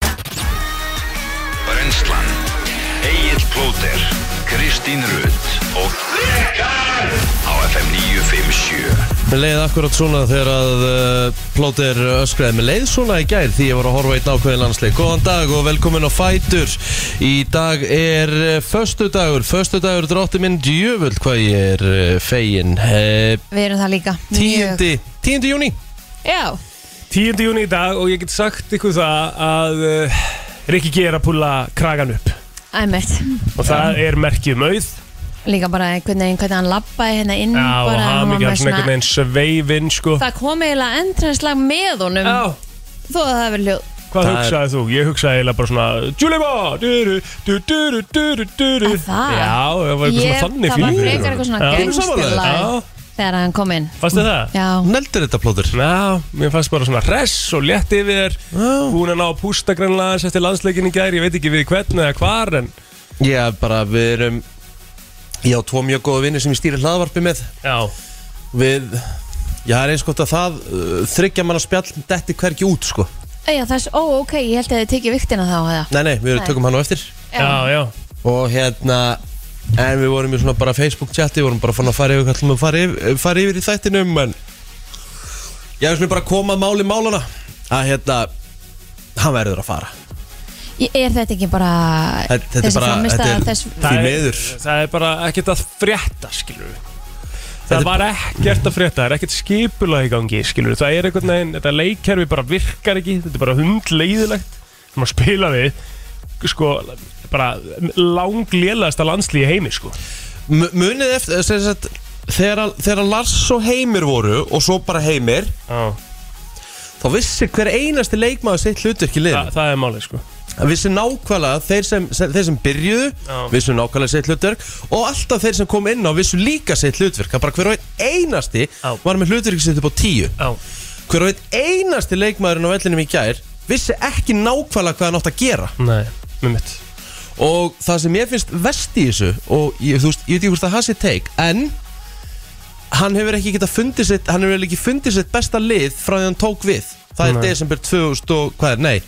Mm-hmm. Blóter, Kristín Rutt og Rikar á FM 957 Mér leiði akkurat svona þegar að uh, plótir öskraði Mér leiði svona í gær því ég var að horfa í einn ákveðin landsleik Góðan dag og velkomin á Fætur Í dag er uh, föstudagur Föstudagur drátti minn djöfull hvað ég er uh, fegin uh, Við erum það líka Mjög. 10. 10. júni Já, 10. júni í dag og ég get sagt ykkur það að uh, Rikki G er að púla kragan upp æmitt og það er merkið um mauð Líka bara einhvern veginn hvernig hann labbaði hérna inn Já, og bara, hafa hann var mikið með svona einhvern veginn sveifinn sko Það kom eiginlega endræðislega með honum Já, Þó að það verið hljóð hvað Það er- hugsaði þú? Ég hugsaði eiginlega bara svona Juliba, duru, duru, duru, duru, duru Að það? Já, það var eitthvað svona þannig Það var fílingur. frekar eitthvað svona Já. gangstilag Já, Þegar hann kom inn fannst þið það? Já, Neldur þetta plótir Já, mér fannst bara svona hress og létt yfir Já. Hún er ná að pústa grannlega aðeins eftir landsleikin í gær Ég veit ekki við hvern eða hvar en Já bara við erum Ég á tvo mjög góða vinni sem ég stýri hlaðvarpi með Já, Við Já það er eins gott að það uh, Þryggja mann á spjall Detti hvergi út sko Æja, það er svo, ó, ok, ég held að þið tekið viktina þá eða. Nei nei við Nei. tökum hann á eftir já, já og hérna en við vorum í svona bara Facebook chati við vorum bara fann að fara yfir hvað ætlum við að fara yfir, eh, fara yfir í þættinum en ég hefði svona bara komað máli málana að hérna hann verður að fara Ég- Er þetta ekki bara Þetta- þetta er þessi bara- frammistaða þetta er- þess, Því Það er- miður. Það er bara ekkert að frétta, skilur við Þetta Það er- var ekkert að frétta, það er ekkert skipulag í gangi, skilur við Það er einhvern veginn, þetta leikkerfi bara virkar ekki Þetta er bara hundleiðilegt Það maður spila við, sko, bara langlélegasta landslíði heimi, sko M- munið eftir eh, sem sagt, þegar, að- þegar að Lars og Heimir voru og svo bara Heimir Já, þá vissi hver einasti leikmaður sitt hlutverk í það, liðinu það er málið, sko Hann vissi nákvæmlega þeir sem, sem, þeir sem byrjuðu Já. vissu nákvæmlega sitt hlutverk og alltaf þeir sem kom inn á vissu líka sitt hlutverk að bara hver og einn einasti Já. var með hlutverk sitt upp á tíu Já, hver og einn einasti leikmaðurinn á vellinum í gær vissi ekki nákvæmlega hvað hann átt að gera nei, með mitt og það sem ég finnst vest í þessu og ég, þú veist, ég veit ekki hvort að það sé teik en hann hefur ekki geta fundið sitt hann hefur ekki fundið sitt besta lið frá því hann tók við það er Nei. desember 2000 og, hvað er, nei,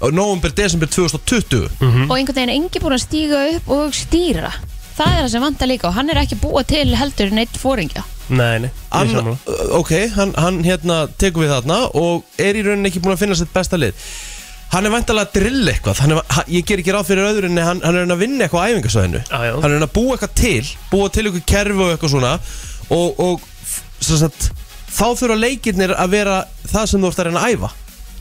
november desember 2020 Mhm. Og einhvern veginn er engi búin að stíga upp og stýra Það er það sem vantar líka og hann er ekki búa til heldur neitt fóringja Nei, nei, ég er Anna, sammála uh, ok, hann, hann hérna tekur við þarna og er í rauninni ekki búin að finna sitt besta lið hann er vantalega að drilla eitthvað hann er, hann, ég ger ekki ráð fyrir öðru en hann, hann er að reyna að vinna eitthvað á æfingasvæðinu Já, já. hann er að reyna að búa eitthvað til búa til eitthvað kerfi og eitthvað svona og, og f- sem sagt, þá þurfa leikirnir að vera það sem þú ert að reyna að æfa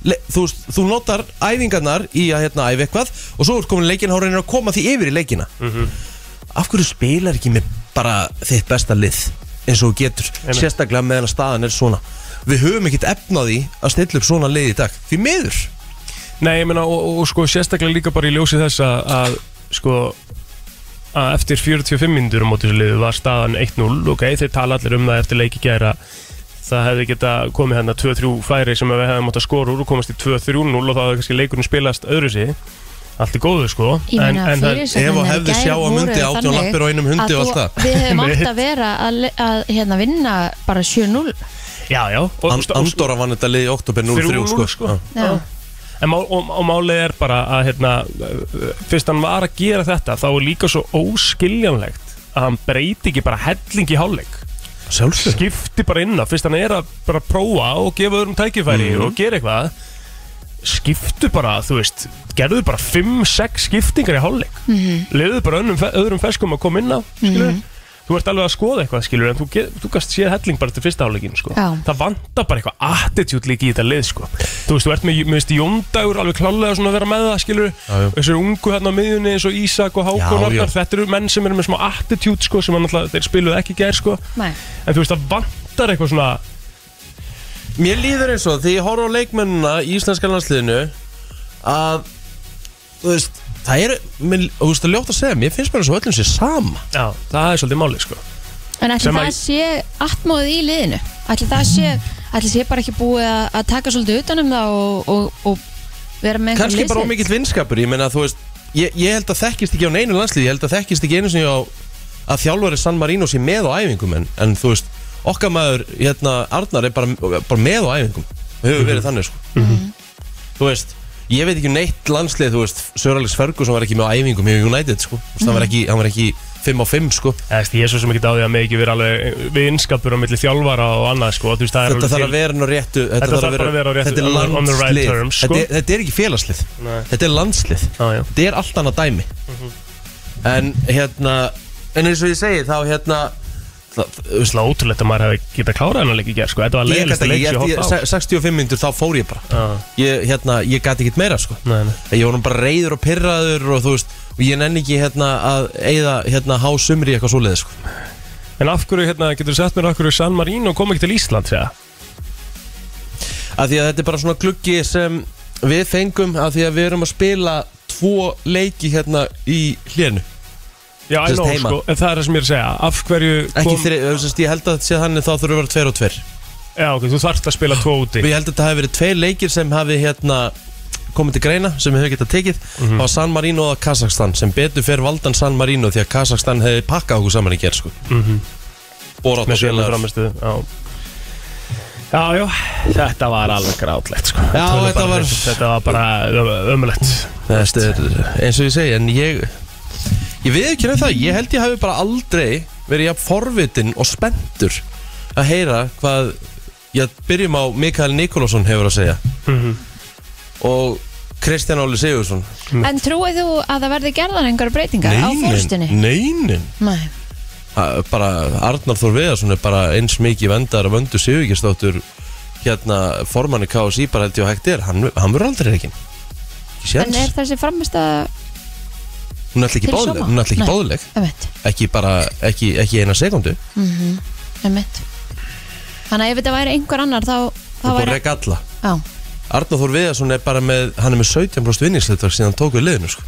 Le, þú, veist, þú notar æfingarnar í að hérna, æfa eitthvað og svo er komin leikin hann reynir að koma því yfir í leikina af hverju spilar ekki með bara þitt besta lið eins og þú getur Einmitt. sérstaklega meðan að staðan er svona við höfum ekkert efnaði að stilla upp svona lið í dag því miður Nei, ég meina, og, og, og sko sérstaklega líka bara í ljósi þess að, að sko að eftir 45 myndur á mótisliðu var staðan 1-0, ok, þeir tala allir um það eftir leiki gæra það hefði geta komið hérna 2-3 færi sem við hefðum átt að skora úr og komast í 2-3-0 og þá hefði kannski leikurinn spilast öðru sig allt er góðu sko Ég meina en, en það- fyrirsögnirnar Ef og í hefði gær sjá á voru mundi, átján þannig lappir og einum hundi að og allt þú- það. Við hefum Einmitt. átt að vera að, le- að hérna, vinna bara 7-0 já, já, og, And, Andorra vann þetta lið í oktober 03 sko. 3-0 sko. Já. Já. En má, og, og málið er bara að hérna, uh, fyrst hann var að gera þetta þá er líka svo óskiljanlegt að hann breyti ekki bara helling í hálfleik Sjálfsög skipti bara inn á fyrst hann er að bara prófa og gefa öðrum tækifæri Mhm. og gera eitthvað skiptu bara, þú veist gerðu bara 5-6 skiptingar í hálfleik mm leiðu bara önnum, fe- öðrum feskum að koma inn á skilur þú ert alveg að skoða eitthvað skilur en þú, get, þú gast séð helling bara til fyrsta hálfleikin sko. Já. það vantar bara eitthvað attitude líka í þetta lið sko. þú veist, þú ert með, með Jóndagur alveg klálega svona að vera með það skilur Já, já. þessu ungu hérna á miðjunni eins og Ísak og Hákon Já, Arnar, já. þetta eru menn sem eru með smá attitude sko, sem hann alltaf, þeir spiluðu ekki í gær sko. Nei. En þú veist, það vantar eitthvað svona Mér líður eins og því ég horf á leikmennina í íslenska landsliðinu að þú veist það er, mér, þú veist það er ljótt að segja mér finnst bara eins og öllum sér sama Já, það er svolítið málið, sko En ætli Sem það að- sé atmóðið í liðinu Ætli það sé, ætli sé bara ekki búið að, að taka svolítið utanum það og, og, og vera með kannski bara liðsveit? ómikill vinskapur ég menna þú veist, ég, ég held að þekkist ekki á neinu landslið, ég held að þekkist ekki einu sinni á að þjálfari San Marino sé með á æfingum en, en þú veist, okkar maður Mhm. hérna, Arnar er bara, bara með á æfingum og hefur verið þannig sko þú veist, Ég veit ekki um neitt landslið, þú veist Sir Alex Ferguson var ekki með á æfingum í United sko. mm. hann, var ekki, hann var ekki 5 á 5 sko. Eða, veist, ég er svo sem ekki á því að mig ekki vera alveg eh, við innskapur á milli þjálfara og annað sko, þú veist, það er Þetta alveg þarf til- að vera nú réttu Þetta, Þetta þarf bara að vera á réttu- Þetta er on- on the landslið right terms, sko. þetta, er- þetta er ekki félagslið Nei. Þetta er landslið Já, já. Þetta er allt annað dæmi En hérna En eins og ég segi þá hérna það, Þú veist, það er ótrúlegt að maður hefði getað klárað hennar leik í gerð sko, þetta var Ég leiðilegt gæti að ekki, leik ég, sem ég, ég hótt á 65 minnur þá fór ég bara Já. Ég, hérna, ég gæti ekkert meira sko Nei, nei. Ég var nú bara reyður og pirraður og þú veist Og ég nenni ekki hérna að eigða hérna há sumri í eitthvað svoleiði sko En af hverju, hérna, getur þú sett mér af hverju San Marino kom ekki til Ísland, segja? af því að þetta er bara svona gluggi sem við fengum af því að við erum að spila tvo leiki hérna í hlénu Já, ég Sest nóg, heima. sko, en það er það sem ég er að segja Af hverju ekki þeir, þess, ég held að þetta sé þannig þá þurfum við að vera tveir og tveir Já, ok, þú þarft að spila tvo úti og ég held að þetta hafi verið tveir leikir sem hafi hérna komið til greina sem við höfum getað tekið Mhm. það var San Marino og Kazakstan sem betur fer valdan San Marino því að Kazakstan hefði pakkað okkur saman í gerð sko mm Mhm. -hmm. Borat og Með sjölu félagar framistu Já, já, já þetta var alveg grátlegt, sko Já, Tölum þetta bara var- hreint. Þetta var bara ömulegt Þetta er- eins og ég segi en ég ég veið ekki nefn það ég held ég hafi bara aldrei verið jafn forvitin og spenntur að heyra hvað ég byrjum á Mikael Nikolásson hefur að segja Mhm. og Kristján Óli Sigursson En trúið þú að það verði gerðan einhverja breytingar á fórstunni? neinin Nei, Ha- bara Arnar Þór Viðarsson er bara eins mikið vendar af vöndu Sigurgistóttur hérna formanni KSI bara held ég að hægt er hann, hann verður aldrei reikin ekki en er séns þessi framist að hún er alltaf ekki til báðleg sóma? hún er alltaf ekki Nei. báðleg emitt, ekki bara ekki, ekki eina sekundu emitt Mhm. Þannig að ef þetta væri einhver annar þá, þá Það búið að væri reka alla Já, Arnóð Þór Viðarsson er bara með Hann er með 17% vinningsleitvar Síðan hann tók við liðinu sko.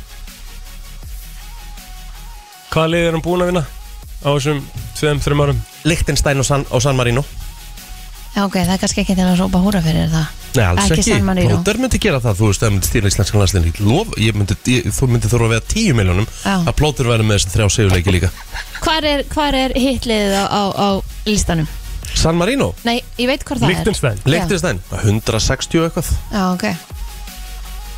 Hvaða lið er hann búin að vinna? Á þessum tveim, þreim árum Lichtenstein og San, og San Marino já ok, það er kannski ekki til að rópa húra fyrir það Nei, alls Ekki ekki, San Marino. Plóter myndi gera það, þú veist, það myndi stýra íslenskan landslinni Lof, ég myndi, ég, þú myndi þurfa að vega 10 miljónum Já. Að Plóter væri með þessi þrjá segjuleiki líka Hvar er, hvar er hitliðið á, á, á listanum? San Marino, Nei, ég veit hvað það Liechtenstein. er Lichtenstein, 160 og eitthvað Já, já ok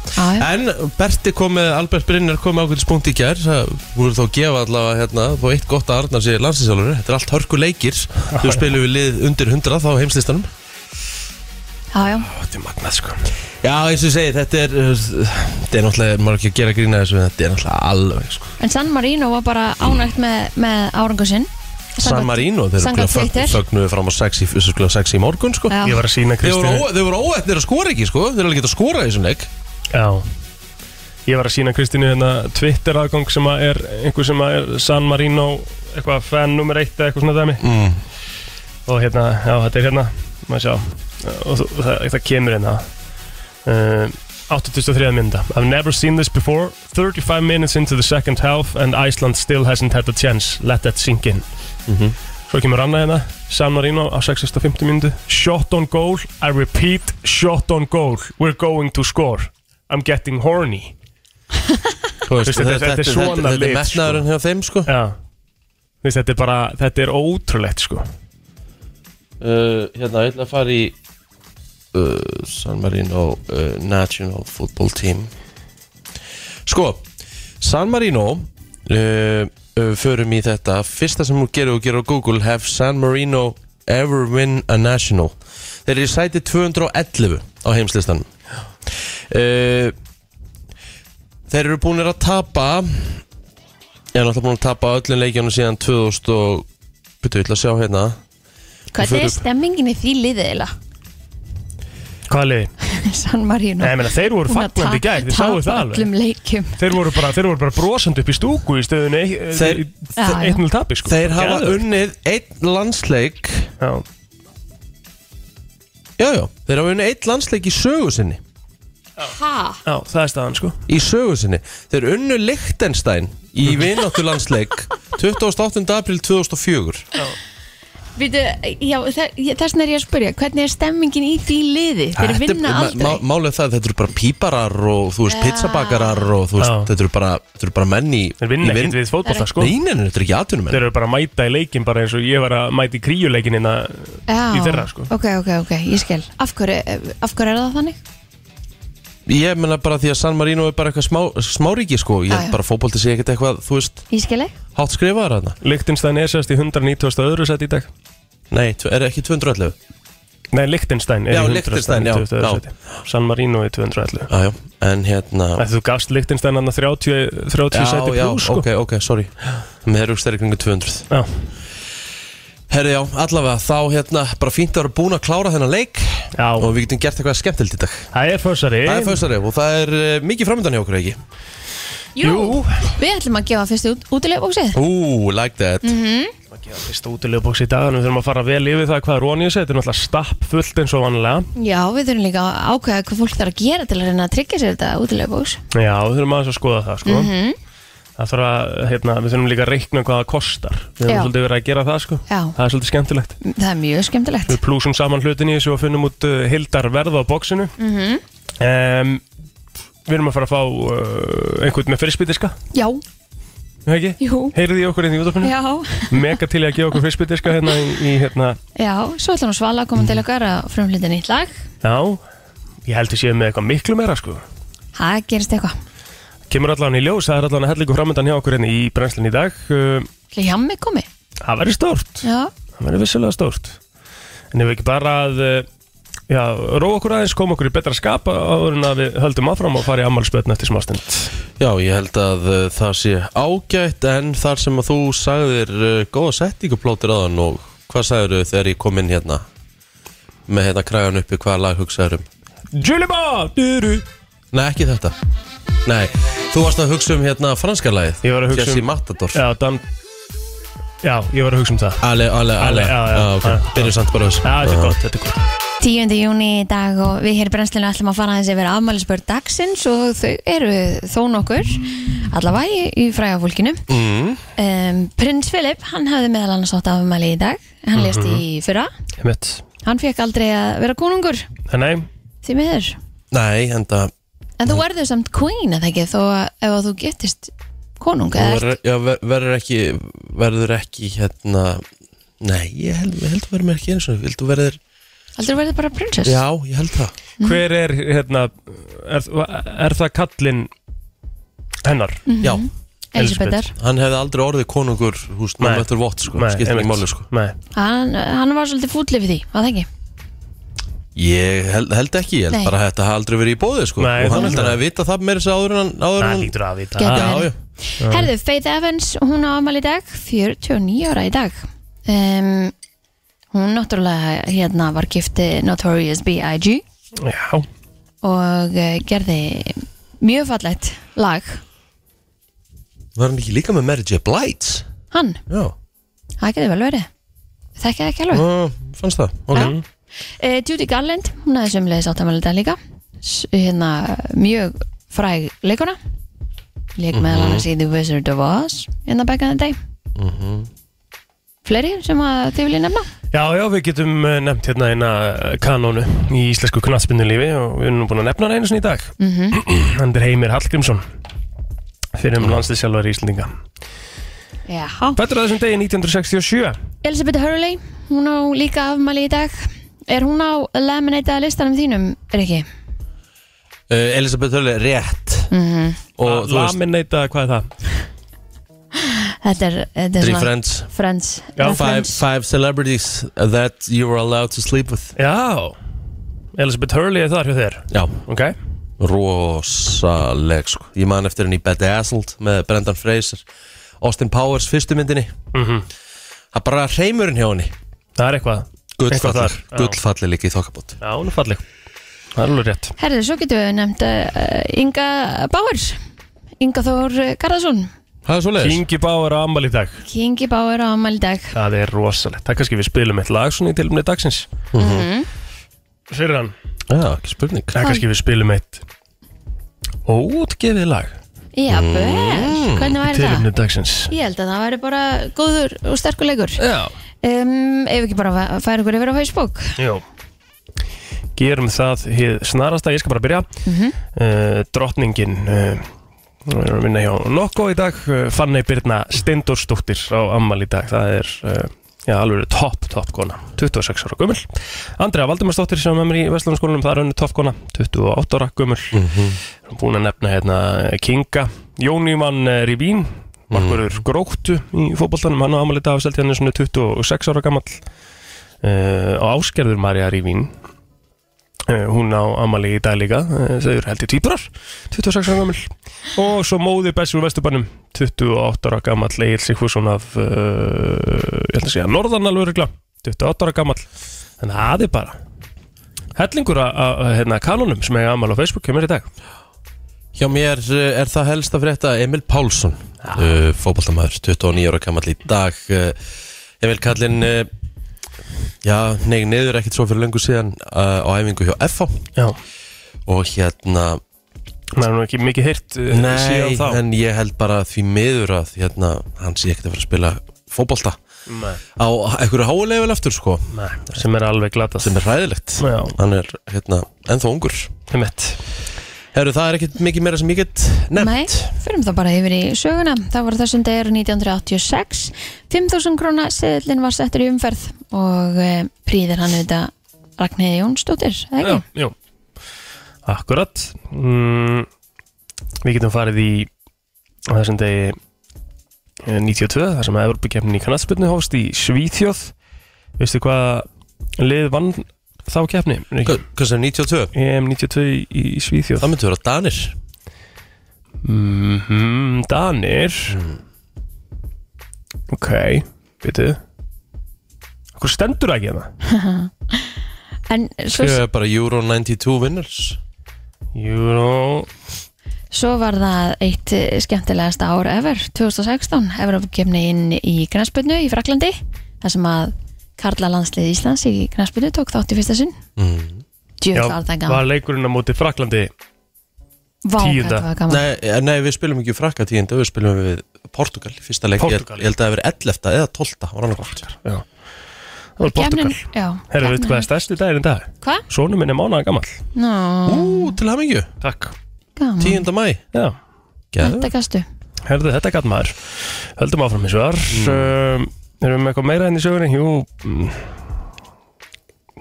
Já, já, En Berti kom með, Albert Brynjar kom með ákveldis punkt í gær Það voru þá að gefa allavega hérna Þó eitt gott að Arnar sé landsinsjálfur Þetta er allt hörku leikir Þú spilum við lið undir 100 þá á heimslistanum já, já. Þetta er magnað, sko Já, eins og ég segi, þetta er uh, Þetta er náttúrulega, maður er ekki að gera grína þessu en Þetta er náttúrulega alveg, sko En San Marino var bara ánægt með, með árangur sinn San Samkvæmt- Marino, þeir eru samkvæmt glöð Twitter. fögnuðu fram á 6 í, þessu glöð 6 í morgun, sko Já. Ég var að sína Þeir Kristínu voru, ó, þeir voru óætnir að skora ekki, sko Þeir eru alveg að skora í þessum leik Já Ég var að sína Kristínu hérna Twitter aðgang sem að er einhver sem að er San Marino eitthvað fan nummer eitt eða eitthvað svona dæmi mm. og hérna, já þetta er hérna maður sjá og þú- það, það kemur hérna uh, 83. mynda I've never seen this before 35 minutes into the second half and Iceland still hasn't had a chance let that sink in Svo kemur annað hérna San Marino á 650 myndu Shot on goal, I repeat shot on goal We're going to score I'm getting horny Þú veist, Þetta- þetta er svona þetta, þetta lit, sko. er metnaðurinn hjá þeim, sko Já Þú veist, þetta er bara, þetta er ótrúlegt sko uh, hérna, ég ætla að fara í uh, San Marino uh, National Football Team Sko San Marino uh, uh, förum í þetta fyrsta sem þú gerir og gerir á Google Have San Marino ever win a national Þeir eru í sæti 211 á heimslistanum uh, Þeir eru búinir að tapa Ég er náttúrulega búin að tapa öllum leikjónu síðan 2000 og Býttu, ég ætla að sjá hérna Hvað Förum. er stemmingin í því liðið eiginlega? Hvað liði? San Marino Nei, ég meina, þeir voru Búin að fagnandi í tapa- gær, þið sáu það tapa alveg öllum leikjum Þeir voru bara, þeir voru bara brosandi upp í stúku í stöðunni Þeir- þeir, Já, já. 1-0 tapi sko Þeir hafa Geðveikt. unnið einn landsleik Já. Já, já, þeir hafa unnið einn landsleik í sögu sinni Ha? Já, það er staðan sko Í sögu sinni Þeir unnu Lichtenstein í vináttu landsleik 28. april 2004 Vítu, já, þe- ég- þess vegna er ég að spyrja Hvernig er stemmingin í því liði? Þeir Þetta er- vinna ma- aldrei ma- Málið er það, að þetta eru bara píparar og þú veist Já. pizzabakarar og þú veist, Já. þetta eru bara, þetta eru bara menn í Þeir vinna ekkert við fótbolta sko Nei, nei, nei, þetta eru ekki atvinnumenn Þeir eru bara að mæta í leikin bara eins og ég var að mæta í hérna. kríuleikin innan Já, í þeirra, sko. eh, Ok, ok, ok, ég skil Af hverju, af hverju er það þannig? Ég menna bara því að San Marino er bara eitthvað smá, smáríki sko Ég Já, já. held bara að fótbolti sé ekkert eitthvað, þú veist, Ég skilji hátt skrifaðar þarna Lichtenstein er sérst í 190. öðru sett í dag Nei, tv- er ekki 211 Nei, Lichtenstein er Já, í 190. Liechtenstein, já, öðru já. seti San Marino í 211 Já, já, en hérna Æ, Þú gafst Lichtenstein hann að 30, 30 Já, seti já, plus sko ok, ok, sorry Með þeir eru stærri kringu 200 Já, Herri, já, allavega, þá hérna, bara fínt að vera búin að klára þennan leik Og já, við getum gert eitthvað skemmtilegt í dag það er fósari Það er fyrstari og það er eh, mikið framöndan hjá okkur, ekki? Jú, Við ætlum að gefa fyrstu út, Mhm. útilegbóksið Ú, like that að gera fyrsta útilega bóks í dag en við þurfum að fara vel yfir það hvað Róni er þetta er náttúrulega stapp fullt eins og vanlega Já, við þurfum líka að ákveða hvað fólk þarf að gera til að reyna að tryggja sér þetta útilegbóks já, við þurfum aðeins að skoða það sko. Mhm. það þarf að, hérna, við þurfum líka að reikna hvað það kostar við Já. þurfum svolítið verið að gera það sko. Já. Mm. það er svolítið skemmtilegt Það er mjög skemmtilegt við plúsum saman hlutin í þessu og finnum út uh, hildar verð á bóksinu mm Mhm. við erum að fara að fá uh, einhvern með fyrstbytiska Já, Jú. heyrið í okkur hérna í útafinu já, mega til í að gefa okkur fyrstbytiska hérna í, í hérna, já Svo ætlum við svala að koma til okkar að frumlita nýtt lag já ég held að séu með eitthvað miklu meira sko Það gerist eitthvað kemur allan í ljós, það er allan að hellingu framöndan hjá okkur hérna í brennslinn í dag Uh, Ætli Hjammi komi það verður stórt, Já, það verður vissulega stórt en ef við ekki bara að uh, já, róa okkur aðeins, koma okkur í betra skap áður en að við höldum áfram og fara í ammálspötn eftir smástund Já, ég held að uh, það sé ágætt en þar sem að þú sagðir uh, góða settingu plótir aðan og hvað sagðir þau þegar ég kom inn hérna með hérna kræðan uppi hvaða lag hugsaður um Julie Ba! Duru. Nei, ekki þetta Nei, þú varst að hugsa um hérna franska lagið Ég var að hugsa um- Jesse Matador Já, Dan Já, ég var að hugsa um það Ale, ale, Ale, ale já, já, ah, já, okay. já. Byrjum samt bara á þessu Ah. Já, þetta er Já. gott, þetta er gott 10. júni í dag og við hér í brennslinu ætlum að fara aðeins yfir afmælisbörn dagsins og þau eru þó nokkur allavega í, í fræga fólkinu Mm. um, Prins Philip, hann hafði meðal annars átt afmæli í dag hann mm Mhm. í fyrra, Einmitt. hann fekk aldrei að vera konungur Nei, því miður Nei, enda en þú verður samt queen eða ekki þó að ef að þú getist konung þú eða verður- já, ver- verður ekki verður ekki hérna Nei, ég held, ég held að verður mér ekki eins og Vildu verður aldrei verður bara prinsess Já, ég held það Mm. hver er hérna er, er það kallinn hennar? Já, Elisabethar, hann hefði aldrei orðið konungur húst Nei. náma eftir vott sko, skiptir einmitt. ekki máli sko Nei, hann, hann var svolítið fútli við því, var það ekki? Ég held, held ekki, ég held Nei. bara að þetta hafi aldrei verið í bóði sko Nei, og hann þannig held að- hann að vita það meira sér áður en hann áður það en lítur að vita Gæti það. verið. Já, já, Herðu, Faith Evans, hún á afmæli í dag 49 ára í dag um, Hún náttúrulega hérna var gifti Notorious B.I.G Já, og uh, gerði mjög fallegt lag var hann ekki líka með Mary J. Blight Hann, Já, það getur vel verið Þekkja það ekki alveg Ó, Ah, fannst það, ok Já. uh, Judy Garland, hún hefði sömulegis áttamæli í dag líka S hérna mjög fræg leikuna Mhm. Leik meðal annars í The Wizard of Oz hérna back in the day Mhm. Fleiri sem að þið viljið nefna Já, já, við getum eh, nefnt hérna eina eh, kanónu í íslensku knattspinnulífi og við erum nú búin að nefna hana einu sinni í dag mm -hmm. Hann er Heimir Hallgrímsson fyrir Mm. um landsliðsjálfari Íslendinga Já Fættur á þessum degi 1967 Elisabeth Hurley, hún á líka afmæli í dag Er hún á laminata listanum þínum, Rikki? uh, Elisabeth Hörli, rétt Mhm. Og þú veist, Laminata, Ah, hvað er það? Þetta er, þetta er Three Friends Friends Já. five, Friends. five celebrities that you were allowed to sleep with Já, Elizabeth Hurley er þar hjá þér Já, Ok, rosaleg sko Ég man eftir henni í Bedazzled með Brendan Fraser Austin Powers fyrstu myndinni Það er bara reymurinn hjá henni Mhm. það er eitthvað Eitthvað Gullfalleg, þar, já. gullfalleg líka í þokkabót Já, hún er falleg Það er alveg rétt Herðu, svo getum við nefnt uh, Inga Báers Inga Þór eh, Garðarsson Það er svo Kingi Báar á ammali í dag Kingi Báer á afmæli í dag Það er rosalegt, það er kannski við spilum eitt lag svona í tilumni dagsins Mhm. Mhm. Fyrir hann Já, ekki spurning Það er kannski við spilum eitt Ótgefið lag Já, vel, hvernig væri það? Tilumni Mm. dagsins Ég held að það væri bara góður og sterkur leikur Já um, Ef ekki bara að færa ykkur yfir á Facebook Jó Gerum það hið snarasta, ég skal bara byrja mm -hmm. uh, Drottningin uh, Við erum að Eh, vinna hjá Nokko í dag uh, Fanney Birna Steindórsdóttir á Ammal í dag Það er uh, Já, alveg topp, topp kona 26 ára gömul Andrea Valdimarsdóttir sem er með mér í Vestlunarskólanum Það er önni topp kona 28 ára gömul mm -hmm. Búin að nefna hérna Kinga Jóníman Rivín Markurur Gróttu í fótboltanum Hann á ámali dag afselt hérna 26 ára gamall uh, Og Áskerður Marja Rivín uh, Hún á ámali í dag líka uh, Þau eru heldur týpurar 26 ára gamall Og svo móði Bessur Vesturbannum 28 ára gamall Egil Sigfússon af uh, ég ætla að segja Norðanalvörugla 28 ára gamall Þannig að það er bara hellingur að- að að, hérna, kanunum sem er amal á Facebook kemur í dag Hjá mér eh, er það helst að frétta Emil Pálsson Ah. uh, Fóbaltamaður, 29 ára gamall í dag uh, Emil Kallinn uh, Já, nei, niður ekkert svo fyrir löngu síðan uh, á æfingu hjá FH Já, og hérna maður er nú ekki mikið heyrt uh, Nei, síðan þá en ég held bara því miður að hérna, hann sé ekkert að fara að spila fótbolta Nei, á einhverju háulegvel aftur sko nei, sem er alveg glatast sem er hræðilegt Já, hann er hérna ennþá ungur um eitt Herru, það er ekkert mikið meira sem ég get Nei, nefnt fyrir þá bara yfir í söguna Það var á þessum degur 1986 5.000 króna seðlinn var settur í umferð og e, príðir hann auðvitað Ragnhildi Jónsdóttir, eða Já, ekki? já Akkurat mm, Við getum farið í á þessum degi eh, 92 þar sem að Evropakefnin í kannatspilnu hófst í Svíþjóð Veistu hvað lið vann þá kefni? Ríkir? Hva- Hvað sem 92? EM 92 í í Svíþjóð Það myndi vera Danir mm Danir Hmm. Ok, veitu Hvað stendur það ekki hérna? En svo, Ég er bara Euro 92 vinners Euro svo var það eitt eh, skemmtilegasta ár ever 2016, Evróp kemni inn í Grænsbyrnu í Fraklandi þar sem að Karla landslið Íslands í Grænsbyrnu tók þátt í fyrsta sinn mm. Djöfn var það var gaman leikurinn á móti Fraklandi Vá, hvað tíunda. það var gaman nei, eh, nei, við spilum ekki frakka tíðinda Við spilum við Portugal í Fyrsta leik, ég, Portugal. ég held að það hafi verið 11 eða 12 var annað hvort. Já Það var Portugal Kefnin- já, Herra, veitu hvað er kefnin- stærsti dagir en dag? Hvað? Sónu minn er mánaða gammal Nó, Ú, til hamingju, Takk 10. mæ Já, Geðu. þetta gastu herðu þetta gæt maður Höldum áfram eins og þar mm. Erum við með eitthvað meira enn í sögunni? Jú, mm,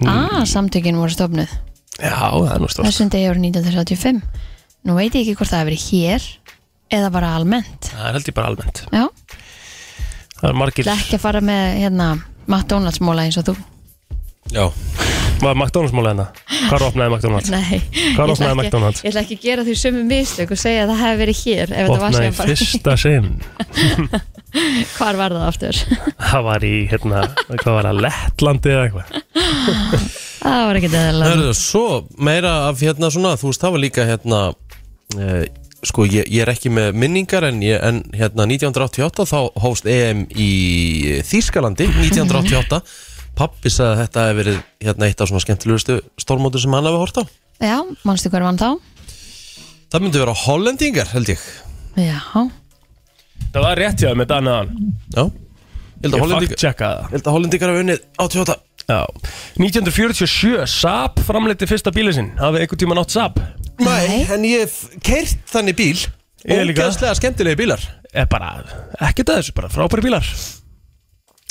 Ah, samtökin voru stofnuð já, það er nú stórt þessum degi árið 1935 nú veit ég ekki hvort það hefur verið hér eða bara almennt Það er held ég bara almennt já, Það er margir það er ekki að fara með hérna McDonalds móla eins og þú Já, Var McDonalds múlið hérna? Hvar opnaði McDonalds? nei, ég Hvar ætla opnaði ekki- McDonalds? ég ætla ekki að gera því sömu mistök og segja að það hefur verið hér ef þetta var Opnaði sem bara, fyrsta sinn hvar var það aftur Það var í, hérna, hvað var það, Lettlandi eða eitthvað það var ekki það eðalega eru svo meira af hérna svona Þú veist, það var líka hérna eh, Sko, ég, ég er ekki með minningar En, ég, en hérna 1988 Þá hófst EM í Þýskalandi 1988 Pappi sagði að þetta hefði verið hérna eitt af svona skemmtilegustu stórmótur sem hann hafi hort á. já, manstu hver vann þá? Það myndi vera hollendingar, held ég já, Það var rétt hjá þeim með Danaðan Já Ég held Ég að hollendingar Ég faktjekka það held að hollendingar hafa unnið 88 Já. 1947, Saab framleiti fyrsta bílið sinn Hafið einhvern tíma nátt Saab Nei. en ég hef keirt þannig bíl Ég líka. Ógeðslega skemmtilegi bílar Er bara, ekkert að þessu, bara frábæri bílar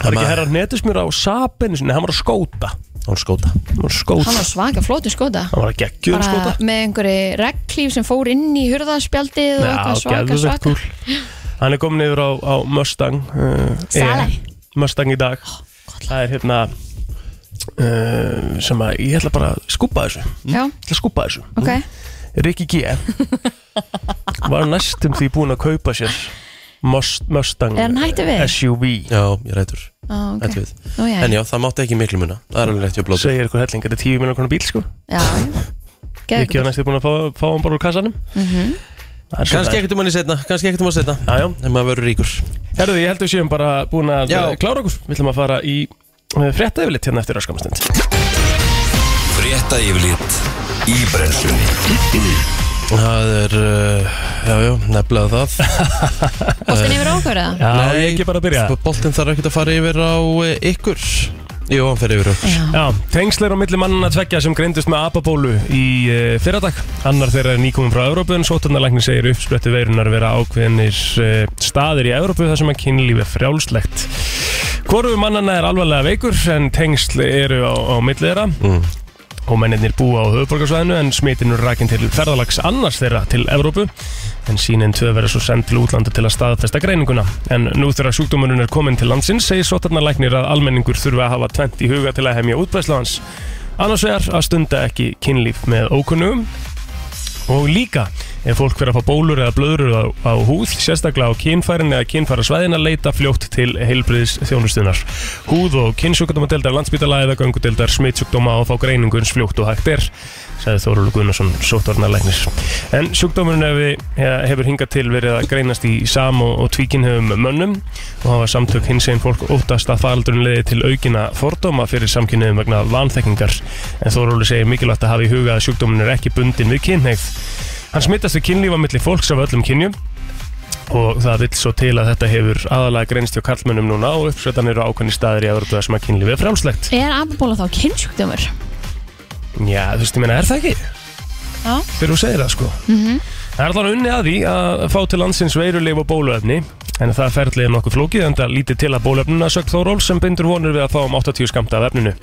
Það er ekki herra netusmjör á Saabinu sinni, hann var að skóta Hún skóta Hann var að skóta, hann var svaka flótu skóta hann var að geggjur að bara skóta með einhverju regnklíf sem fór inn í hurðarspjaldið og eitthvað svaka geðveikt svaka kúl. Hann er komin yfir á, á Mustang uh, Sale. EM, Mustang í dag Oh, Það er hérna uh, sem að ég ætla bara að skúpa þessu Ég já, ætla að skúpa þessu Mm. ok Rikki G var næstum því búin að kaupa sér Must- Mustang Er hann hættur við? SUV Já, ég rætur Ah, ok. okay. Nú, jæja. En já, það mátti ekki miklu muna Það er alveg rétt hjá blóti segir eitthvað helling, þetta er 10 miljonar konar bíl sko Já, geðu Rikki var næstum búin að fá, fá hann bara úr kassanum Það er svo Kanski það er. ekkert um hann í setna Kanski ekkert um hann setna Já, já. En maður verður ríkur Herðu, ég held að við séum bara búin að Já. klára okkur Við ætlum að fara í frétta yfirleitt hérna eftir öskamastund Frétta yfirlit í brennslunni Það er, uh, já, já, nefnilega það Bóttin yfir á okkur eða? Já, ég er ekki bara að byrja sko, Boltinn þarf ekkert að fara yfir á uh, ykkur Jú, hann fer yfir okkur Já. Já, tengsleir á milli mannana tveggja sem greindust með apabólu í uh, fyrradag. Annar þeirra er nýkominn frá Evrópu en sótarnalækni segir uppsprettu eh, veirunar vera ákveðinir uh, staðir í Evrópu þar sem að kynlíf er frjálslegt. Hvorfu mannana er alvarlega veikur en tengsl eru á, á milli þeirra Mm. og mennirnir búa á höfuborgarsvæðinu en smitinu rakin til ferðalags annars þeirra til Evrópu en sínin tvö verður svo send til útlanda til að staðfesta greininguna en nú þegar sjúkdómurinn er komin til landsins segir sotarnalæknir að almenningur þurfi að hafa tvent í huga til að hefja útbæðslu hans annars vegar að stunda ekki kynlíf með ókunnugum og líka ef fólk fyrir að fá bólur eða blöður á, á húð, sérstaklega á kynfærin eða kynfærasvæðin að leita fljótt til heilbriðis þjónustunar. Húð og kynnsjúkdómadeldar, landsbytala eða gangudeldar, smittsjúkdóma og fá greiningu eins fljótt og hægt er, sagði Þóruldur Gunnarsson, sóttvarnarleiknir. En sjúkdómurinn hefði- he- hefur hingað til verið að greinast í sam og, og tvíkinhefum mönnum og hafa samtök hins einn fólk óttast að faraldurinn leiði til aukina fordóma fyrir samkynniðum vegna vanþekkingar en Þóróli segir mikilvægt að hafa í huga að sjúkdómurinn er ekki bundin við kynneigð. Hann smittast við kynlífa milli fólks af öllum kynjum og það vill svo til að þetta hefur aðalega greinst hjá karlmönnum núna og uppsvetan eru ákveðni staðir í Evrópu þar sem að kynlífi er frálslegt. Er ababóla þá kynnsjúkdómur? Já, þú veist, ég meina, er það ekki? Já. Þegar þú segir það, sko. Mhm, Það er allavega unni að því að fá til landsins veirulif og bóluefni en það ferlið er nokkuð flókið en það lítið til að bóluefnuna sögt Þóról sem bindur vonir við að fá um 80 skamta af efninu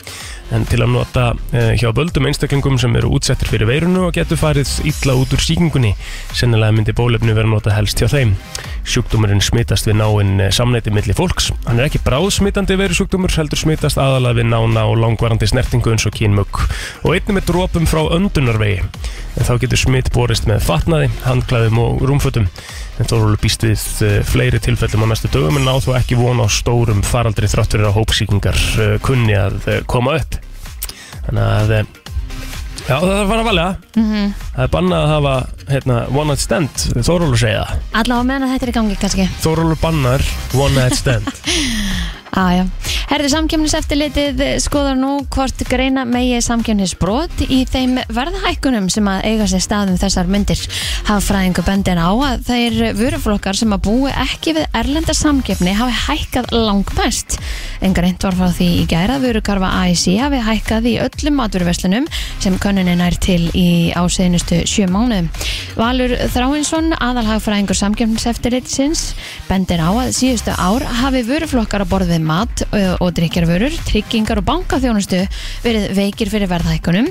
en til að nota eh, hjá böldum einstaklingum sem eru útsettir fyrir veirunu og getur farið illa út úr síkingunni sennilega myndi bólefni vera notað helst hjá þeim sjúkdómurinn smitast við náinn eh, samneyti milli fólks hann er ekki bráðsmitandi veirusjúkdómur heldur smitast aðalega við nána og langvarandi snertingu eins og kínmögg og einnig með drópum frá öndunarvegi en þá getur smitt borist með fatnaði, handklæðum og rúmfötum en Þórólur býst við eh, fleiri tilfellum á næstu dögum en á þó ekki von á stórum faraldri þrátt fyrir að hópsíkingar eh, kunni að eh, koma upp þannig að eh, já það þarf að fara að valja mhm. það er bannað að hafa hérna, one night stand Þórólur segja það Alla á meðan að þetta er í gangi kannski. Þórólur bannar one night stand Aja. Ah, Herði samkjöfniseftilitið skoðar nú hvort greina megi samkjöfnisbrot í þeim verðhækkunum sem að eiga sér staðum þessar myndir. Hagfræðingu bendir á að þeir vöruflokkar sem að búi ekki við erlenda samkjöfni hafi hækkað langmest. En greint var frá því í gæra vörukarfa AIC hafi hækkað í öllum maturverslunum sem könnunin er til í ásegnustu sjö mánuðum. Valur Þráinsson, aðalhagfræðingur samkjöfniseftilitsins, bendir á að síðustu ár hafi vöruflokkar að borðið mat ö, og drikjarvörur, tryggingar og bankaþjónustu verið veikir fyrir verðhækkunum.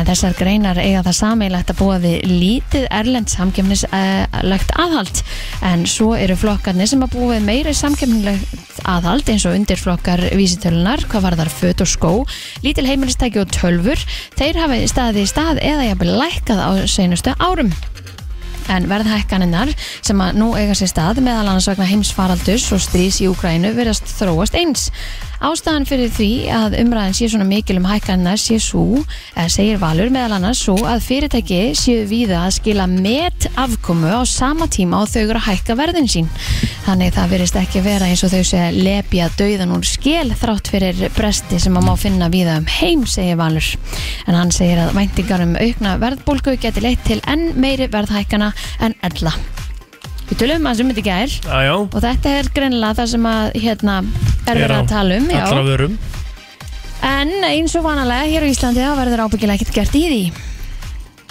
En þessar greinar eiga það sameilagt að búa við lítið erlend samkjöfnislegt aðhald. En svo eru flokkarnir sem að búa við meiri samkjöfnilegt aðhald eins og undirflokkar vísitölunar, hvað varðar föt og skó, lítil heimilistæki og tölfur, þeir hafi staðið í stað eða jafnvel lækkað á seinustu árum en verðhækkaninnar sem að nú eiga sér stað meðal annars vegna heimsfaraldurs og strís í Úkrænu verðast þróast eins. Ástæðan fyrir því að umræðan sé svona mikil um hækkaninnar sé svo, eða segir Valur meðal annars svo að fyrirtæki séu víða að skila met afkomu á sama tíma og þau eru að hækka verðin sín. Þannig það verðist ekki vera eins og þau sé að lepja dauðan úr skel þrátt fyrir bresti sem að má finna víða um heim, segir Valur. En hann segir að væntingar um aukna verðbólgu geti leitt til enn meiri verðhækana en ella. Við tölum að sem þetta gær aðjá, og þetta er greinilega það sem að hérna er verið að tala um, allra já. vörum En eins og vanalega hér á Íslandi þá verður ábyggilega ekkert gert í því.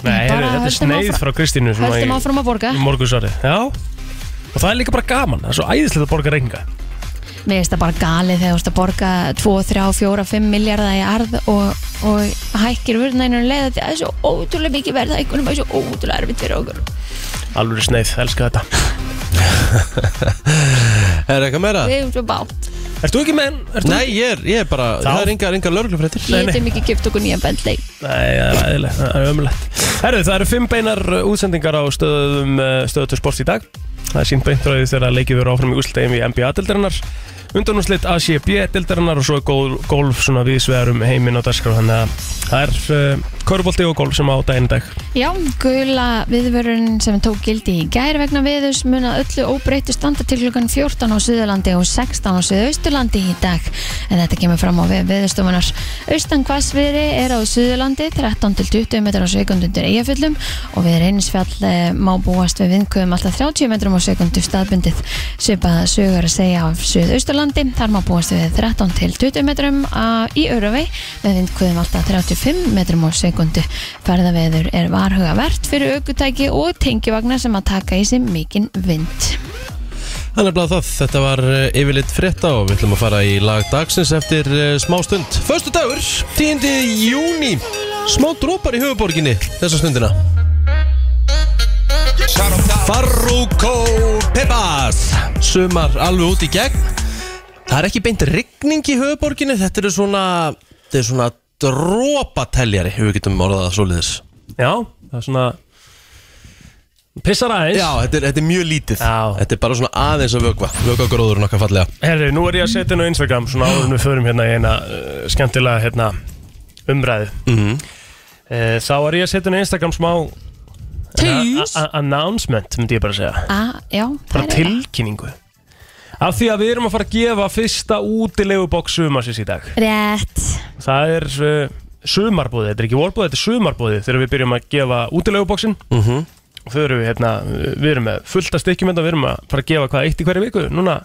Nei, Bara heyrðu, þetta er höldum sneið áfram- frá Kristínu svona Höldum í- áfram að borga. í morgunsvari Já, og það er líka bara gaman Það er svo æðislega að borga reynga Mér finnst það bara galið þegar þú ert að borga 2, 3, 4, 5 miljardar í arð og, og hækkir vörðnænum leiða því að það er svo ótrúlega mikið verð hækkunum og svo ótrúlega erfitt fyrir okkur. Alvöru sneið, elska þetta Er eitthvað meira? Við erum svo bátt. Ert þú ekki menn? Ert Nei, ég er, ég er bara, það er engar, engar lörglufréttir Við getum ekki kipt okkur nýja bendlei. Nei, það er æðilegt, það er ömulegt Herru, það eru fimm beinar uh, útsendingar á stöðum uh, stöðutur sport í dag Það er sínt beint frá því þegar leikið verður áfram í úrslutegin við NBA-dildarinnar Undanúslit ACB-dildarinnar og svo er gól- golf svona viðsvegar um heiminn á dagskrá Þannig að það er uh, körbolti og golf sem á daginn í dag Já, gula viðvörun sem tók gildi í gær vegna viðus mun að öllu óbreyttu standa til klukkan 14 á Suðurlandi og 16 á Suðausturlandi í dag en þetta kemur fram á við viðustofunar Austan hvassviðri er á Suðurlandi 13 til 20 metrar á sekund undir eigafjöllum og við reynisfjall eh, má búast við vindkuðum alltaf 30 metrum á sekundu staðbundið svipaða sögur að segja af Suðausturlandi þar má búast við 13 til 20 metrum á- í Öruvei með vindkuðum alltaf 35 metrum á sekundu ferðaveður er varhugavert fyrir aukutæki og tengjivagnar sem að taka í sig mikinn vind Það er nefnilega það, þetta var eh, yfirleitt frétta og við ætlum að fara í lag dagsins eftir eh, smá stund. Föstu dagur, 10. júni, smá drópar í höfuborginni þessa stundina. Farruko Peppas, sumar alveg út í gegn. Það er ekki beint rigning í höfuborginni, þetta eru svona, þetta er svona drópateljari, ef við getum orðað það svoleiðis. Já, það er svona Pissar aðeins Já, þetta er, þetta er mjög lítið. Já. Þetta er bara svona aðeins að vögva, vögva gróðurinn okkar fallega. Herri, nú er ég að setja hennu á Instagram Svona áður en við förum hérna í eina uh, skemmtilega hérna, umræðu mm Þá er ég að setja hennu á Instagram smá eh, Tís. a- a- Announcement, myndi ég bara að segja Ah, já, það Bara er tilkynningu Af því að við erum að fara að gefa fyrsta útilegubokk sumarsins í dag Rétt Það er uh, sumarbúðið, þetta er ekki vorbúðið, þetta er sumarbúðið þegar við byrjum að gefa útileguboksin mm og þau eru við, hérna, við erum með fullta stykkjum hérna, við erum að fara að gefa hvað eitt í hverju viku núna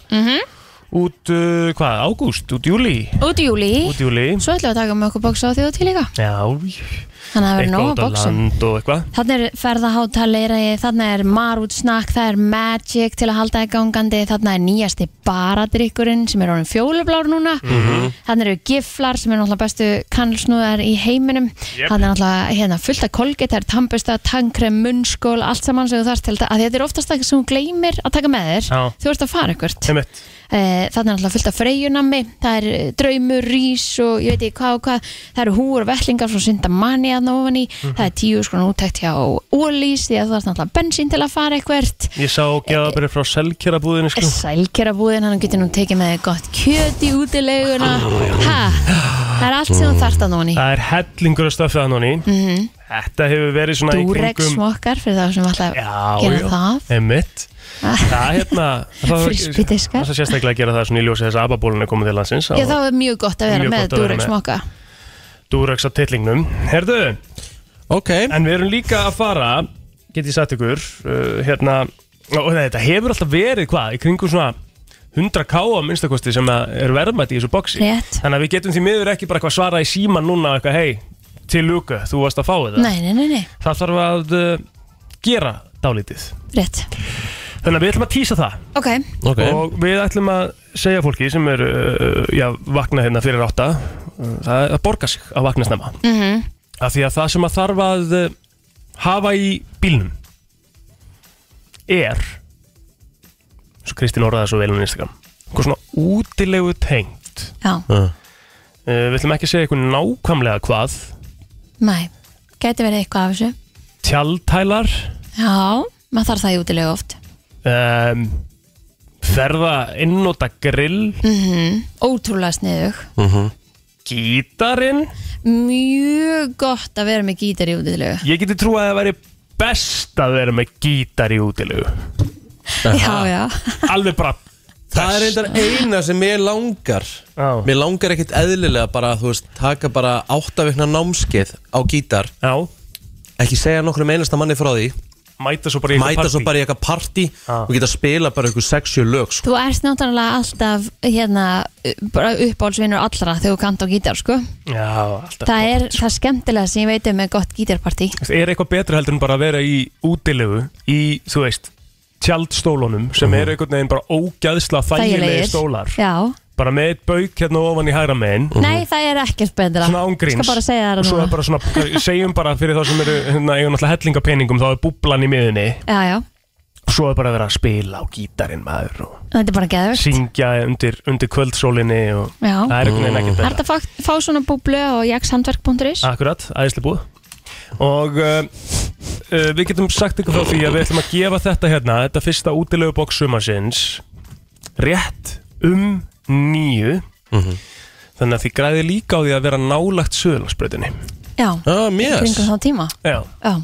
út, uh, hvað, ágúst, út júli Mhm. Út í júli út júli, Svo ætlum við að taka með okkur bóks á því og til líka já Þannig að það verður nóg út að á bóksum land og eitthvað Þannig er ferðaháttalera, þannig er marút snakk, það er magic til að halda í gangandi, þannig er nýjasti baradrykkurinn sem er orðin fjólublár núna, mm Mhm. þannig eru giflar sem eru náttúrulega bestu kannlsnúðar í heiminum, Jep. þannig er náttúrulega hérna, fullt af kolgeit, það er tannbusta, tannkrem, munnskól, allt saman sem þú þarft til þetta, að þetta er oftast það sem þú gleymir að taka með þér, Já. þú ert að fara ykkurt. Einmitt. Eh, Þarna er alltaf fullt af freyjunami, það er eh, draumur, rís og ég veit ekki hvað og hvað, það eru húur og vellingar frá syndamani að ofan í, Mhm. það er tíu skona úttækt hjá ólís því að það er alltaf bensín til að fara eitthvert, ég sá gefabrið frá selkjörabúðinu sko. sælkjara búðin, hann getur nú tekið með þér gott kjöt í útileguna, ha, það er allt sem þú þarft Mm. að ofan í, Mm. það er hellingur að stöfja hann og ný þetta hefur verið svona í dúrek kringum smokkar fyrir þá sem alltaf Já, gera já. það, Einmitt Það er hérna það- Frisbee-diskar. Það er sérstaklega að gera það svona í ljósi þess að ababólun er komið til landsins já þá er mjög gott að vera Mjög með gott að vera dúrek með. smokka, Dúraks að tillingnum Herðu, Ok. en við erum líka að fara get ég sagt ykkur uh, hérna, og nei, þetta hefur alltaf verið hvað, í kringum svona 100k á minnstakosti sem að er verðmætt í þessu boksi Rétt. Þannig að við getum því miður ekki bara eitthvað svara í síman núna eitthvað, hei, til luku, þú varst að fá þetta nei, nei, nei, nei, Það þarf að uh, gera dálítið rétt, Þannig að við ætlum að tísa það ok, Ok. Og við ætlum að segja fólki sem er, uh, já, vakna hérna fyrir átta uh, Það er að borga sig að vakna snemma mm Af því að það sem að þarf að uh, hafa í bílnum Er Svo Kristín orðaði það svo vel á Instagram Eitthvað svona útilegu tengt já, uh, Við ætlum ekki að segja eitthvað nákvæmlega hvað næ, gæti verið eitthvað af þessu. Tjaldtælar Já, maður þarf það í útilegu oft um, Ferða innóta grill Mhm. Ótrúlega sniðug Mhm. Gítarinn Mjög gott að vera með gítar í útilegu Ég geti trú að það væri best að vera með gítar í útilegu Já, já Alveg bara Það er reyndar eina sem mér langar Já. Mér langar ekkit eðlilega bara þú veist, taka bara áttavikna námskeið á gítar, Já, ekki segja nokkrum einasta manni frá því, mæta svo bara í mæta svo bara í eitthvað partí Já. og geta spila bara eitthvað 60 lög sko. Þú ert náttúrulega alltaf hérna, bara uppáhaldsvinur allra þegar þú kant á gítar sko. Já, alltaf Það er það skemmtilega sem ég veit um með gott gítarpartí Er eitthvað betra heldur en bara að vera í útilegu Í, þú veist, tjaldstólunum Sem eru einhvern veginn bara ógæðsla þægilegi stólar Já, Bara með eitt bauk hérna ofan í hæra megin Mhm. nei það er ekkert betra Svona ángríns Skal bara segja það Og svo núna er bara svona, segjum bara fyrir þá sem eru hérna, Ég er náttúrulega hellingapeningum, þá er búblan í miðunni Já, já, Svo er bara að vera að spila á gítarinn maður og þetta er bara geðvögt syngja undir, undir kvöldsólinni og Já. Mm. það er einhvern veginn ekkert Það er þetta að fá, fá svona búblu á jakshandverk.is Akkurat, æðislega búið og uh, uh, við getum sagt ykkur frá því að við ætlum að gefa þetta hérna þetta fyrsta útilegu bóks sumarsins rétt um nýju þannig að þið græði líka á því að vera nálagt söðlagsbröðinni Já, Ah, mér. kringum þá tíma Já. Já,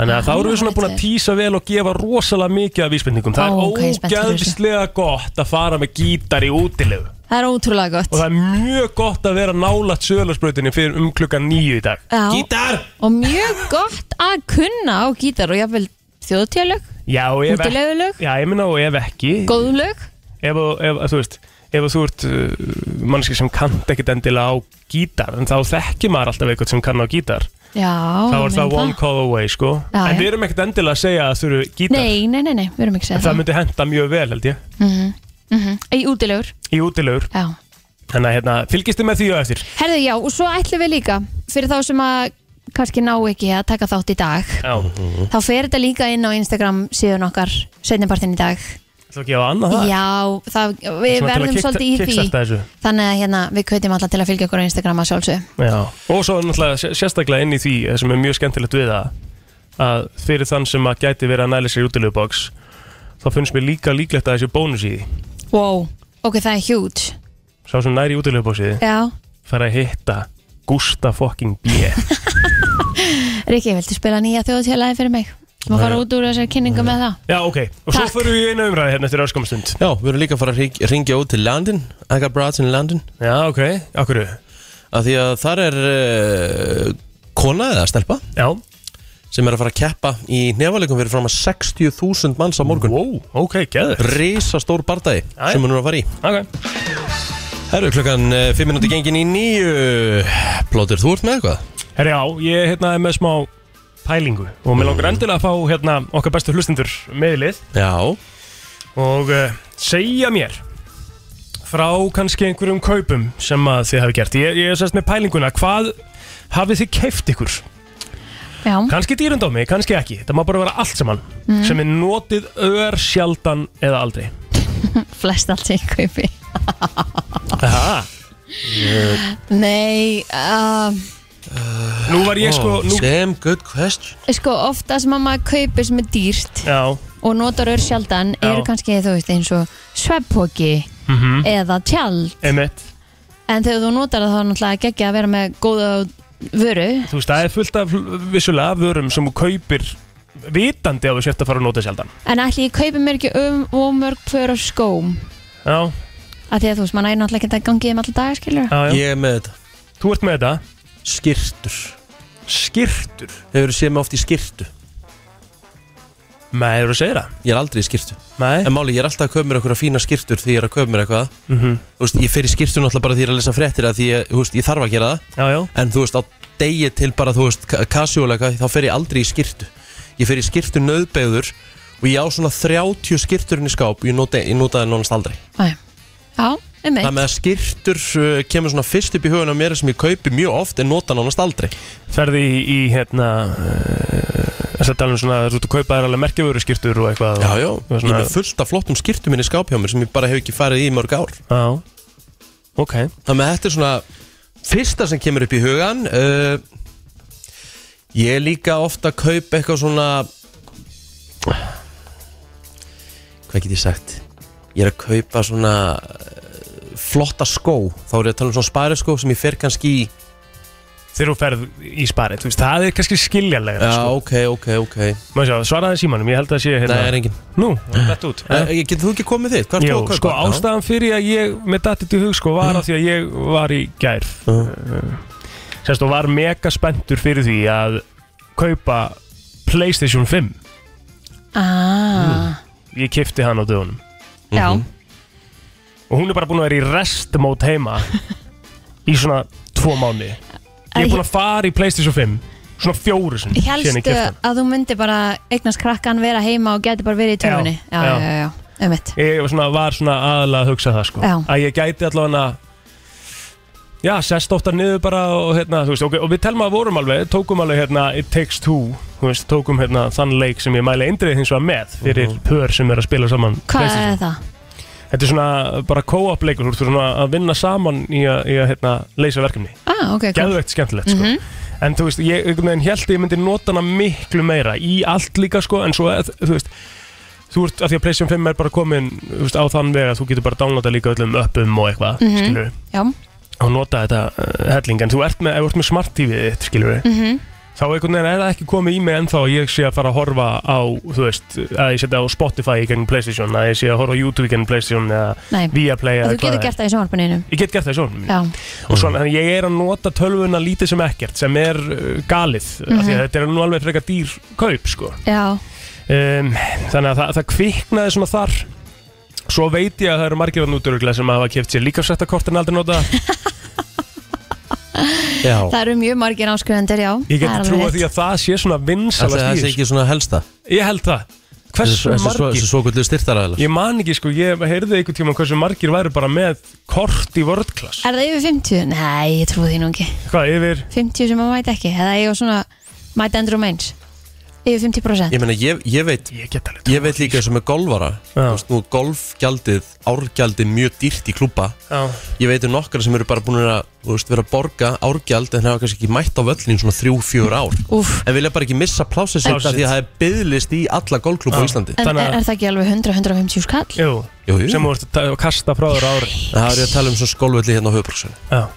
þannig að þá erum við svona búin að tísa vel og gefa rosalega mikið af vísbendingum það Ó, ok, ég er spennt er fyrir þessu. ógæðslega gott að fara með gítar í útilegu það er ótrúlega gott og það er mjög gott að vera nálagt söðlagsbröðinni fyrir um klukkan nýju í dag Já. Gítar! og mjög gott að kunna á gítar og jáfnvel þjóðtjálög, Já, og ef ekki- Útilegulög? Já, ég minna og ef ekki góðlög ef, ef, þú veist, ef þú ert uh, mannski sem kant ekkit endilega á gítar en þá þekkir maður alltaf eitthvað sem kann á gítar Já, þá er ég það meina one call away sko Já, já. en við erum ekkert endilega að segja að þurfu gítar Nei, nei, nei, nei, við erum ekki að segja en það það myndi henda mjög vel held ég Í útilegur, í útilegur já þannig að hérna, fylgistu með því á eftir Herðu, já, og svo ætlum við líka fyrir þá sem að kannski ná ekki að taka þátt í dag já. þá fer þetta líka inn á Instagram síðan okkar setnipartin í dag þá gefa annað það Já, það, við Svona til að verðum kicksta- svolítið í því kickstarta þessu. Þannig að hérna, við kveitum alla til að fylgja okkur á Instagram að sjálfsög Já. og svo náttúrulega sé- sérstaklega inn í því eh, sem er mjög skemmtilegt við það að fyrir þann sem að gæti verið að næla sér útileguboks þá finnst mér líka líklegt að þessi bónus í því Wow, ok, það er huge sá sem næri útileguboksið Já, fær að hitta Gústa fucking B Rikki, viltu spila nýja þjóðtjálaði fyrir mig? Má fara út úr þessari kynningu með það Já, ok, og svo Takk. förum við í einu umræði hérna eftir örskamstund Já, við erum líka að fara að hring- hringja út til London I got broads in London Já, ok, okkur af því að þar er uh, kona eða stelpa Já, sem er að fara að keppa í nefalekum fyrir fram að 60.000 manns á morgun wow. ok, geður Risa stór bardagi Jæja. sem hún er að fara í Ok, Herru, klukkan 5 minúti gengin í nýju Plótir, þú ert með eitthvað? herri já, ég hérna er með smá pælingu og mér langar endilega að fá hérna okkar bestu hlustendur meðlið Já, og uh, segja mér frá kannski einhverjum kaupum sem að þið hafi gert Ég, ég er sérst með pælinguna, hvað hafið þið keift ykkur? Já, Kannski dýrundómi, kannski ekki, þetta má bara vera allt saman sem er notið ör sjaldan eða aldrei flest allt í kaupi Aha. Nei, uh, Nú var ég sko, nú, Damn good question sko ofta sem að maður kaupir sem er dýrt já og notar ör sjaldan Já. eru kannski, þú veist, eins og sveppóki Mhm. Hm? eða tjald Emmett en þegar þú notar það þá er náttúrulega geggja að vera með góða vöru Þú veist, það er fullt af vissulega vörum sem þú kaupir vitandi að þú sért að fara að nota sjaldan En ætli ég kaupi mér ekki um og mörg pör af skóm Já, að því að þú veist, maður er náttúrulega ekki að gangi um alltaf dagar, skilur já, já Ég er með þetta Þú ert með þetta Skirtur Skirtur Hefur þú séð mig oft í skirtu? Nei, þú segir það Ég er aldrei í skirtu Nei En máli, ég er alltaf að köpa mér eitthvað fína skirtur því ég er að köpa mér eitthvað Mhm. Þú veist, ég fer í skirtu náttúrulega bara því ég er að lesa fréttir að því ég, þú veist, ég þarf að gera það Já, já En þú veist, á degi til bara, þú veist, kasjóleika Þá fer ég aldrei í skirtu Ég fer í skirtu nöðbeður Og ég á svona 30 skirturinn í skáp og Ég nota, ég nota það nónast aldrei Æ. Já, um Það með að skirtur uh, kemur svona fyrst upp í hugun á mér sem ég kaupi mjög oft en nota nánast aldrei Ferði í, í hérna Þess að tala um svona Þú ert að kaupa þér alveg merkjavöru skirtur og eitthvað Já, já, Það er ég er svona- með fullt af flottum skirtum minni skáp hjá mér sem ég bara hef ekki farið í í mörg ár já Ok Þannig að þetta er svona fyrsta sem kemur upp í hugan uh, Ég er líka ofta að kaupa eitthvað svona Hvað get ég sagt? Ég er að kaupa svona eh, flotta skó Þá er ég að tala um svona spariskó sem ég fer kannski í Þegar þú ferð í sparið, þú veist, það er kannski skiljanlega Já, sko. ok, ok, ok Má ég sjá, svaraði símanum, ég held að sé Nei, hérna það er engin Nú, þetta út Eh, Getur þú ekki komið þitt? Hvað er Jó, þú að kaupa? Mm. sko ástæðan fyrir að ég með dattið í hug sko var að því að ég var í gær uh. sérst og var mega spenntur fyrir því að kaupa Playstation 5 Mm. Ah, ég kipti hann á dögunum já, og hún er bara búin að vera í restmót heima í svona tvo mánu ég er búin að fara í Playstation 5 svona fjóru sinni síðan ég helstu keypti hann. að þú myndi bara eignast krakkan vera heima og geti bara verið í tölvunni Já, Já, já, já. já, já, um mitt ég var svona, var svona aðalega að hugsa það sko. Já. að ég gæti allavega já, sest oftar niður bara og, hérna, þú veist, okay, og við telma að vorum alveg tókum alveg hérna, It Takes Two þú veist, tókum hérna, þann leik sem ég mæli eindrið hins vegar með fyrir pör sem er að spila saman Hvað PlayStation. er það? þetta er svona bara co-op leikur þú ert svona að vinna saman í að, í að hérna, leysa verkefni Ah, ok, Mhm. cool geðveikt skemmtilegt sko. en þú veist, ég einhvern veginn held að ég myndi nota hana miklu meira í allt líka sko, en svo, að- þú veist þú ert, af því að Playstation 5 er bara komin þú veist, á þann veg að þú getur bara downloada líka öllum uppum og eitthvað, Mhm. mm skilur Já, og nota þetta uh, helling, en þú ert með, ef þú ert með smart TV þitt, skilur Mhm. þá einhvern veginn er það ekki komið í mig ennþá að ég sé að fara að horfa á, þú veist að ég setja á Spotify í gegnum Playstation að ég sé að horfa á YouTube í gegnum Playstation eða nei Viaplay Að Þú eða getur hvað það er. Mm. gert það í sjónvarpuninu Ég get gert það í sjónum Já, og svona, þannig að ég er að nota tölvuna lítið sem ekkert sem er uh, galið af Mhm. því að þetta er nú alveg frekar dýr kaup sko. já, um, þannig að það, það kviknaði svona þar svo veit ég að það eru margir að núturuglega sem hafa keft sér líka sættakortin aldrei nota Já, Það eru mjög margir áskrifandir, já Ég Það er get alveg trúið rétt. því að það sé svona Ætli það vinsalast sé í þessu ekki svona helsta Ég held það Hversu margir Þessi svokvöldu styrtaræðilar Ég man ekki sko, ég heyrði einhvern tíma hversu margir væri bara með kort í World Class Er það yfir 50? Nei, ég trúi því nú ekki Hvað, yfir 50 sem að mæta ekki, eða ég var svona mæta endur og meins Yfir 50% Ég meina, ég, ég veit Ég get alveg um Ég veit líka eins og með golfara Þú Já. veist, nú er golfgjaldið, árgjaldið mjög dýrt í klúpa Já, Ég veit um nokkara sem eru bara búin að þú veist, vera að borga árgjald en hafa kannski ekki mætt á völlin svona 3-4 ár Úf, en vilja bara ekki missa plásið sitt af Plásið. því að það er byðlist í alla golfklúb á Íslandi en Þannig er, að- er það ekki alveg 100-150 skall? jú, Jú, jú. sem þú ert að ta- kasta frá þér á ári Það er ég að tala um svona skólvelli hérna á höfbruksinu Já.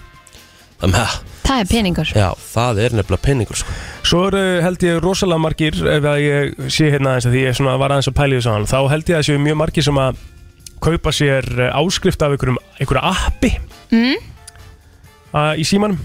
Þannig að, Það er peningur já, það er nefnilega penningur sko. Svo eru held ég rosalega margir ef að ég sé hérna aðeins að því ég svona var aðeins að pæli þessu á hann þá held ég að séu mjög margir sem að kaupa sér eh, áskrift af einhverjum einhverja appi Mm. að, í símanum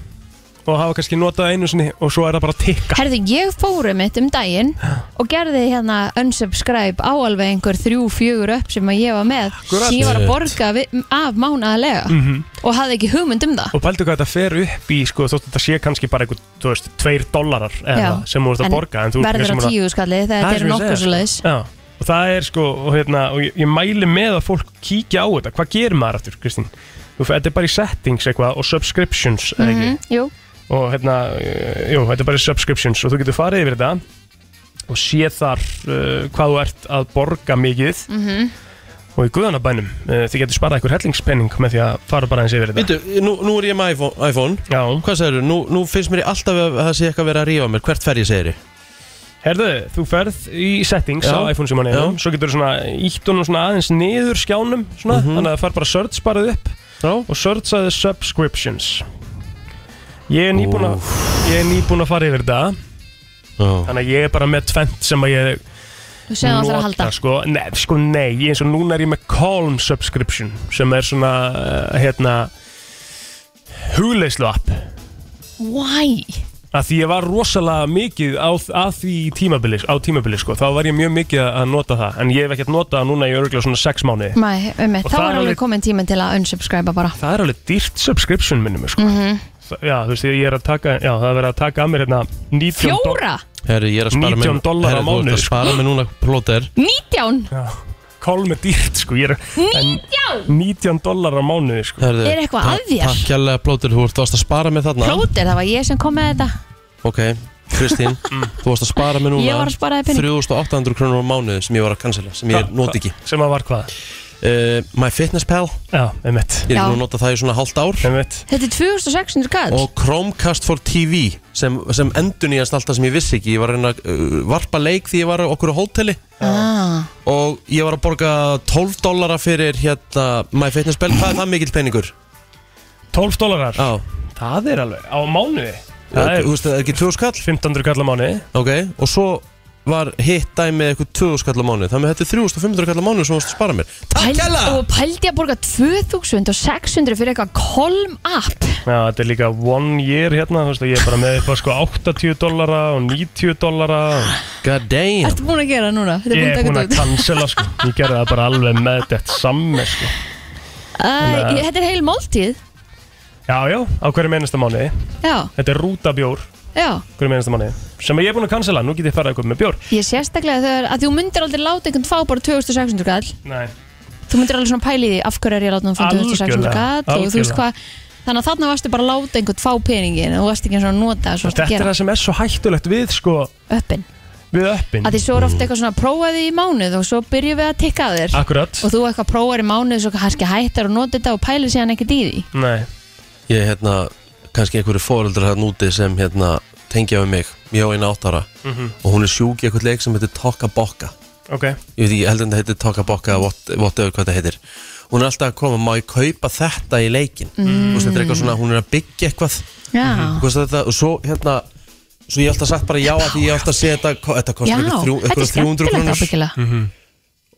og hafa kannski notað einu sinni og svo er það bara að tikka Herðu, ég fóru mitt um daginn og gerði hérna unsubscribe á alveg einhver þrjú, fjögur upp sem að ég var með Akkurat. Mm. sem ég var að borga við, af mánaðarlega Mhm. og hafði ekki hugmynd um það og pældu hvað þetta fer upp í sko, þótt þetta sé kannski bara einhver, þú veist, tveir dollarar eða, Já. sem þú ert En að borga en þú ert verður kannski á bara- tíu skalli þegar Það þetta er eru sem ég nokkuð svo segi, Já, og það er sko, og, hérna, og ég, ég mæli með að fólk kíkja á þetta, hvað gerir maður aftur, Kristín? Þú fyrir, þetta er bara í settings eitthvað og subscriptions, eða ekki? Mhm, Jú, Og hérna, eh, jú, þetta er bara í subscriptions og þú getur farið yfir þetta og sé þar uh, hvað þú ert að borga mikið Mhm. og í guðanabænum uh, þið getur sparað einhver hellingspenning með því að fara bara eins yfir þetta. Býtu, nú, nú er ég með iPhone, iPhone. Já, Hvað segirðu? Nú, nú finnst mér ég alltaf að það sé eitthvað að vera að rífa mér Hvert fer ég segirðu? herðu, þú ferð í settings Já. á iPhone sem hann er, Já. svo getur þú svona ítt honum svona aðeins niður skjánum, svona, þannig að það far bara search barað upp Mhm. Já og searchaði subscriptions ég er nýbúin að ég er nýbúin að fara yfir þetta Já, þannig að ég er bara með tvent sem að ég þú segðum alltaf að halda sko, nei, sko nei, ég eins og núna er ég með Calm subscription sem er svona uh, hérna hugleyslu app Why? að því ég var rosalega mikið á, að því tímabili, á tímabili sko, þá var ég mjög mikið að nota það en ég hef ekkert notað það núna í örgulega svona 6 mánuði Mæ, um Og þá er það er alveg alveg- komin tíminn til að unsubscriba bara Mhm. það er alveg dýrt subscription minnum sko. mm já, þú veist, ég er að taka já, það er verið að taka að mér hérna 19 doll- Fjóra? herri, ég er að spara 19 dollara á Herri, þú ert mánuði, að sko. spara mér núna plóter Nítján? Kálm er dýrt sko ég er, Hm? en, 19 dólar á mánuði sko Herri, Er eitthvað að þér? Takk kjærlega plóter, þú ert varst að spara mér þarna Plóter, það var ég sem kom með þetta Ok, Kristín, Mm. þú varst að spara mér núna Ég var að spara þér pening. 3800 krónur á mánuði sem ég var að cancela, sem ég Hva- noti ekki sem að var hvað uh, MyFitnessPal, já, einmitt, ég er Já. ekki nú að nota það í svona hálft ár einmitt. Þetta er 2600 kall og Chromecast for TV sem, sem endur nýjast alltaf sem ég vissi ekki ég var að reyna að uh, varpa leik því ég var á okkur á hóteli ah. og ég var að borga 12 dollara fyrir hérna MyFitnessPal, hvað er það mikill peningur? 12 dólarar Já, það er alveg á mánuði það þú er veist það er ekki 2 skall 1500 kall á mánuði ok, og svo var hitt dæmið eitthvað 2 skall á mánuði þannig að þetta er 3500 skall á mánuði sem þú varst að spara mér Takk Pæl, hella! og pældi að borga 2600 fyrir eitthvað kolm app já, þetta er líka one year hérna þú veist og ég er bara með eitthvað sko 80 dólara og 90 dólara God damn Ertu búin að gera núna? Þetta ég er er búin búin að að taka þetta út cancela sko ég gerði það bara alveg með þetta samme sko Æ, ég- Þetta er heil máltíð já, já, á hverju mennasta mánuði Já, þetta er rútabjór já hverju mennasta mánuði sem að ég er búin að cancela nú get ég farið eitthvað með bjór Ég sérstaklega þegar að þú myndir aldrei láta einhvern fá bara 2600 kall Nei. Þú myndir alveg svona pæli því af hverju er ég að láta hann fá 2600 Algjörlega, kall og þú veist algjörlega. hvað Þannig að þarna varstu bara að láta einhvern fá peningin og þú varst ekki eins og að nota það svo varstu Þetta að er gera það sem er svo hættulegt við sko uppin við öppin að því svo er ofta eitthvað svona prófaði í mánuð og svo byrjum við að tikka að þér Akkurat og þú eitthvað prófar í mánuð svo kannski hættar og nota þetta og pælir síðan ekkert í því Nei Ég er hérna, kannski einhverju fóreldrar hann úti sem hérna tengja við mig, ég á eina áttara mm og hún er sjúk í eitthvað leik sem heitir Tokka Bokka Mhm. Ok ég veit ekki, ég held að þetta heitir Tokka Bokka eða what- whatever hvað þetta heitir hún er alltaf að koma, má ég kaupa þetta í leikin mm. veist, þetta er eitthvað svona, hún er að byggja eitthvað Já, Þú veist, þetta, og svo hérna svo ég hef alltaf sagt bara já að því ég hef alltaf séð þetta ko- Já þetta kostar eitthvað þrjú- þetta er eitthvað 300 skemmtilegt krónur ábyggilega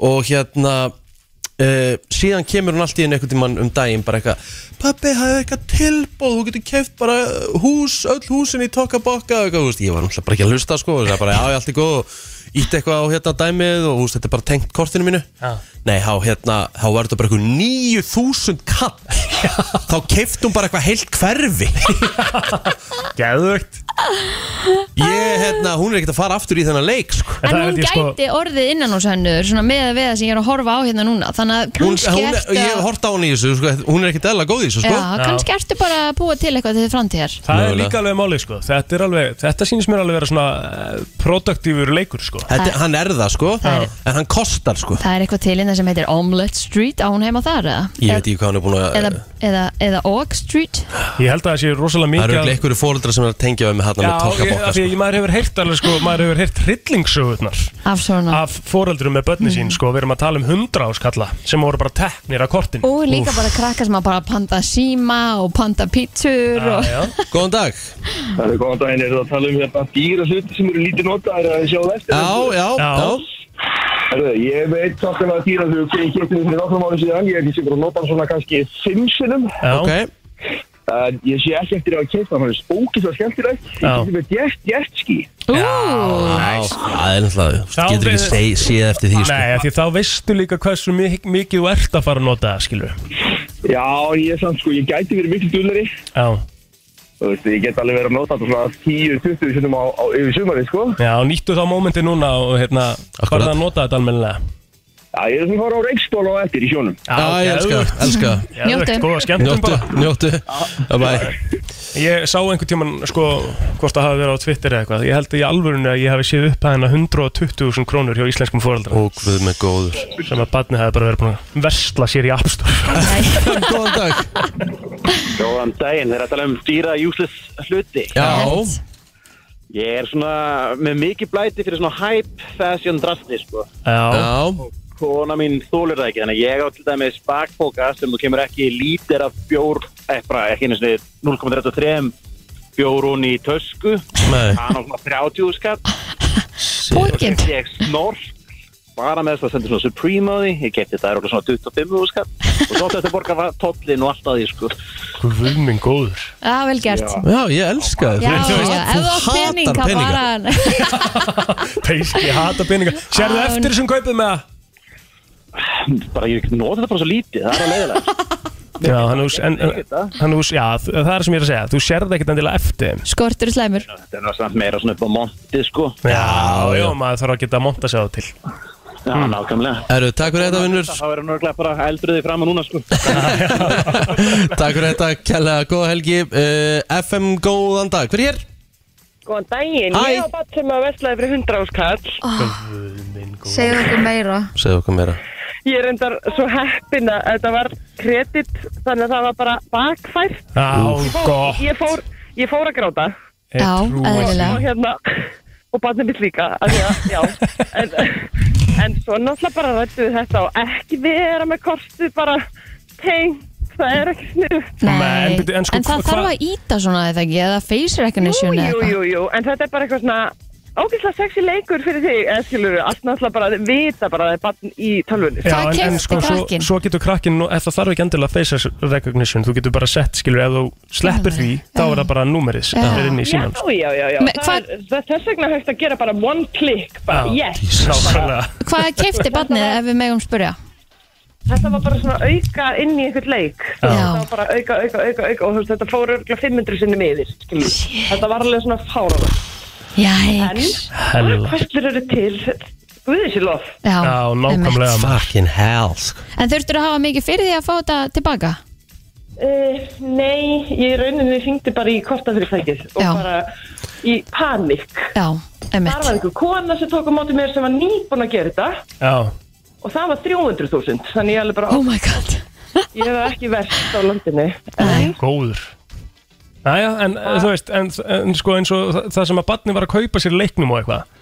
og hérna uh, síðan kemur hún allt í einu einhvern tímann um daginn bara eitthvað pappi, hafið eitthvað tilbóð, þú getur keft bara hús, öll húsin í tokkabokka og eitthvað, þú veist, ég var náttúrulega bara ekki að hlusta sko og það bara, já, já, allt er góð og ítt eitthvað á hérna dæmið og þú veist, þetta er bara tengt kortinu mínu Já. nei, þá hérna, þá var þetta bara eitthvað 9000 kall þá keft hún bara eitthvað heilt hverfi Geðvögt ég, hérna, hún er ekkert að fara aftur í þennan leik sko. En Það hún held ég sko- gæti orðið innan hús hennur Svona með að veða sem ég er að horfa á hérna núna Þannig að hún, kannski hún, ertu ég hef að- hort á hún í þessu sko, hún er ekkert eðla góð í þessu sko. Já, kannski ertu bara að búa til eitthvað til framtíðar Það er Mögulega. líka alveg máli sko Þetta, er alveg, þetta sýnist mér alveg vera svona eh, Produktífur leikur sko Þetta, hann er það sko, Það er- en hann kostar sko Það er eitthvað til hérna sem heitir Omelette Street Á hún heima þar eða? Ég veit ekki hvað hann er búin að Eða, eða, eða Og Street Ég held að það sé rosalega Það mikið eru að- ekki einhverju fóreldra sem er að tengja við með hann með Já, ég, tokkabokka af því sko. að maður hefur heyrt alveg sko Maður hefur heyrt hryllingssögurnar Af svona Mm. Af fóreldurum með börni sín sko Við erum að tala um hundra áskalla Sem voru bara teknir að kortin Og líka bara krakkar sem að bara panta síma Og panta pítsur og... Góðan dag Það er góðan daginn, er það að tala um hérna dýra hluti sem eru lítið notaðar að sjá á eftir? Já, já, Já. já Herðu, ég veit þáttúrulega að dýra hluti sem ég getið fyrir nokkrum árum síðan, ég er ekki sigur að nota hann svona kannski fimm sinnum, Já, Ok, en ég sé ekki eftir að kemta hann, hann er spókið svo skemmtilegt, ég Já. getið með jet, jetski. Ú, já, sko, það er náttúrulega Þá þú Getur við- ekki seg- séð eftir því sko. Nei, af því þá veistu líka hversu mik mikið þú ert að fara að nota það, skilur Já, en ég samt sko, ég gæti verið miklu dullari, Já, þú veist, ég get alveg verið að nota hann svona 10-20 sinnum á, á yfir sumari, sko. já nýttu þá mómenti núna og hérna Akkurat. Bara að nota þetta almennilega Já, ég er svona að fara á reikstól á eftir í sjónum. Já, ég elska, það, elska það. Já, Njóttu. Góða skemmtum Njóttu, bara njóttu Bye bye Ég sá einhvern tíman sko hvort það hafi verið á Twitter eða eitthvað Ég held í alvörunni að ég hafi séð upp að 120.000 krónur hjá íslenskum fóreldra Og við með góður sem að barnið hafi bara verið búin að versla sér í App Store Góðan dag Góðan daginn, þeir að tala um dýra useless hluti. Já, Ég er svona með mikið blæti fyrir svona hype fashion drasti, sko. Já, já, Kona mín þólir það ekki, þannig að ég á til dæmis bakpoka sem þú kemur ekki í lítir af bjór, eitthvað, ekki einu sinni 0,33 bjórun í tösku, nei hann á svona 30 skatt, Pókin ég snor, bara með þess að senda svona Supreme á því, ég geti þetta er okkur svona 25 skatt, og svo þetta borga tollin og allt að því, sko. Guð minn góður Já, vel gert Já, ég elska það Já, Þú- já, ef þú- þú á þú hatar pening þá bara peninga. Peiski, ég hata peninga Sérðu Án. eftir þessum kaupið með það? Bara ég nota þetta bara svo lítið, það er að leiðilega. Já, hann ús, en, en, hann ús, já, þ- það er sem ég er að segja Þú sérðu ekkert endilega eftir þeim Skortur er slæmur Þetta er náttúrulega meira svona upp á montið sko Já, já, maður þarf að geta að monta sig á það til Hmm. Já, nákvæmlega Herru, takk fyrir þetta vinnur Það verður náttúrulega bara eldruðið fram að núna sko Takk fyrir þetta, kella, góða helgi uh, FM, góðan dag, hver er hér? Góðan daginn, Hæ. ég á bat sem að veslaði fyrir 100 áskall. Ah. Segðu okkur meira Segðu okkur meira Ég er endar svo heppin að þetta var kredit, þannig að það var bara bakfært. Já, gott Ég fór, ég fór að gráta Ég Já, trúi því. eðlilega. og hérna, og batnið mitt líka, af því að, já, en, en svo náttúrulega bara rættu við þetta og ekki vera með kortið bara tengt, það er ekki sniðu. Nei, Nei, en en, byrju, en sko, það hva- þarf að íta svona eða ekki Eða face recognition eða Jú, eitthvað jú, jú, en þetta er bara eitthvað svona ógeðslega sexy leikur fyrir þig, eða skilur allt náttúrulega bara að vita bara að það er batn í tölvunni. Já, Hvað en, en keypti sko, svo, krakkinn? svo getur krakkin ef það þarf ekki endilega face recognition þú getur bara sett, skilur, ef þú sleppir því þá er það bara númerið sem Já. er inn í sko. Já, síman já, já, já. Me- Það hvað- er, það- þess vegna er hægt að gera bara one click, bara Já. yes. Nákvæmlega Hvað keipti barnið ef við megum spyrja? Þetta var bara svona auka inn í einhvern leik. Já. Þetta var bara auka, auka, auka, auka og þú veist, þetta fór örgulega 500 sinnum yfir, skilur. við. Þetta var alveg svona fáraða. En, Jæks Hella hverslir eru til, guðið sér lof. Já, Já, einmitt. nákvæmlega maður. Fucking hell sko. En þurftur að hafa mikið fyrir því að fá þetta tilbaka? Uh, nei, ég í rauninni hringdi bara í kortafyrirtækið og Já. bara í panik. Já, Það var emmitt einhver kona sem tók á móti mér sem var nýbúin að gera þetta Já, og það var 300.000, þannig ég er alveg bara, Oh my god ég er ekki verst á landinu. Nei. góður Næja, en eh, þú veist, en, en sko eins og þa- það sem að barni var að kaupa sér í leiknum og eitthvað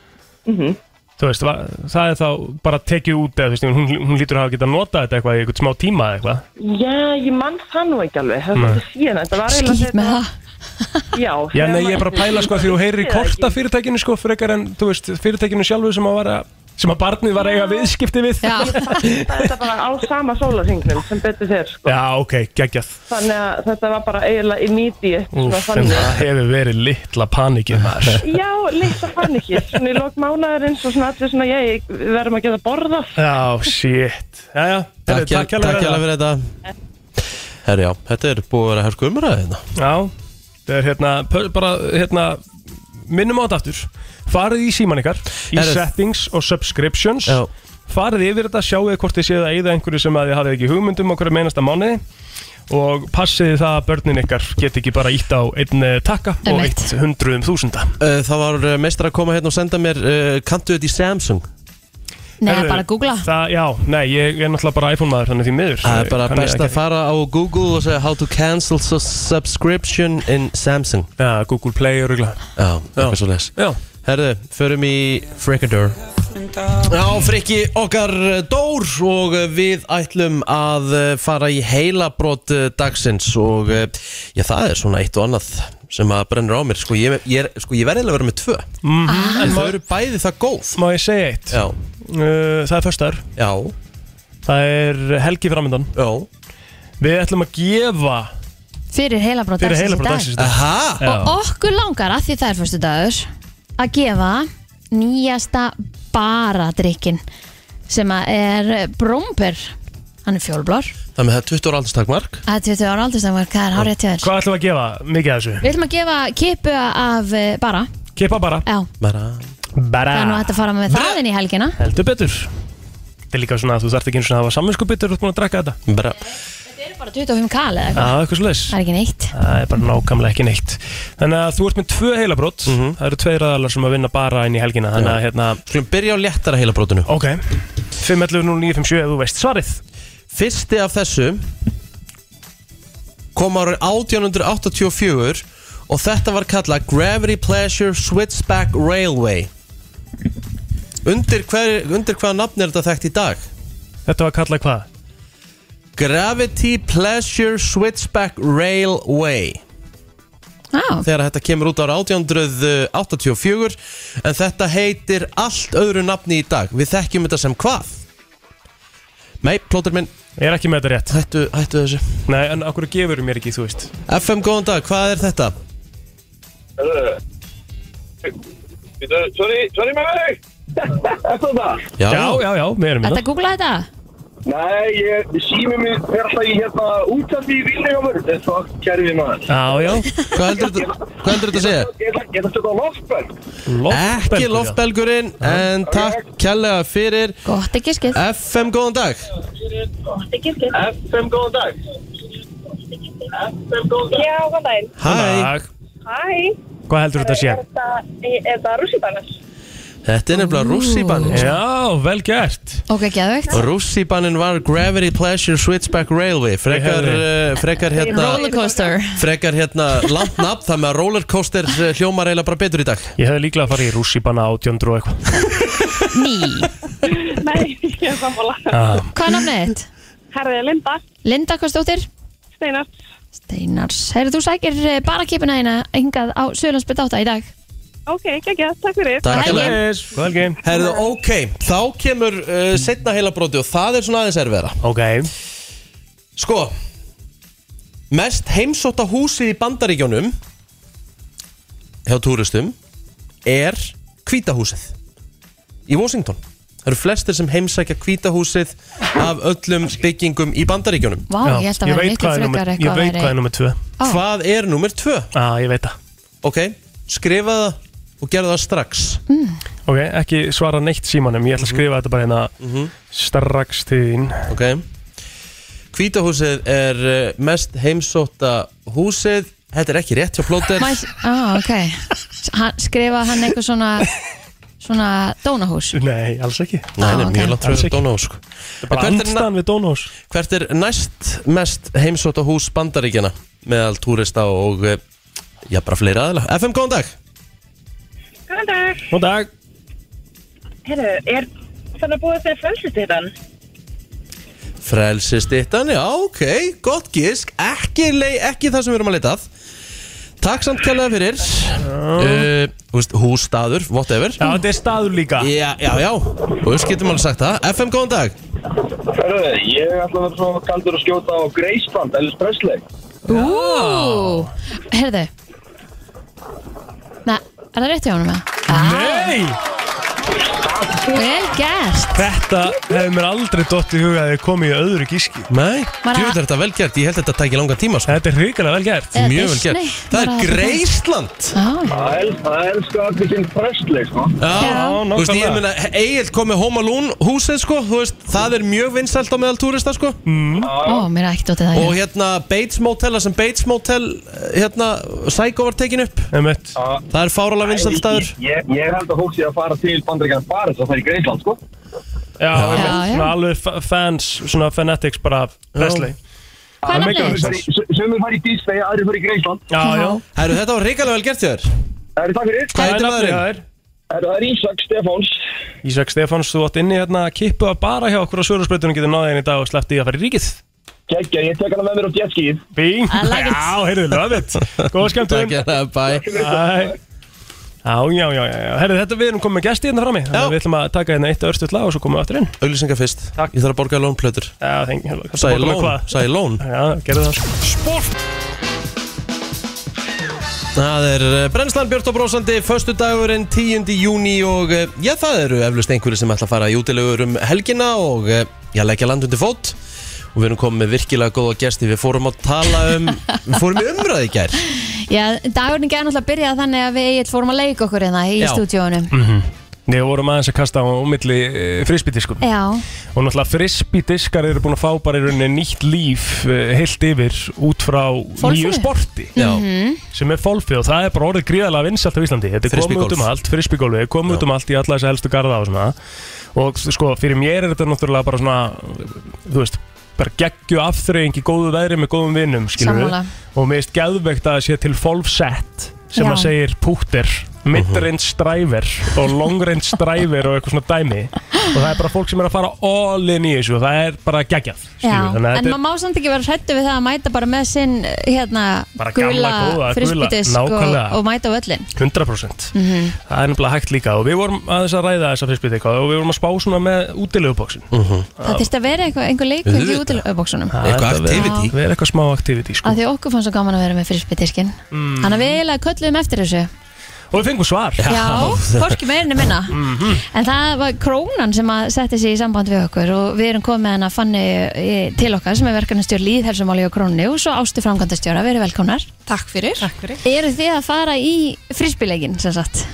Mhm. Þú veist, va- það er þá bara tekið út eða, þú veist, hún, hún lítur að hafa getað notað þetta eitthvað í eitthvað smá tíma eða eitthvað Já, ég mann það nú ekki alveg, það Nei. var þetta síðan, þetta var Skýt með það það. Já, Já, þegar nei, ég er maður- bara að pæla sko því þú heyrir í Ég veit það korta fyrirtækinu sko frekar en, þú veist, fyrirtækinu sjálfu sem að var að sem að barnið var að eiga viðskipti við Já, Það er þetta bara á sama sólarhingnum sem betur þér sko. Já, ok, geggjað Þannig að þetta var bara eiginlega immediate svona Úf, en Sko, þannig. það hefur verið litla panikið maður Já, leitt að fann ekki Svona í lók mánaðurins og svona allir svona Ég, við verðum að geta borðað Já, shit Jæja, heyrðu, Takk takk hérlega hérlega fyrir þetta Herri já, þetta er búið að vera hersku umræðið hérna Já, það er hérna, pö- bara hérna, minnum á þetta aftur Farið í síman ykkar, í Herru. settings og subscriptions Já. Farið yfir þetta, sjáuði hvort þið séð að eyða einhverju sem að þið hafið ekki um hugmyndum okkur meinasta mánuði og passiði það að börnin ykkar get ekki bara ítt á einn eh, takka og Einmitt. eitt hundruðum þúsunda Uh, Það var meistar að koma hérna og senda mér uh, Kanntu þetta í Samsung? Nei, Heyrðu, bara googla það, Já, nei, ég er náttúrulega bara iPhone maður þannig því miður Það er bara Kann ég best ekki- að fara á Google og segja How to cancel su- subscription in Samsung Já, Google Play og rugla Já, eitthvað svo les Já, Herðu, förum í Frikadur Já, Frikki okkar eh, Dór og eh, við ætlum að eh, fara í heilabrót dagsins og eh, já, það er svona eitt og annað sem að brennur á mér Sko, ég, ég, er- sko, ég verði eiginlega að vera með tvö En þau eru bæði það góð Mhm. Ah. má ég segja eitt Já, Uh, Það er föstaður, já, það er helgi framöndan já Við ætlum að gefa Fyrir heila brot fyrir heila brotansins dag Aha, Og okkur langar að því það er fyrstu dagur Að gefa nýjasta bara drikkin Sem að er Bromper Hann er fjólblór það með það er 20 ára aldurstakmark Það er 20 ára aldurstamar, hvað er hárið til þér? Hvað ætlum við að gefa mikið af þessu? Við ætlum að gefa kipu af eh, bara Kippa bara Já, Bara, Bara það er nú hægt að fara með það inn í helgina Heldur betur Þetta er líka svona að þú þarft ekki eins og að hafa samvinskupbyttur og búin að drakka þetta bara Þetta eru bara 25 kal eða Já, eitthvað eitthvað svo Það er ekki neitt Það er bara nákvæmlega ekki neitt Þannig að þú ert með tvö heilabrót Það eru tveir aðalar sem að vinna bara inn í helgina Þannig að hérna Mhm. Skulum byrja á léttara heilabrótinu Ok 5.11.09.57 ef þú veist svarið Fyrsti af þessu kom árið 1884 og þetta var kallað Gravity Pleasure Switchback Railway Undir, hver, undir hvaða nafn er þetta þekkt í dag? Þetta var kallað hvað? Gravity Pleasure Switchback Railway Já, þegar þetta kemur út ára 1884 en þetta heitir allt öðru nafni í dag við þekkjum þetta sem hvað? Nei, plótur minn, Ég er ekki með þetta rétt hættu, hættu þessu Nei, en okkur gefur mér ekki, þú veist FM, góðan dag, hvað er þetta? Sorry, sorry með mig Þetta það Já, já, já, við erum þetta þetta googlaði þetta Nei, ég, sími minn fer alltaf í hérna útaf í vilni hjá mér Þetta er fokk kerfið maður Já, já Hvað heldur þetta hvað heldur þetta að segja? Ég ætla ég ætla að stöka á loftböld Loftbelgur, Ekki já. loftbelgurinn En takk kærlega fyrir Gott ekki skil FM góðan dag FM, góðan dag FM, góðan dag Já, hvað dæn? Hæ Dag. Hæ Hvað heldur þetta að sé? Er þetta rússibanas? Þetta er nefnilega rússibannin Já, vel gert Ok, geðvögt Rússibannin var Gravity Pleasure Switchback Railway Frekar, Ég uh, frekar hérna Rollercoaster Frekar hérna langt nafn Það með að rollercoaster eh, hljómar eiginlega bara betur í dag Ég hefði líklega að fara í rússibanna átjóndru og eitthvað Ný Nei, ég er samfóla ah. Hvað er nafnið þitt? Herðið Linda, Linda Kostóttir Steinar Steinars Heyrðu, þú sækir eh, bara kipina þína hingað á Söðlandsbytt 8 í dag Ok, geggja, takk fyrir Takk kærlega Hvað helgi? Herðu, ok, þá kemur uh, setna heilabróti og það er svona aðeins erfiðara Ok Sko Mest heimsóta húsi í bandaríkjónum hjá túristum er kvítahúsið í Washington Það eru flestir sem heimsækja kvítahúsið af öllum byggingum í bandaríkjónum Vá, Já, ég held að vera veit miklu hvað er númer- frekar Ég eitthvað veit hvað er nummið tvö Ó. Hvað er nummer tvö? Já, ég veit það Ok, skrifa það og gera það strax Mm. Ok, ekki svara neitt símanum Ég ætla Mhm. að skrifa þetta bara hérna strax til þín Ok Kvítahúsið er eh, mest heimsóta húsið Þetta er ekki rétt hjá plóter Mæs, á, ok hann, Skrifa hann eitthvað svona Svona dónahús Nei, alls ekki Þetta Nei, nei, ok. mjög langt frá Alls ekki. Dóná sko. er bara En hvert er na- andstaðan við sko. Dónós Hvert er næst mest heimsóta hús bandaríkjana meðal túrista og eh, já, bara fleiri aðila FM, góðan dag Góðan dag Nú dag Herðu, er þannig að búið þegar frelsið þetta? Frelsistittan, já, ok, gott gísk ekki, lei, ekki það sem við erum að leita að Takk samt kjærlega fyrir uh, þú veist, Hús, staður, whatever Já, þetta er staður líka Já, já, já Og þú veist, getum alveg sagt það FM, góðan dag Herðu, ég ætla að vera svona kaldur að skjóta á Greisband, Elvis Presley. Ú, heyrðu Nei, er það rétt hjá honum eða? Ah, Nei, vel gert þetta hefði mér aldrei dott í huga að ég komið í öðru gíski Nei, Bara- djúvill er þetta vel gert Ég held þetta að tækja langan tíma sko. Þetta er hrikalega vel gert Eða Mjög vel Disney, gert Það bara- er Greisland Já, Það el- það elskar allir kynnt Presley, sko. Já. Þú veist, ég nákvæmlega. meina, Egil kom með Home Alone húsið, sko Þú veist, það er mjög vinsælt á meðal túrista, sko Mm. ó, mér er ekkert dótið það Og hérna, Bates Motel, þar sem Bates Motel Hérna, Psycho var tekin upp Einmitt. Það er fáralega vinsælt staður Ég- Ég ég held að fólk sé að fara til Bandaríkjan bara þess að fara í Greisland, sko. Já, einmitt. Já, já. Svona alveg fa- fans, svona fanatics bara af Presley Hvað er það meikar nafnið? alveg þitt? sens. S- Sumir fara í Disney, aðrir fara í Greisland. Já, já Herru, þetta var reikalega vel gert hjá þér Það er takk fyrir. Hvað heitir maðurinn? maðurinn? Herru, Það er Ísak Stefáns. Ísak Stefáns, þú átt inni hérna að kippu að bara hjá okkur á svörðarspreytunum getur náðið henni í dag og sleppt í að fara í ríkið Kekja, ég tek hana með mér á jetskíð. Bing! I like it. Já, heyrðu, love it Góða skemmtum Takk, hérna, bye Æ. Já, já, já, já, já. Herðu, þetta við erum komið með gesti hérna frammi Þannig að Við ætlum að taka hérna eitt örstuð lag og svo komum við aftur inn Auglýsingar fyrst Takk. Ég þarf að borga lónplötur Já, þengi, hérna kanntu Sæði borga með lón hvað? Sæði lón Já, gerðu það Það er eh, brennslan Björn og Brósandi Föstu dagurinn 10. júni Og eh, já það eru eflust einhverju sem ætla að fara í útilegur um helgina Og eh, já leggja land undir fót Og við erum komið með virkilega góða gesti Við fórum að tala um Við fórum í umræði í gær Já, dagurinn gerði náttúrulega að byrja þannig að við eitt fórum að leika okkur hérna í Já. Mm. stúdíónu Nei, Mhm. við vorum aðeins að kasta á eh, umilli frisbydiskum Já, og náttúrulega frisbydiskar eru búin að fá bara í rauninni nýtt líf eh, heilt yfir út frá nýju Fólfíu. sporti Já, sem er fólfi og það er bara orðið gríðalega vinsalt á Íslandi þetta er komið Frisbeegolf. út um allt, frisbygólfi komið út um allt í alla þessa helstu garða og svona og sko, fyrir mér er þetta náttúrulega bara svona, þú veist bara geggju afþreying í góðu veðri með góðum vinnum, skilur Sammála. og mér erst geðvegt að það sé til fólfsett sem Já. að segir púttir Mhm. midrange driver og long range driver og eitthvað svona dæmi og það er bara fólk sem er að fara all in í þessu og það er bara geggjað já, skilurðu. Þannig en að þetta er- maður má samt ekki vera hrættu við það að mæta bara með sinn hérna Bara gamla, góða, gula gula, frisbytisk og, nákvæmlega. og mæta á Mhm. öllin 100% Það er nefnilega hægt líka og við vorum aðeins að ræða þessa fyrstbytti eitthvað og við vorum að spá svona með útileguboksin Það þurfti að vera eitthvað, einhver leikur í útilegbóksunum Mhm. eitthvað Já. activity Við erum eitthvað smá aktiviti sko Af því okkur fannst svo gaman að vera með frisbytiskin Mm. Þannig að við eiginlega köllum eftir þessu og við fengum svar Mhm. Já, hvorki meirinni minna Mm. En það var krónan sem að setti sig í samband við okkur og við erum komið hana fanni eh, til okkar sem er verkefnastjórn líðhelsumáli og krónunni og svo ástu framkvæmdastjóra, verið velkomnar Takk fyrir. Eru þið að fara í frispilegin sem sagt?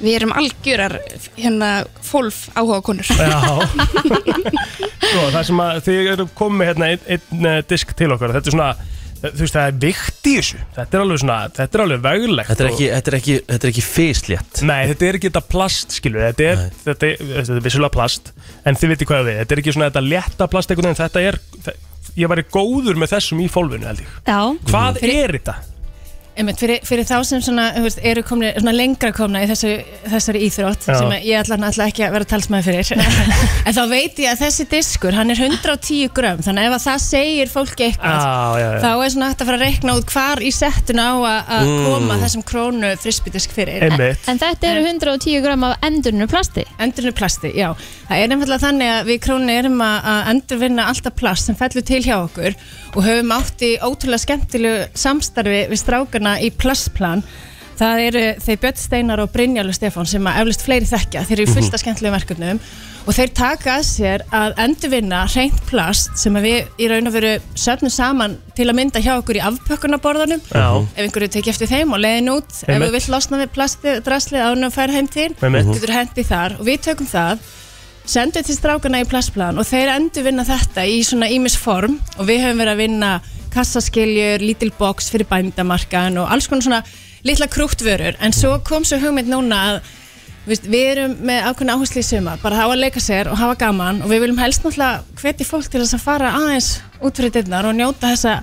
Við erum algjörar hérna fólf áhuga konur. Já Svo Sko, það sem að þið eru komið hérna einn ein, disk til okkar þetta er svona þú veist það er vikt í þessu þetta er alveg svona þetta er alveg veglegt Þetta er ekki, þetta er ekki, þetta er ekki fislétt Nei, þetta er ekki þetta plast, skilur þetta er, þetta, er, þetta er vissulega plast en þið viti hvað við, þetta er ekki svona þetta létta plast einhvern veginn, þetta er þe- ég væri góður með þessum í fólfinu, held ég Já, Hvað Mhm. er þetta? Einmitt, fyrir, fyrir þá sem svona, þú veist, eru komni, svona lengra komna í þessu, þessari íþrótt Já. sem að ég ætla náttúrulega ekki að vera talsmaði fyrir en þá veit ég að þessi diskur hann er 110 grömm þannig að ef að það segir fólki eitthvað Já, já, já. þá er svona hægt að fara að rekna út hvar í settun á að að Mm. koma þessum krónu frisbydisk fyrir Einmitt. en þetta eru 110 gram af endurnu plasti Endurinu plasti, já. Það er nefnilega þannig að við krónu erum að, að endurvinna alltaf plast sem fellur til hjá okkur og höfum átt í ótrúlega skemmtilegu samstarfi við strákana í plastplan. Það eru þeir Björn Steinar og Brynjalu Stefán sem að eflust fleiri þekkja. Þeir eru Mhm. fullt af skemmtilegum verkefnum og þeir taka að sér að endurvinna reynt plast sem að við í raun og veru söfnum saman til að mynda hjá okkur í afpökkunarborðanum Já. ef einhverju tekið eftir þeim og leiðin út ef Einmitt. þú vilt losna við plasti, draslið ánum að færa heim til Einmitt. Mhm. getur hendi þar og við tökum það sendum til strákana í plastplan og þeir endur vinna þetta í svona ímis form og við höfum verið að vinna kassaskiljur, lítil box fyrir bændamarkaðan og alls konar svona litla krúttvörur en svo kom svo hugmynd núna að þú veist, við erum með ákveðna áherslu í suma bara hafa að leika sér og hafa gaman og við viljum helst náttúrulega hveti fólk til þess að fara aðeins út fyrir dyrnar og njóta þessa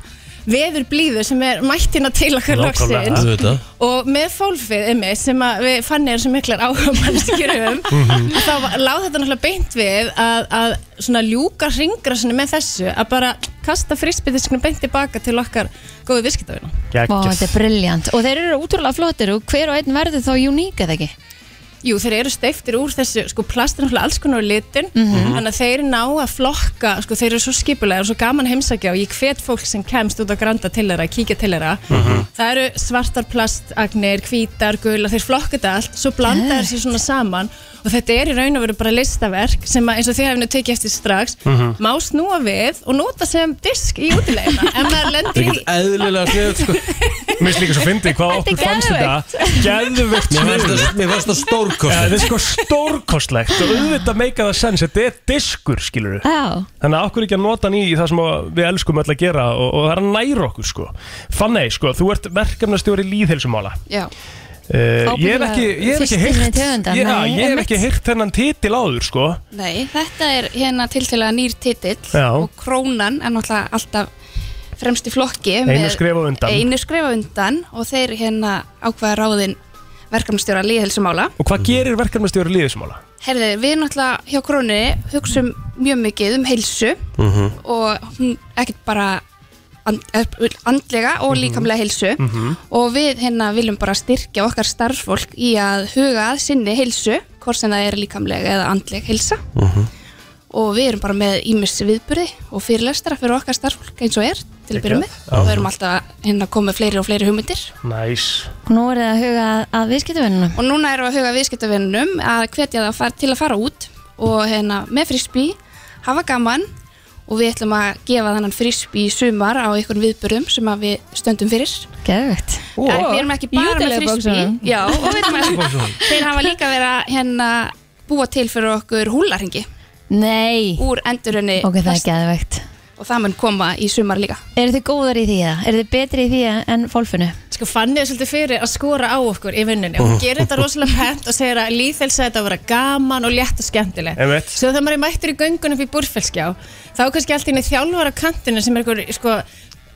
vefur blíður sem er mættina til okkar Nákvæmlega. loksins Auðvitað. og með fólfið emmi sem að við fannir svo miklar áhugamannskjur um Mhm. að þá var- láð þetta náttúrulega beint við að, að svona ljúka ringrasinu með þessu að bara kasta frisbytiskinu beint tilbaka til okkar góðu viðskiptavina Vá, þetta er briljant Og þeir eru útrúlega flottir og hver og einn verður þá uník eða ekki? Jú, þeir eru steiftir úr þessu, sko, plast er náttúrulega alls konar á litin, Mhm. þannig að þeir ná að flokka, sko, þeir eru svo skipulega og svo gaman að heimsækja og ég hvet fólk sem kemst út á granda til þeirra, kíkja til þeirra. Mhm. Það eru svartar plastagnir, hvítar, gula, þeir flokka þetta allt, svo blanda þeir sér svona saman og þetta er í raun og veru bara listaverk sem að, eins og þið hefnir tekið eftir strax, Mhm. má snúa við og nota sem disk í útilegina, en maður lendir í... eðlilega sniðut sko. Mér finnst líka svo fyndið hvað Þetta er okkur fannst þetta geðveikt. Geðvögt Mér fannst það- mér fannst það stórkostlegt. Þetta er sko stórkostlegt og auðvitað meika það sens Þetta er diskur skilur við Já. Þannig að okkur ekki að nota hann í það sem að við elskum öll að gera og, og það er að næra okkur sko Fanney sko, þú ert verkefnastjóri líðhelsumála Já. uh, Ég hef ekki, ég hef ekki Fyrstinni heyrt tegundar, Já, nei, Ég hef einmitt. ekki heyrt þennan titil áður sko Nei, þetta er hérna tiltilega nýr titill Já. og krónan er náttúrulega alltaf fremst í flokki Einu með- skrefi á undan. Einu skrifa undan og þeir hérna ákvaða ráðin verkefnstjóra líðhelsumála Og hvað gerir verkefnastjóri líðhelsumála? Herði, við náttúrulega hjá krónunni hugsum mjög mikið um heilsu Mhm. og hún ekkert bara and, andlega og líkamlega heilsu Mhm. og við hérna viljum bara styrkja okkar starffólk í að huga að sinni heilsu hvort sem það er líkamlega eða andleg heilsa og við erum bara með ímis viðburði og fyrirlestara fyrir okkar starffólk eins og er til að byrja Geggjað. með Já. og við erum alltaf hérna komið fleiri og fleiri hugmyndir Næs Og nú er það að huga að, að viðskiptavinnunum og núna erum við að huga viðskiptavinnum að hvetja það að fara, til að fara út og hérna, með frisbee, hafa gaman og við ætlum að gefa þannan frisbee í sumar á einhvern viðburðum sem að við stöndum fyrir Geðvögt en við erum ekki bara með frisbee já, og við erum að, þeir hafa líka verið að hérna, búa til fyrir okkur húlarhingi Nei úr endurunni Ok, það er geðvögt og það mun koma í sumar líka Eru þið góðar í því eða? Eru þið betri í því en fólfinu? Sko fann ég svolítið fyrir að skora á okkur í vinnunni og gerir þetta rosalega pent og segir að líðhelsa þetta að vera gaman og létt og skemmtileg Einmitt. Svo þegar maður er mættur í göngunum fyrir búrfellskjá þá er kannski allt í einu þjálfar á kantinu sem er einhver sko,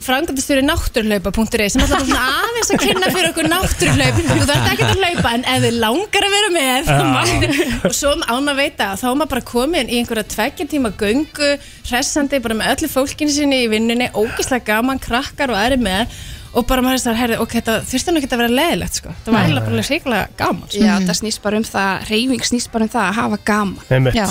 frangandastjóri náttúrlaupa.ri sem alltaf bara svona aðeins að kynna fyrir okkur náttúrlaup þú þarf ekki að hlaupa en ef þið langar að vera með Já. má- og svo án að veita þá er maður bara komin í einhverja tveggja tíma göngu hressandi bara með öllu fólkinu sinni í vinnunni ógislega gaman, krakkar og aðri með og bara maður þess að herði, ok, þetta þurfti nú ekki að vera leðilegt sko, það var Nei. eiginlega bara reikulega gaman sko. já, það snýst bara um það, reyfing snýst bara um það að hafa gaman Einmitt. já,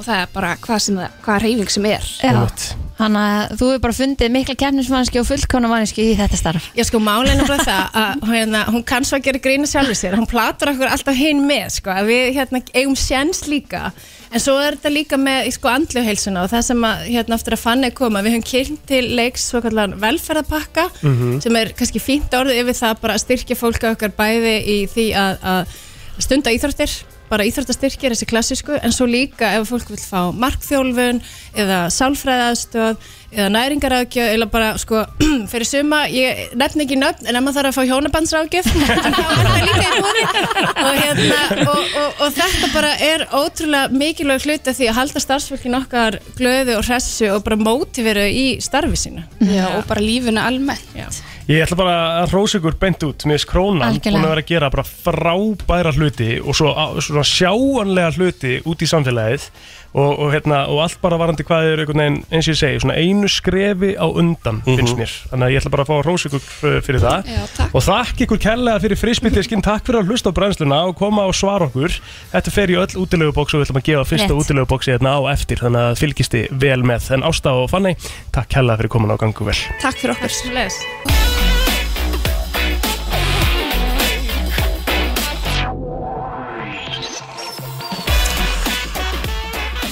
og það er bara hvað, sem það, hvað reyfing sem er Já Þannig að þú hefur bara fundið mikla kefnismanniski og fullkonarmanniski í þetta starf Já sko málið er nefnilega það að hérna, hún kann svo að gera grína sjálfur sér hún platur okkur alltaf hinn með sko að við hérna, eigum sjens líka en svo er þetta líka með sko andluheilsuna og það sem að hérna aftur að fann er koma við höfum kynnt til leiks svo kallan velferðapakka Mhm. sem er kannski fínt orðið yfir það bara að styrkja fólk okkar bæði í því að, að stunda íþróttir bara íþróttastyrkir, þessi klassísku en svo líka ef fólk vil fá markþjólfun eða sálfræðastöð eða næringaraðgjöf eða bara sko, fyrir suma, ég nefn ekki nöfn en ef maður þarf að fá hjónabandsráðgjöf þá er það líka í búri og, hérna, og, og, og þetta bara er ótrúlega mikilvæg hluti af því að halda starfsfólkin okkar glöðu og hressu og bara mótiveru í starfi sínu Já, og bara lífuna almennt Já. Ég ætla bara að rósa ykkur beint út Mér finnst krónan Algjörlega. búin að vera að gera bara frábæra hluti og svo, á- svona sjáanlega hluti út í samfélagið og, og, hérna, og allt bara varandi hvað er einhvern veginn eins og ég segi, svona einu skrefi á undan finnst mér, þannig að ég ætla bara að fá að rósa ykkur uh, fyrir það Já, takk. og þakk ykkur kellega fyrir frisbytiskin takk fyrir að hlusta á brennsluna og koma og svara okkur Þetta fer í öll útilegubóks og við ætlum að gefa fyrsta Rétt. útilegubóksi hérna á eftir þannig að fylgisti vel með en Ásta og Fanny, takk kellega fyrir komin á gangu vel Takk fyrir okkur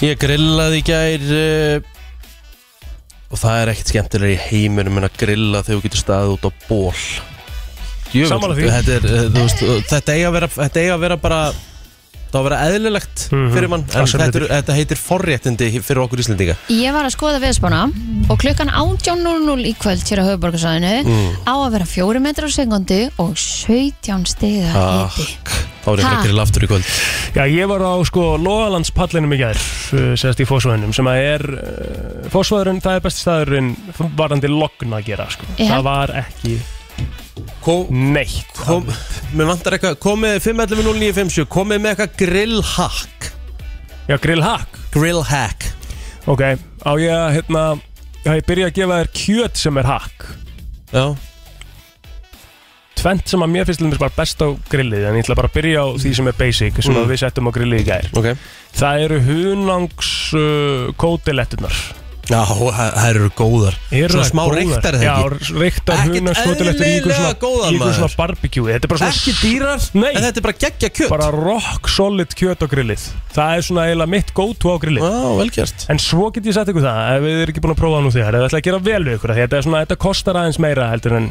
Ég grillaði í gær uh, og það er ekkert skemmtilega í heiminum en að grilla þegar þú getur staðið út á ból Jöfull, Sammála því. Þetta, er, eh, þú veist, eh, þetta eiga að vera, þetta eiga að vera bara það á að vera eðlilegt Mhm. fyrir mann en Það sem þetta, betur. er, þetta heitir forréttindi fyrir okkur Íslendinga Ég var að skoða veðspána og klukkan 18.00 í kvöld hér á höfuborgarsvæðinu Mm. á að vera 4 metrar á sekundi og 17 stiga Takk, þá árið Ha? frekar í laftur í kvöld Já, ég var á sko Lóalandspallinum í gær uh, sérst í fósvæðinum sem að er uh, fósvæðurinn, það er besti staðurinn varandi logn að gera sko. Já. það var ekki Kom, neitt kom, mér vantar eitthvað, komið 511-0957, komið með eitthvað grill hack Já, grillhack Grill hack Ok, á ég að hérna Já, ég byrja að gefa þér kjöt sem er hack Já, Tvent sem að mér finnst til dæmis bara best á grillið En ég ætla bara að byrja á því sem er basic Sem að við settum á grillið í gær Mm. ok Það eru hunangs uh, kótilettunar Já, það það eru góðar Eru Svona það smá góðar? reyktar eða ekki Já, reyktar Ekkert hunangskotilettur í ykkur eðlilega góðar, svona, í ykkur maður. svona barbecue Þetta er bara svona Ekki dýrar, Nei. en þetta er bara geggja kjöt bara rock solid kjöt á grillið það er svona eiginlega mitt go-to á grillið Já, velgjast en svo get ég sagt ykkur það ef við erum ekki búin að prófa það nú þegar ef við ætla að gera vel við ykkur af því þetta, er svona, þetta kostar aðeins meira heldur en,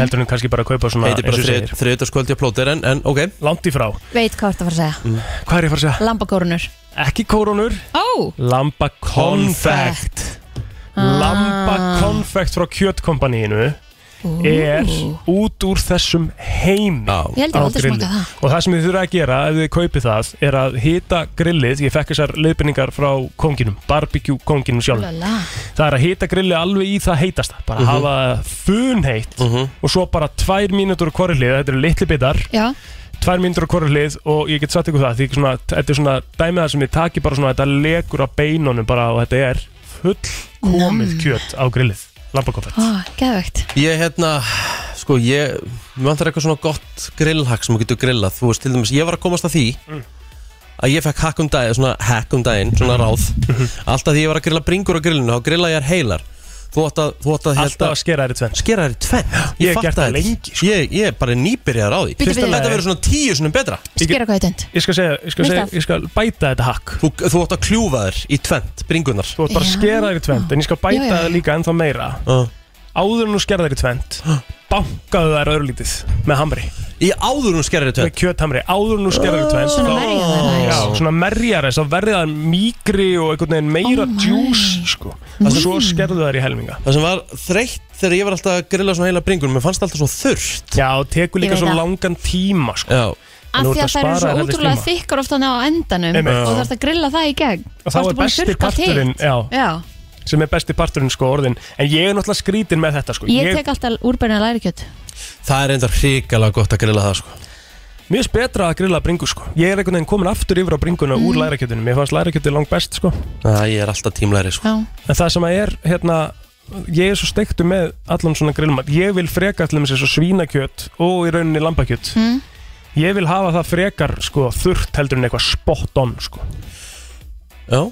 heldur en kannski bara að kaupa svona Heitir bara eins og segir, þriðutaskvöldi að plóter en, en ok Mm. langt í frá Veit hvað þetta var að segja hvað er ég að fara að segja? Lambakórunur ekki kórónur Ó lamba konfekt Ah. lamba konfekt frá kjötkompaníinu er út úr þessum heimi Ég held ég á aldrei grilli. smakað það. og það sem þið þurfa að gera ef þið kaupið það er að hita grillið ég fekk þessar leiðbyrningar frá konginum barbecue konginum sjálf Lala. það er að hita grillið alveg í það heitasta bara hafa fun heitt og svo bara tvær mínútur á hverju hlið þetta eru litli bitar Já tvær mínútur á hverju hlið og ég get satt ykkur það því svona, þetta er svona dæmið það sem ég taki bara svona þetta legur á beinunum bara og þetta er full komið Mm. kjöt á grillið lambakofett Ó, geðvegt Ég hérna, sko ég Mér vantar eitthvað svona gott grillhack sem þú getur grillað Þú veist, til dæmis, ég var að komast að því Að ég fekk hack um daginn, svona hack um daginn Svona ráð Alltaf því ég var að grilla bringur á grillinu Þá grilla ég er heilar Þú átt að, þú átt að alltaf hérna, að skera þér í tvenn skera þér í tvenn Ég hef gert það lengi, sko. ég, ég er bara nýbyrjar á því Bíddu, bíddu. Þetta verður svona tíu svona betra Skera hvað þetta ég skal segja, ég skal, Mitt segja, af. ég skal bæta þetta hakk Þú, þú átt að kljúfa þér í tvent, bringunar þú ert bara að Já. skera þér í tvent en ég skal Já, já, bæta já. það líka ennþá meira uh. áður en þú skerðar í tvent bankaðu þær örlítið með hamri Í áður hún skerir í með tvent kjöthamri áður en þú skerðar í tvent Svona merja það Já, næs svona merjar þess að verða þær mýkri og einhvern veginn Oh meira oh my. sko. mm. svo skerðu þær í helminga Það sem var þreytt þegar ég var alltaf að grilla svona heila bringur Mér fannst það alltaf svo þurrt já, og tekur Ég líka veit svo það. langan tíma sko. Já, Af Nú því að ertu að það eru spara svo helvítið ótrúlega tíma. þykkar ofta á endanum Einmitt. og þarf að grilla það í gegn og þá ertu búin er að besti þurrka til. parturinn já, Já, sem er besti parturinn sko orðin en ég er náttúrulega skrítin með þetta sko. ég tek alltaf úrbeina lærikjöt það er enda hrikalega gott að grilla það sko Mér finnst betra að grilla bringu sko Ég er einhvern veginn komin aftur yfir á bringuna úr lærakjötinu Mér fannst lærakjötið langt best sko Æ, ég er alltaf tímlæri sko Já, En það sem að er hérna Ég er svo steiktu með allan svona grillmat Ég vil freka allir með sér svo svínakjöt Og í rauninni lambakjöt Mm. Ég vil hafa það frekar sko þurrt heldur en eitthvað spot on sko Já,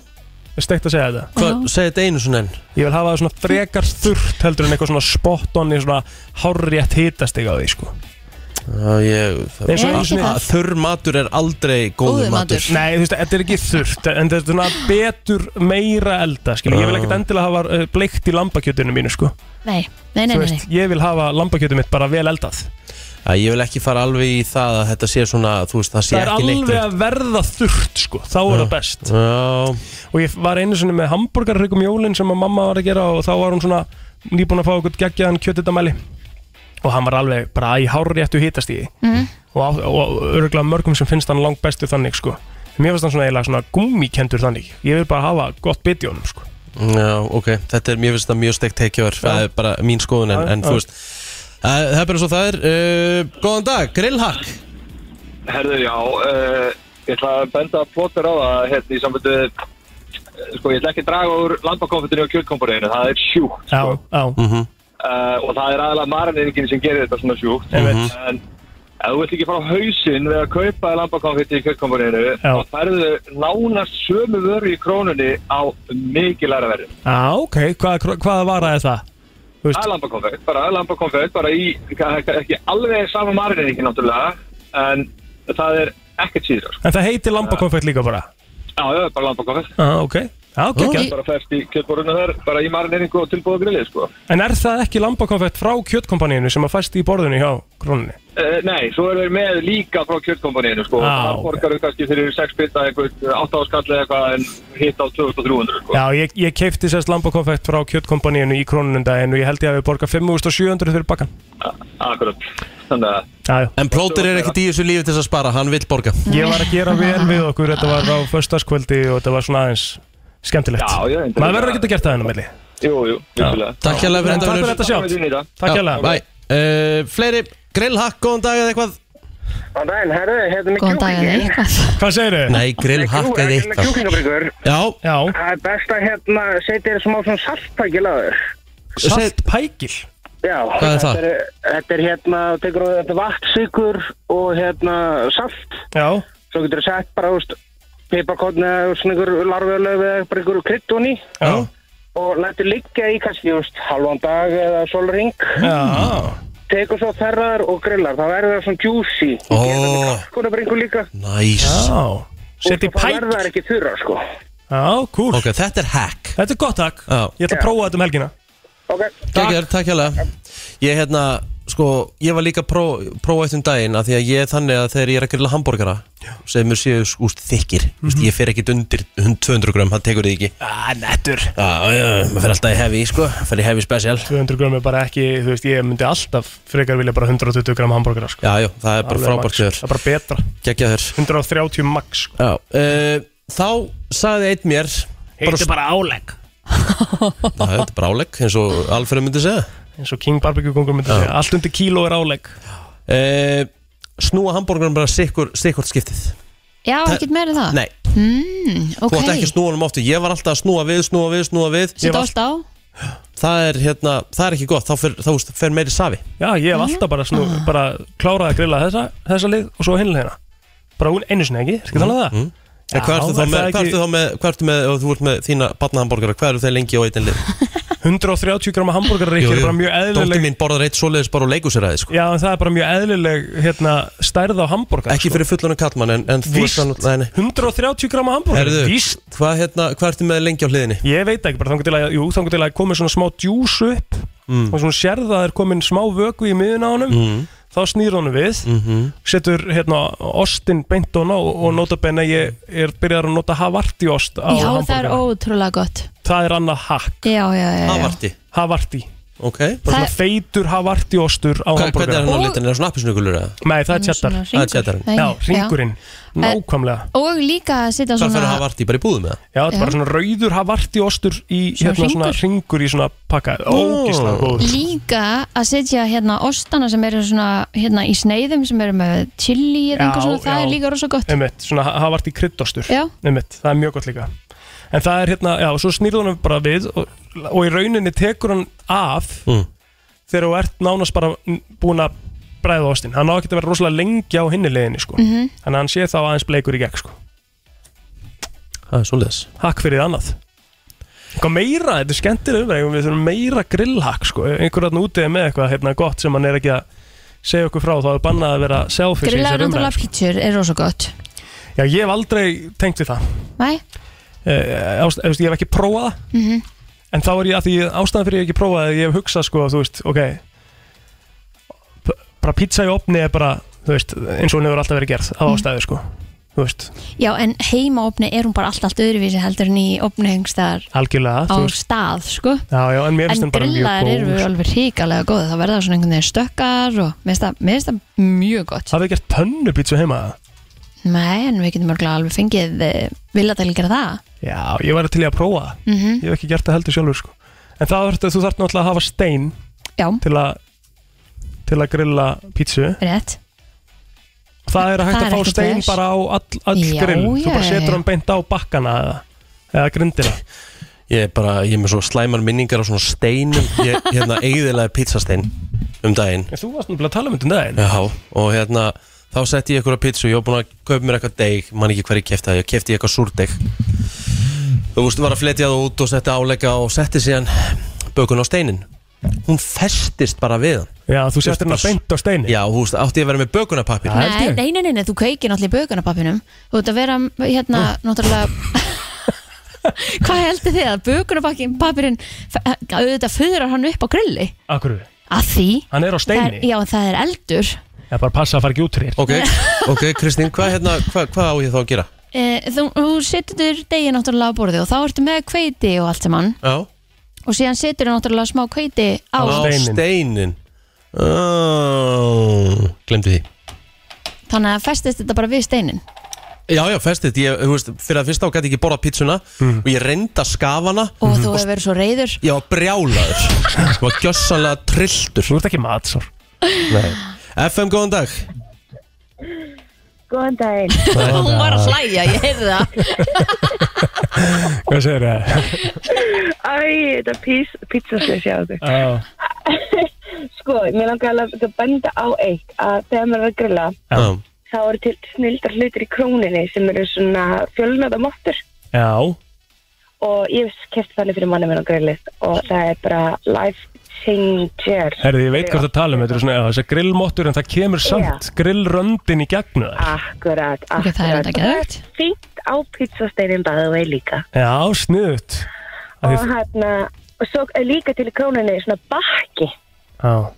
Er steikt að segja þetta hvað, segi þetta einu svona enn Ég vil hafa það svona frekar þurrt heldur en eitthvað svona spot on Í svona hárrétt hitasteg á því sko Já, ég, Er Eins og það, einu ekki sinni- það? Þurr matur er aldrei góður Góður matur. matur, Nei, þú veist, þetta er ekki þurrt En þetta er svona betur meira elda skilu. Ég vil Ah. ekkert endilega hafa eh, bleikt í lambakjötinu mínu sko. nei, nei, nei, Þú nei, veist, nei. Ég vil hafa lambakjötu mitt bara vel eldað Æ, Ég vil ekki fara alveg í það að þetta sé svona Þú veist, það sé Það er ekki alveg neitt að verða þurrt sko. Þá er það best Já, Og ég var einu sinni með hambúrgarryggum jólin sem að mamma var að gera og þá var hún svona nýbúin að fá eitthvað geggjaðan kjötitamæli og hann var alveg bara í hárri eftir hittast í Mm. og, á- og örgulega mörgum sem finnst hann langt bestu þannig sko. Mér finnst hann svona eiginlega svona gúmikendur þannig Ég vil bara hafa gott bit í honum sko. já, ok Þetta er, mér finnst það mjög steikt teikjöver Það er bara mín skoðun en, Já, en já. þú veist Æ, Það er bara svo það er uh, Góðan dag, grillhack Herðu, já, uh, ég ætla að benda plótur á það hérna í samfundu sko, ég ætla ekki að draga úr lambakonfettinu og kjötkomponinu, það er sjúkt Já, sko. já, Mhm. uh, og það er aðalega marinirikinn sem gerir þetta svona sjúkt Einmitt. en ef þú vilt ekki fara á hausinn við að kaupa lambakonfetti í kjötkomponinu Já. þá færðu nánast sömu vöru í krónunni á mikið læra verðin Já, ok, hvað, hvaða vara er það? Þú Það veist, er lambakonfekt, bara lambakonfekt, bara í, ekki alveg sama marinn ekki náttúrulega, en það er ekkert síður. sko. en það heitir lambakonfekt líka bara Já, já, bara lambakonfekt. Já, ok Já, geggjað. bara fæst í kjöldborðinu þar, bara í marineringu og tilbúða grillið, sko. En er það ekki lambakonfett frá kjötkompaníinu sem að fæst í borðinu hjá krónunni? Uh, nei, svo eru þeir með líka frá kjöldkompaníinu, sko. Ah, Ah, ok. það borgar þau kannski fyrir 6 bita, eitthvað 8 áskall eða eitthvað, en hitt á 2300, sko. Já, ég, ég keipti sérst lambakonfett frá kjötkompaníinu í krónunum daginn og ég held ég að við borga 5.700 fyrir bakkan. Akkurat. Þannig að, Já, já. En plóter er ekkert í þessu lífi til þess að spara, hann vill borga Ég var að gera vel við okkur, þetta var á föstaskvöldi og þetta var svona aðeins skemmtilegt. Já, já, þetta er Maður verður bara- ekki að gera það hérna hennar melli. jú, jú, vissulega. Takk hérlega Takk fyrir þetta fyrir Unnur. þetta sjátt. Takk fyrir Takk Já, hérlega. bye. Eh, Fleiri, grillhakk, góðan dag eða eitthvað Góðan daginn, herru, hérna með Góðan dag eða eitthvað Hvað segir þau? Nei, grillhakk eða eitthvað kjúklingabryggur. Já, Já, Það er best að hérna setja þér smá svona saltpæki laður. set, salt pækil. Já. Hvað er það? Þetta er, þetta er hérna, tekur þú þetta vatn, sykur og hérna salt. Já, Svo getur þú sett bara, úst, piparkorn eða úst, svona ykkur larvölu eða bara ykkur krydd honni já, og lætur liggja í kannski, úst, halvan dag eða solring. já. Tekur svo þerrar og grillar. Það verður það svona juicy. Ó. Kjúklingabryggur líka. næs Já, Og setja í svo það verður pækil. það ekki þurra, sko. Já, cool. Ok, þetta er hack Þetta er gott takk. Já. Ég ætla að prófa þetta um helgina. Ok. Takk, takk hérlega Ég hérna, sko, ég var líka að pró- prófa eitt um daginn af því að ég er þannig að þegar ég er að grilla hambúrgara sem er séu skúst þykir mm -hmm. ég fer ekkit undir 200 grömm, það tekur þið ekki Mhm. Ah, nettur. Já, já, maður fer alltaf í heavy, sko fer í heavy special 200 gram er bara ekki, þú veist, ég myndi alltaf frekar vilja bara 120 gram hambúrgara, sko. Já, já, það er bara Alveg max. frábært hjör Það er bara betra. Gekkja þér 130 max, sko. Já, uh, þá sagði einn mér Heitir bara álegg. Það er bara álegg, eins og Alfred myndi segja Eins og King Barbecue kongur myndi segja. Allt undir kíló er álegg. uh, Snúa hambúrgarum bara sikkur, sikkurt skiptið Já, ekkert meira en það Mm, Nei, þú átt ekki að Ok, snúa honum ofta Ég var alltaf að snúa við, snúa við, snúa við Ég setja var- allt á Það er, hérna, það er ekki gott, þá fer, þá, veist, fer meiri safi Já, ég Mm. hef alltaf bara, snú, bara klárað að grilla þessa, þessa lið og svo hinlega hérna. Bara hún einu sinni ekki, skal tala um Mm, það? En hvað ertu þá er með, það hvað ekki- ertu þá með, hvað ertu með, ef þú ert með þína barnahambúrgara, hvað eru þeir lengi á eitin lið? 130 grama hambúrgarreikir er bara mjög Dóttir eðlileg mín borðar eitt svoleiðis bara og leikusiræði, sko Já, en það er bara mjög eðlileg hérna, stærð á sko. hambúrgar Ekki fyrir fullunum kallmann, en, en þú Víst, ert þannig, nei, nei 130 grama hambúrgar Herðu, Víst, hvað, hérna, hvað ertu með lengi á hliðinni? ég veit ekki, bara þangur til að, jú, þangur til að komi svona smá djús upp Mm. og svona sérð að það er komin smá vöku í miðun á honum þá snýr honum við Mhm. setur hérna ostin beint og ná og nota benn að ég er byrjar að nota havarti ost á Já, það er hambúrgar ótrúlega gott Það er annað hakk, Já, já, já, já. Eh. Havarti, havarti ok Bara Það- svona feitur havarti ostur á Hva- Hvernig hambúrgar er hann á Og- litin, er það svona appisnugulur eða? Nei, það er Hann er tjattar svona Það er tjattarinn. Nei, Já, ringurinn, nákvæmlega já. Og líka að setja Hvað svona fyrir að hafa arti, bara í búðum eða? Já, þetta er bara svona rauður havarti ostur í Svona hérna svona ringur í svona pakka Ógislega góður Líka að setja hérna ostana sem eru svona hérna í sneiðum sem eru með chili Já, eða einhver svona, það já. er líka rosa gott Einmitt, svona ha- havarti kryddostur Já. Einmitt, það er mjög gott líka En það er hérna, já, svo snýrðu hann bara við og, og í rauninni tekur hann af Mm. þegar þú ert nánast bara búin að bræða ostin Hann á ekki að vera rosalega lengi á hinni leiðinni sko. Mhm. -hmm. Þannig að hann sé þá aðeins bleikur í gegn sko. Það er svoleiðis Hakk fyrir annað Eitthvað meira, þetta er skemmtileg umræðum Við þurfum meira grillhakk sko. Einhver hann útið með eitthvað hérna, gott sem hann er ekki að segja okkur frá þá er bannað að vera selfish í Grillaður þessari umræðu, náttúrulega pítsur er rosa gott sko. Já, ég hef aldrei tengt við það Nei, Eh, ást- þú veist, Ég hef ekki prófað það En þá er ég að því ástæðan fyrir ég hef ekki prófað það Ég hef hugsað sko, þú veist, ok p- Bara pizza í opni er bara, þú veist, eins og hún hefur alltaf verið gerð Mhm. Af ástæðu sko, þú veist, já en heimaopni er hún bara allt allt öðruvísi heldur en í opnihengstaðar algjörlega á þú veist, stað sko Já, já, en mér En finnst hann bara mjög grillaðar góð eru sko. alveg hrikalega góð það verða svona einhvern veginn stökkar og mér finnst það- mér finnst það mjög gott Hafið þið gert pönnupizza heima það? Nei, en við getum örgulega alveg fengið eh, viljaðæli gera það Já, ég væri til í að prófa það mm Ég hef ekki gert það heldur sjálfur sko. En það verður þú þarf náttúrulega að hafa stein Já, til að til að grilla pítsu rétt Það Það er er hægt að fá ekkert stein ves. bara á all, all Já, grill Þú já, bara já, setur já. hann beint á bakkana eða, eða grindina Ég er bara, ég er með svo slæmar minningar á svona steinum Ég, hérna, eigðilega pizzastein um daginn En þú varst náttúrulega að tala um þetta um daginn Já, og hérna, þá setti ég eitthvað pizza Ég var búin að kaupa mér eitthvað deig, man ekki hver ég kefti það Ég kefti eitthvað súrdeg Þú veist, var að fletja það út og setti áleika og setti síðan bökun á steinin Hún festist bara við hann Já, þú Just setur hann bara- beint á steini Já, þú veist, átti ég að vera með bökunarpappir Já. Það held Nei, ég. nei, nei, nei, nei, þú kveikir náttúrulega í bögunarpappinum Þú ert að vera hérna, náttúrulega Hvað heldur þið að bökunabakkin papirinn auðvitað föðrar hann upp á grilli? Akkur við Að því Hann er á það er, steini Já, það er eldur Ég er bara að passa að fara ekki út fyrir Ok, ok, Kristín, hvað hérna, hva, hvað á ég þá að gera? e, Þú, þú setur degi náttúrulega á borðið og þá ertu með kveiti og allt sem hann Já, og síðan setur þú náttúrulega smá kveiti á á steinin. steinin oh, Glemdi því þannig að festist þetta bara við steinin Já, já, festið, ég, þú veist, fyrir að fyrsta á gæti ekki borða pítsuna Mhm. og ég reynda skafana og þú hefur verið svo reyður Mhm. ég var brjálaður ég var gjössanlega trilltur Þú ert ekki matsár FM, góðan dag Góðan daginn. Hún var að hlæja, ég heyrði það Hvað segir það? Æ, þetta pís, pítsasleis, já, ok. Sko, mér langar alveg að benda á eitt að þegar maður er að grilla Já. Já. þá eru til snildar hlutir í króninni sem eru svona fjölnöðamottur Já og ég hef keft þannig fyrir manni minn á grillið og það er bara life changer Herði, ég veit hvað það tala um Þetta er svona já, þessar grillmottur En það kemur samt grillröndin í gegnu þær Akkurat, Ok, það er akkurat þetta ekki rægt fínt á pizzasteinin bæðu vei líka Já, sniðut og hérna og svo er líka til í króninni svona bakki Já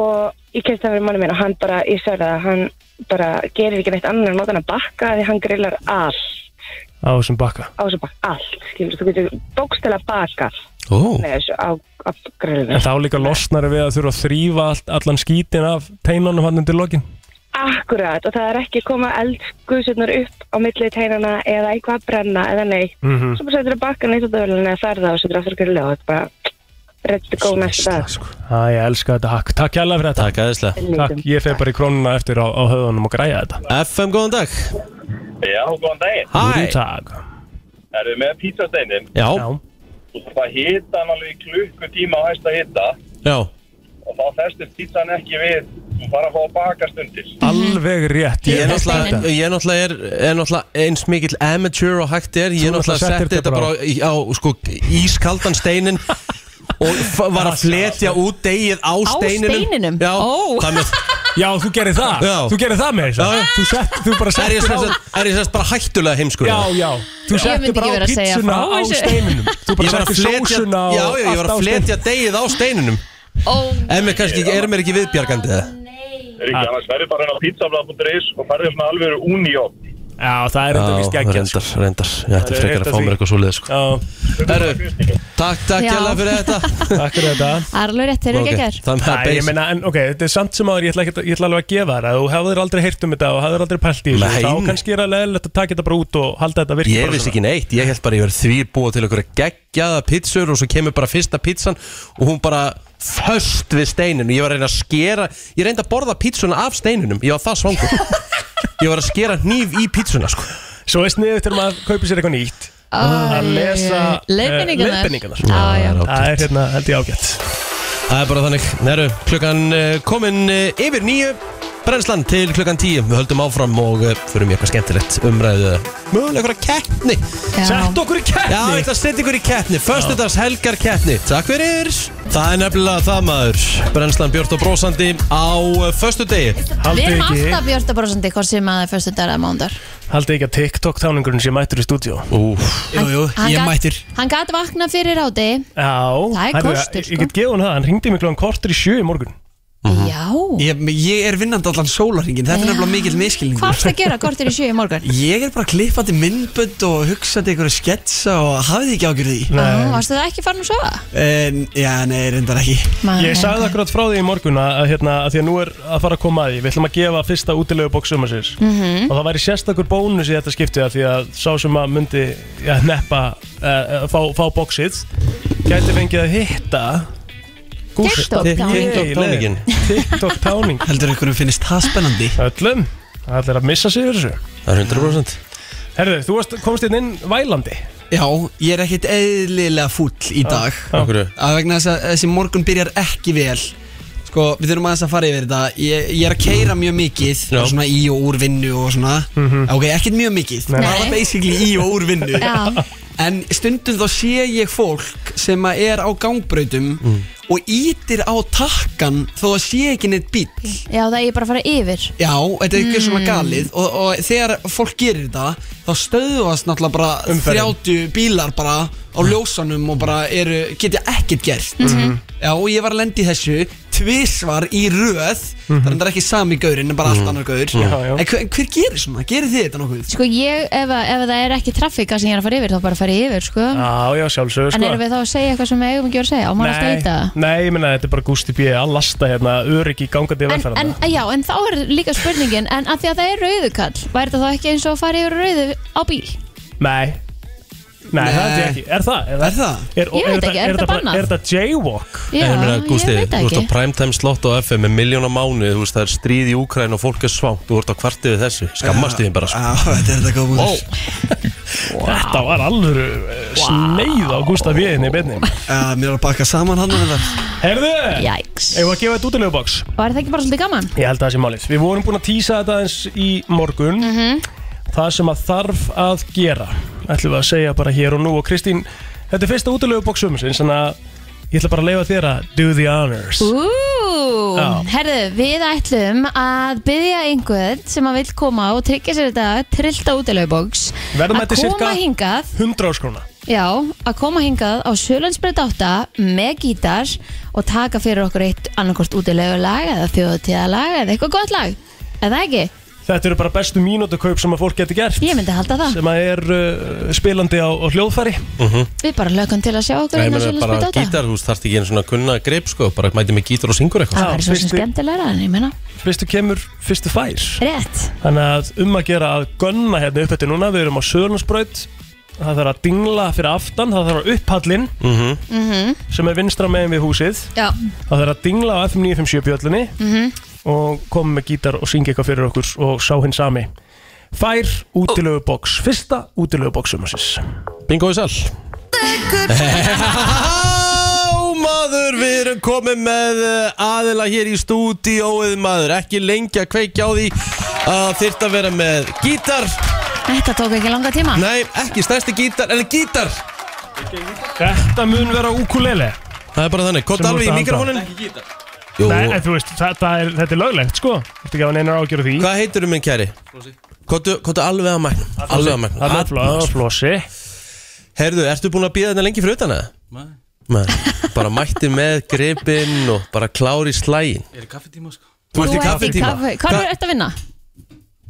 og ég kemst það fyrir manni minn og hann bara, ég sagði það, hann bara gerir ekki neitt annar en notan að bakka því hann grillar allt Á þessum bakka á þessu bakka allt, skilur, þú getur bókstæla bakað Ó, með þessu á, á grillinu. En þá líka losnar við að þurfa að þrýfa allt, allan skítin af teinanum hann undir lokin Akkurat, og það er ekki koma eldguðsutnar upp á millið teinana eða eitthvað að brenna eða neitt. mm Svo bara setur það bakkan eitt á dölunni að ferða og setur aftur á grillinu og þetta er bara ready to go næsta dag. Æ, ég elska þetta hakk Takk hérlega fyrir þetta takk aðeinslega Takk, ég fer bara í krónuna eftir á, á höðunum og græja þetta FM, góðan dag Já, góðan daginn. Hæ, Takk Erum við með pítsasteinin? já, Já, Þú þarf að hita hann alveg í klukkutíma á hæsta hita já og þá festist pítsan ekki við. Þú fara að fá að baka stundir. Ah. alveg rétt Ég er elska náttúrulega, þetta. ég er náttúrulega, er, er náttúrulega eins mikill amateur og hægt er Ég er Þú náttúrulega náttúrulega setti settir þetta bara á, á sko, ískaldan steinin Og f- var að fletja út degið á steininum steininum? Já, Ó. það með Já, þú gerir það Já. Þú gerir það með Já, já. þessu Þú, sett, þú bara Er ég settir á sérst, er ég sérst bara hættulega heimskur Já, já Þú Ég myndi settir ekki bara á vera að segja pítsuna frá á þessu. steininum Þú bara Ég var að settir fletja, sósuna og já, já, ég allt var á að fletja degið á steininum Ó, En mér kannski, er mér ekki viðbjargandi það? Er ekki annars verður bara hann á pizzaflað.is og færður svona alveg uniopt. steininum. Já, það er enda víst geggjað sko. reyndar, reyndar Ég ætti Það er frekar rétt að að fá því. mér eitthvað svoleiðis sko. Já, Herru, takk, takk Já. hjá fyrir þetta takk fyrir þetta það er alveg rétt, þeir eru Ok, ekki að ger Þannig að Æ, ég beis meina, en ok, þetta er samt sem áður, ég ætla, ekki, ég ætla alveg að gefa þér að þú hefðir aldrei heyrt um þetta og hefðir aldrei pælt í Nei, þessu þá nei. kannski er að leðilegt að taka þetta bara út og halda þetta virki Ég bara vissi svona. ekki neitt, ég held bara ég verið því búa til einhverja geggjaða pizzur og svo kemur bara fyrsta pizzan og hún bara föst við steininu Ég var að reyna að skera, ég reyndi að borða pizzuna af steininum, ég var það svangur Ég var að skera hníf í pizzuna sko Svo er sniðið til maður kaupir sér eitthvað nýtt að lesa Leifinningarnar eh, leifinningarnar Já, já. Það er hérna held ég ágætt Það er bara þannig, Neru, klukkan eh, komin eh, yfir nýju Brennslan til klukkan tíu, við höldum áfram og eh, förum í eitthvað skemmtilegt umræðu Mögulega eitthvað keppni Sett okkur í Já, ég kætti ætla að setja ykkur í keppni Föstudags helgar keppni Takk fyrir Það er nefnilega það maður Brennslan Björn og Brósandi á uh, föstudegi Við Haldið erum ekki, alltaf björta brosandi hvort sem að það er fyrstu dagar eða mándar haldið ekki að TikTok táningurinn sé mættur í stúdíó Úf Jú, jú, Hann gat- Hann gæti vakna fyrir áti Já, Það er herðu, kostur, ég- sko. Ég get gefið hún það, hann ringdi mig klokkan kortur í sjö í morgun Já Ég, ég er vinnandi allan sólarringin, þetta er Já. nefnilega mikill miskilningur Hvað varst að gera kortir í sjö í morgun? Ég er bara að klippa til myndbönd og hugsa til einhverju sketsa og hafið þið ekki ágjörði því Ó, Varstu það ekki farin að sofa? en, Já, nei, reyndar ekki Ég sagði akkurat frá því í morgun að, að, hérna, að því að nú er að fara að koma að því Við ætlum að gefa fyrsta útilegu bóksum Mhm. -hmm. Og það væri sérstakur bónus í þetta skipti að Því að sá sem að myndi ja, neppa uh, fá, fá bóksið Gæti fengið að hitta Gústa TikTok táning. TikTok táningin. TikTok táning Heldur einhverjum finnist það spennandi Öllum Það er að missa sig fyrir þessu Það er 100% Herðu, þú varst, komst hérna inn inn vælandi Ah, Já, ég er ekkit eðlilega fúll í dag Okkur Að vegna þess að þessi morgun byrjar ekki vel Sko, við þurfum aðeins að fara yfir þetta Ég, ég er að keira mjög mikið Já. Svona í og úr vinnu og svona Ok, ekkit mjög mikið Mhm. Nei. Bara basically í og úr vinnu Já, Mm. En stundum þá sé ég fólk sem að er á gangbrautum og ítir á takkan þó að sé ekki neitt bíl Já, það er bara að fara yfir Já, þetta er ekki svona Mm. galið og, og þegar fólk gerir þetta þá stöðvast náttúrulega bara Umferðin. Mm. 30 bílar bara á ljósanum og bara eru, getja ekkert gert Mhm. Já, og ég var að lenda í þessu tvisvar í röð mm -hmm. það er ekki sami gaurin, en bara allt Mhm. annar gaur Já, já. En hver, hver gerir svona? Gerir þið þetta nokkuð? Sko ég, ef, að- ef það er ekki trafika sem ég er að fara yfir, þá bara fara ég yfir, sko Já, sko. já, sjálfsögur En erum við þá að segja eitthvað sem við eigum ekki að segja? Á maður alltaf að Nei, eita það? nei, ég meina þetta er bara Gusti B. að lasta hérna öryggi gangandi En, en, velferðarna já, en þá er líka spurningin En að því að það er rauðukall Væri það þá ekki eins og að fara yfir rauðu á bíl? Nei Nei, Nei. það held ég ekki Er það? Er, er það? Er, Ég veit ekki, er þetta bara- bannað? Er þetta jaywalk? Já, En ég meina, Gústi, ég veit þú ert ekki á primetime slott á FM með miljóna mánu, þú veist, það er stríð í Úkræn og fólk er svangt, þú ert á kvartið við þessu, skammast þið bara, sko. Þetta er þetta góð Ó. Þetta var alvöru eh, sneið á Gustaf Jöðinni í beinni Já, mér er að baka saman hann Herðu, Jæks eigum við að gefa þetta útilegubóks? Var það ekki bara svolítið gaman? Ég held að það sé málið Við vorum búin að týsa þetta eins í morgun Mhm. Það sem að þarf að gera ætlum við að segja bara hér og nú og Kristín, þetta er fyrsta útilegubóks um þannig að ég ætla bara að leifa þér að do the honors Ú, Já. herðu, við ætlum að byggja einhvern sem að vill koma og tryggja sér þetta trillta útileguboks Verðum að þetta koma cirka hingað 100 áskrona Já, að koma hingað á Sjölandsbreyt 8 með gítar og taka fyrir okkur eitt annarkort útilegu lag eða þjóðtíðalag eða eitthvað gott lag eða ekki, Þetta eru bara bestu mínútu sem að fólk getur gert ég myndi halda það sem að er uh, spilandi á, á hljóðfæri Við bara lögum til að sjá okkur Nei, hérna á meina, bara Sjölandsbreyt 8 Mhm. gítar, þú veist, þarf ekki einu svona kunna greip, sko, bara mæti með gítar og syngur Það eitthvað. er svo sem skemmtilegra en ég menna Fyrstu kemur, fyrstu fær Rétt Þannig að um að gera að gönna hérna upp eftir núna Við erum á Sörnarsbraut Það þarf að dingla fyrir aftan Það þarf að upphallin mm sem er vinstra megin við húsið Mhm. Já Mhm. Það þarf að dingla á FM 957 bjöllunni og koma með gítar og syngja eitthvað fyrir okkur og sá hinn sami Fær útilögu box Fyrsta útilögu box sumarsins Bingo í sall Já, maður, við erum komið með eh, aðila hér í stúdíóið, maður, ekki lengi að kveikja á því að þyrft að vera með gítar Þetta tók ekki langa tíma Nei, ekki stærsti gítar, en gítar Þetta mun vera ukulele Það er bara þannig, Sem kott þú alveg ert í að mikrofonin halda. Jú. Nei, en þú veist, þetta er, þetta er löglegt sko Þetta ekki að hann einar ágjör því Hvað heitir þú minn kæri? Kottu kottu alveg að mækna Alveg að mækna Þarna er fló- Atlas. Flossi Herðu, ertu búin að býða þetta lengi fyrir utan eða? Nei. Nei Bara mætti með gripinn og bara klári slægin Ég er í kaffetíma sko Þú ert í kaffitíma Hvað er þetta að vinna?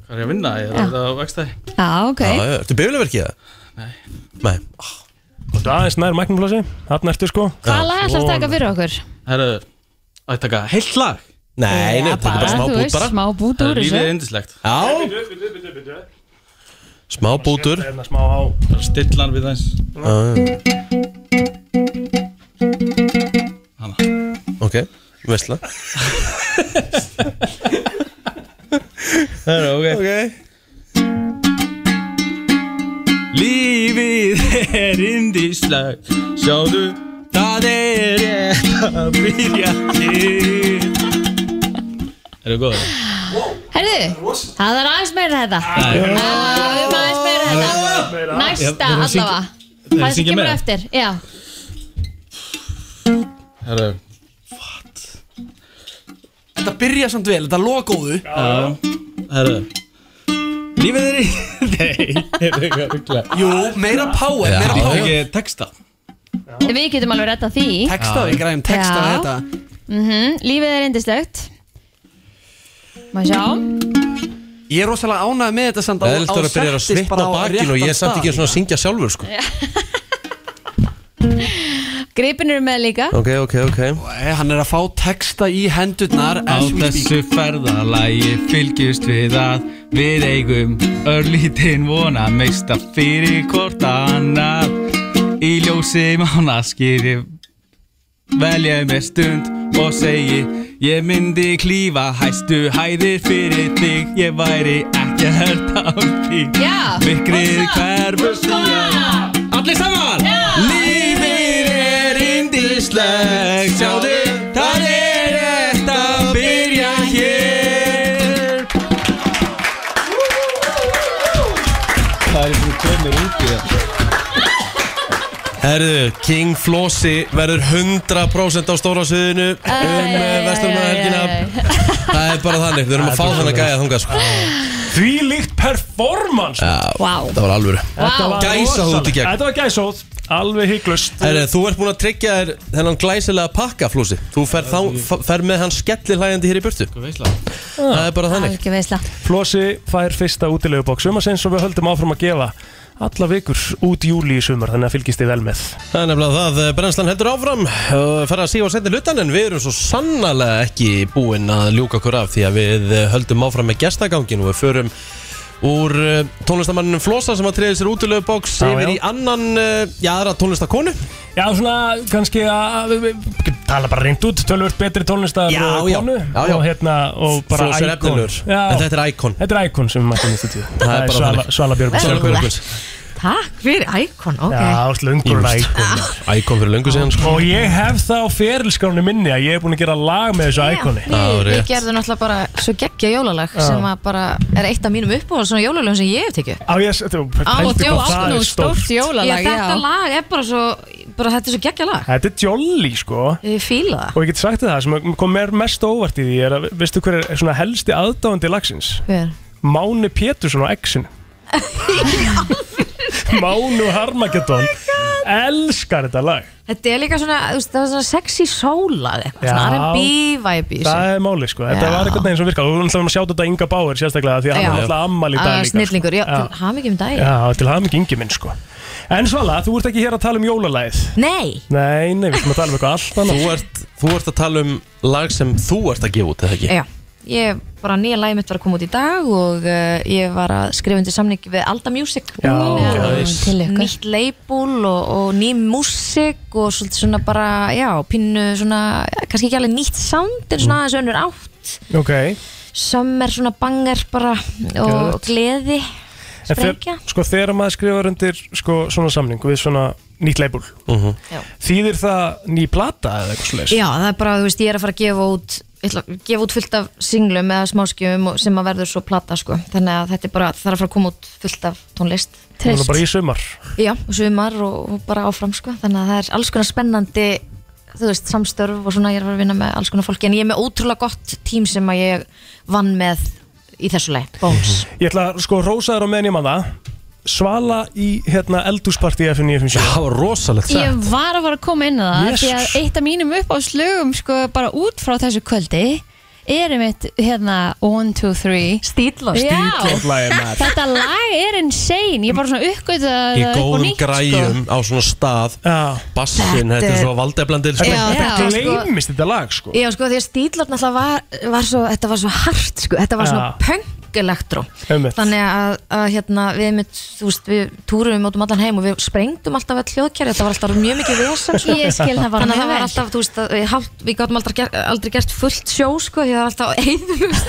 Hvað er ég að vinna? Ég Já. er að vextaði Já, ok Já, já, Ertu beigulverkið það? Nei. Nei Kottu aðeins nær mæknum flossi Þarna ertu sko Hvaða lag ætlar að taka fyrir okkur? Herru, á ég taka heilt lag? Nei, nei, Já, taka bara bara, smá þú bút veist, bara. smá bút úr Herru, Lífið þessu. er indislegt Já Smá bútur Hérna smá á Stillan við þess Ok, veistla Herru, ok Lífið er indislegt Sjáðu, það er rétt að byrja til Eru góður? Herðu, það er aðeins meira þetta Það er aðeins meira Já, þetta Næsta við erum að syngja- allavega við erum að Það sem syngja kemur með. eftir Já, Herru, Þetta byrja samt vel, þetta loka góðu já Herru Lífið er í Nei, er það eitthvað ruggla Jú, meira power, meira Ég power ekki texta við getum alveg rettað því Texta, við græðum Já. texta þetta Mhm, Lífið er indislegt Má sjá Ég er rosalega ánægð með þetta samt á- Það er eftir á að byrja að settist svitna bara á bakinn og ég er réttan samt ekki stað. svona að syngja sjálfur sko Gripin eru með líka Ok, ok, ok Nei, Hann er að fá texta í hendurnar Á þessu ferðalagi fylgjumst við að við eigum örlítinn vona meista fyrir hvort annað í ljósi mánaskýri velja mér stund og segi ég myndi klífa hæstu hæðir fyrir þig ég væri ekki að hörta á því Já, mikrið hverfu síðan Allir saman! Lífið er indislegt Sjáðu, það er rétt að byrja hér Það er fyrir komir út í það Herðu, King Flossi verður 100% á stóra sviðinu um uh, vesturmannahelgina Það er bara þannig, við erum að fá þannig að gæja þangað sko. Því líkt Ah. performance Já, wow. þetta var alvöru Þetta var Gæsahúð út í rosalegt. gegn. Þetta var gæsahúð, alveg hygglust Herri, þú ert búinn að tryggja þér þennan glæsilega pakka, Flósi. Þú fer, þá, fer með hann skellihlægjandi hér í burtu. Sko, Það er bara þannig. Algjör veisla Flossi fær fyrsta útilegubokk sumarsins og við höldum áfram að gefa alla vikur út júli í sumar þannig að fylgist þið vel með Það er nefnilega það, eh, brennslan heldur áfram og fer að sífa og setja hlutan en við erum svo sannlega ekki búin að ljúka okkur af því að við eh, höldum áfram með gestagangin og við förum úr eh, tónlistamanninum Flosa sem að treyði sér útilegu bóks Já, yfir já. í annan, eh, já, aðra tónlistakonu Já, svona kannski að við, við, við tala bara reynd út, tölvöld betri tónlistar Já, og já, konu já, já. og hérna og bara Flosi er íkon. efnilegur, Já. en þetta er íkon Þetta er íkon sem við mættum í stúdíu Það bara er Svala, þannig. Svala Björgvins Svala Björgvins. Takk fyrir Icon, ok Já, Jú, slöngur íkon Íkon fyrir löngu síðan sko. Og ég hef það á ferilskránu minni að ég hef búin að gera lag með þessu íkoni Við, við gerðum náttúrulega bara svo geggja jólalag Já. sem að bara er eitt af mínum uppáhalds svona jólalögum sem ég hef tekið Á, ég, þetta var Á, pældu djó, hvað það áttu er nú stórt jólalag já. Þetta lag er bara svo, bara þetta er svo geggja lag Þetta er jolly, sko Ég fíla það Og ég get sagt þér það sem kom mér mest á óvart í því er að, veistu hver er svona helsti aðdáandi lagsins? Hver? Máni Pétursson á Exinu. Mánu Oh Harmageddon elskar þetta lag. Þetta er líka svona, þú veist, það er svona sexy sólag eitthvað, svona Já. R&B vibe í Það er máli sko, þetta Já. var einhvern veginn sem virkar og við ætlum að sjá þetta Inga Bauer sérstaklega því að hann Já. er alltaf ammal í dag Að líka sko. snillingur, já, Já. til hamingjum dag Já, til hafði mikið yngi minn sko En Svala, þú ert ekki hér að tala um jólalæð Nei Nei, nei, við ætlum að tala um eitthvað allt annað Þú ert, þú ert að tala um lag sem þú ert að gefa út, eða ekki? Já, ég bara nýja lagi mitt var að koma út í dag og uh, ég var að skrifa undir samning við Alda Music Já, Þannig að nice. nýtt label og, og ný músik og svolítið svona bara, já, pínu svona, ja, kannski ekki alveg nýtt sound en Mm. svona aðeins önnur átt Ok, summer svona banger bara og Geðvegt. gleði En þeir- sprengja Sko þegar maður skrifar undir sko, svona samning við svona nýtt label Já. Þýðir það ný plata eða eitthvað slags? Já, það er bara, þú veist, ég er að fara að gefa út ég ætla að gefa út fullt af singlum eða smáskjum og- sem að verður svo plata sko. þannig að þetta er bara, það er að fara að koma út fullt af tónlist Það er bara í sumar Já, og sumar og, og bara áfram sko. þannig að það er alls konar spennandi þú veist, samstörf og svona ég er að vera að vinna með alls konar fólki en ég er með ótrúlega gott tím sem að ég vann með í þessu leið, Bones Ég ætla að sko rósa þér á meðan ég mann það Svala í hérna eldúsparti FN957 Það var rosalegt Ég var að fara að koma inn á það Jesus. því að eitt af mínum uppáðslögum sko bara út frá þessu kvöldi er einmitt hérna 1, 2, 3 Stílloft Stílloftlægir maður Þetta lag er insane Ég bara svona uppgöta það Í upp á góðum sko? nýtt sko. græjum á svona stað Bassin, þetta er Þetta- svo sko. valdeflandi Þetta- Já, þetta já. gleymist þetta lag sko Já, sko, því að stíllarn alltaf var, var svo, þetta var svo hart, sko, þetta var svona Já. punk elektró. Einmitt. Þannig að, að hérna, við mitt, þú veist, við túrum út um allan heim og við sprengdum alltaf all hljóðkerri, þetta var alltaf mjög mikið vesen, sko. Ég skil það bara Þannig mjög að það var vel. alltaf, þú veist, að, við, hálf, við gátum aldrei, ger, aldrei gert fullt sjó, sko, því það var alltaf eðlust,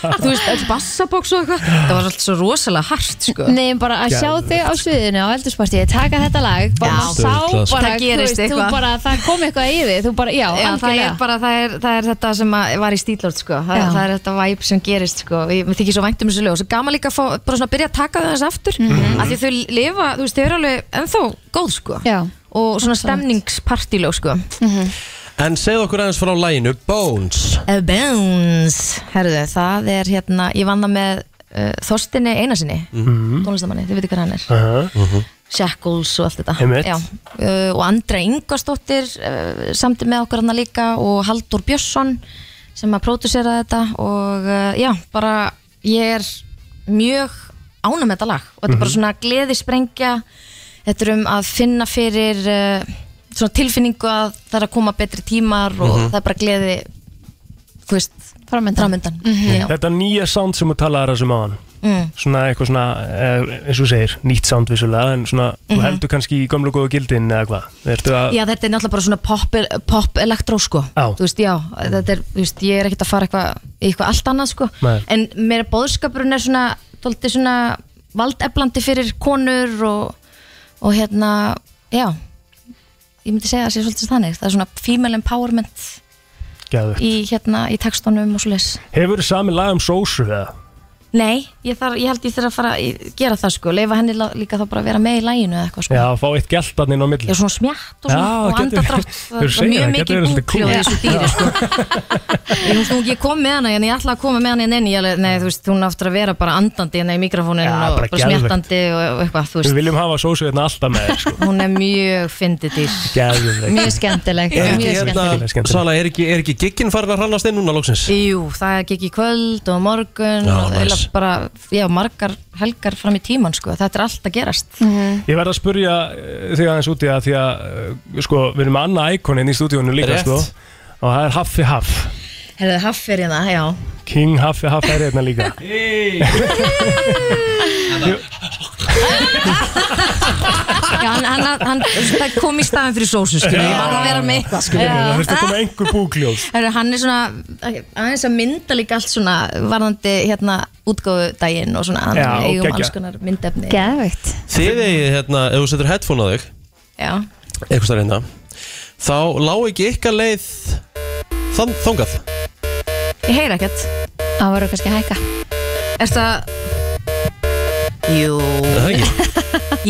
þú veist, all bassabóks og eitthvað, það var alltaf svo rosalega hart, sko. Nei, bara að sjá þig á sviðinu á eldurspartíði, taka þetta lag bara Já. sá Sturlað, sko. bara, Það þú veist, gerist þú eitthvað. bara, það kom eitthvað í þig þú bara, já, Já, það er bara, það er, það er þetta sem að var í stílort sko, það, Já. það er þetta væp sem gerist sko, og ég mér þykir svo vænt um þessu lög og svo gaman líka að fá, bara svona að byrja að taka það þess aftur Mhm. af því að þau lifa, þú veist, þau eru alveg ennþá góð sko, Já. og svona stemningspartílög sko Mhm. En segð okkur aðeins frá læginu Bones A Eh, Bones, herðu, það er hérna, ég vann það með uh, Þorstinni Einarsinni, Mhm. tónlistamanni þau veitir hvað hann er, -huh. Shackles og allt þetta Einmitt. Já, uh, og Andra Ingvarsdóttir uh, samt með okkur hann líka og Haldur Björnsson sem að pródusera þetta og uh, já, bara ég er mjög ánum með þetta lag og þetta er bara Mhm. svona gleði sprengja þetta er um að finna fyrir uh, svona tilfinningu að það er að koma betri tímar og Mhm. það er bara gleði þú veist, framöndan, framöndan. Já. Mhm. Þetta nýja sound sem þú talaðar þessum á hann Mm. Svona eitthvað svona, eh, eins og þú segir, nýtt sound vissulega En svona, þú Mhm. heldur kannski í gömlu góðu gildin eða hvað Ertu að, Já, þetta er náttúrulega bara svona pop, pop elektró sko Já. Þú veist, já, þetta er, þú veist, ég er ekkert að fara eitthvað í eitthvað allt annað sko Nei. En mér er bóðskapurinn er svona, tólti svona valdeflandi fyrir konur og, og hérna, já Ég myndi segja að það sé svolítið þannig Það er svona female empowerment Geðveikt. í hérna, í textunum og svo leis hefur þið sami lag um sósu eða? Nei, ég, þar, ég held ég þurfa að fara að gera það sko, leifa henni lá- líka þá bara að vera með í læginu eða eitthvað sko. Já, fá eitt gælt inn á milli Já, svona smjatt og, svona, og andadrátt það var mjög mikið búkljóð í þessu dýri sko. ég, þú veist, nú, ég kom með hana en ég ætla að koma með hana en enn ég, alveg, nei, þú veist, hún áttur að vera bara andandi hérna í mikrofóninu Já, og bara bara, geðveikt. smjattandi og, og eitthvað, þú Við veist viljum hafa sósu hérna alltaf með þér, sko. hún er mjög fyndið dýr Geðveik. mjög skemmtileg Er ekki, mjög skemmtileg hérna, Sala, er ekki, er ekki gigginn farin að hrannast inn núna loksins? Jú, það gekk í kvöld og morgun Já, og nice. nice. bara, já, margar helgar fram í tíman sko, þetta er allt að gerast Ég verð að spurja eh, þig aðeins út í það því að eh, sko, við erum með annað íkonin í stúdíónu líka Rétt. sko, og það er Haffi Haff Herðu, haffir hérna, já King Haffi Haff er hérna líka Já, hann, hann, hann það kom í staðin fyrir sósu, skilur, ég var að vera með eitthvað, skilur Það þurfti að koma einhver búkljóð Herru, hann er svona aðeins að mynda líka allt svona varðandi hérna útgóðu daginn og svona hann Já, og eigum geggja. alls konar myndefni Geðveikt Þið eigið, hérna, ef þú setur headphone á þig Já, eitthvað starf hérna þá lá ekki ykkar leið þann, þangað ég heyra ekkert Það voru kannski að hækka Ertu að, Jú Það er ekki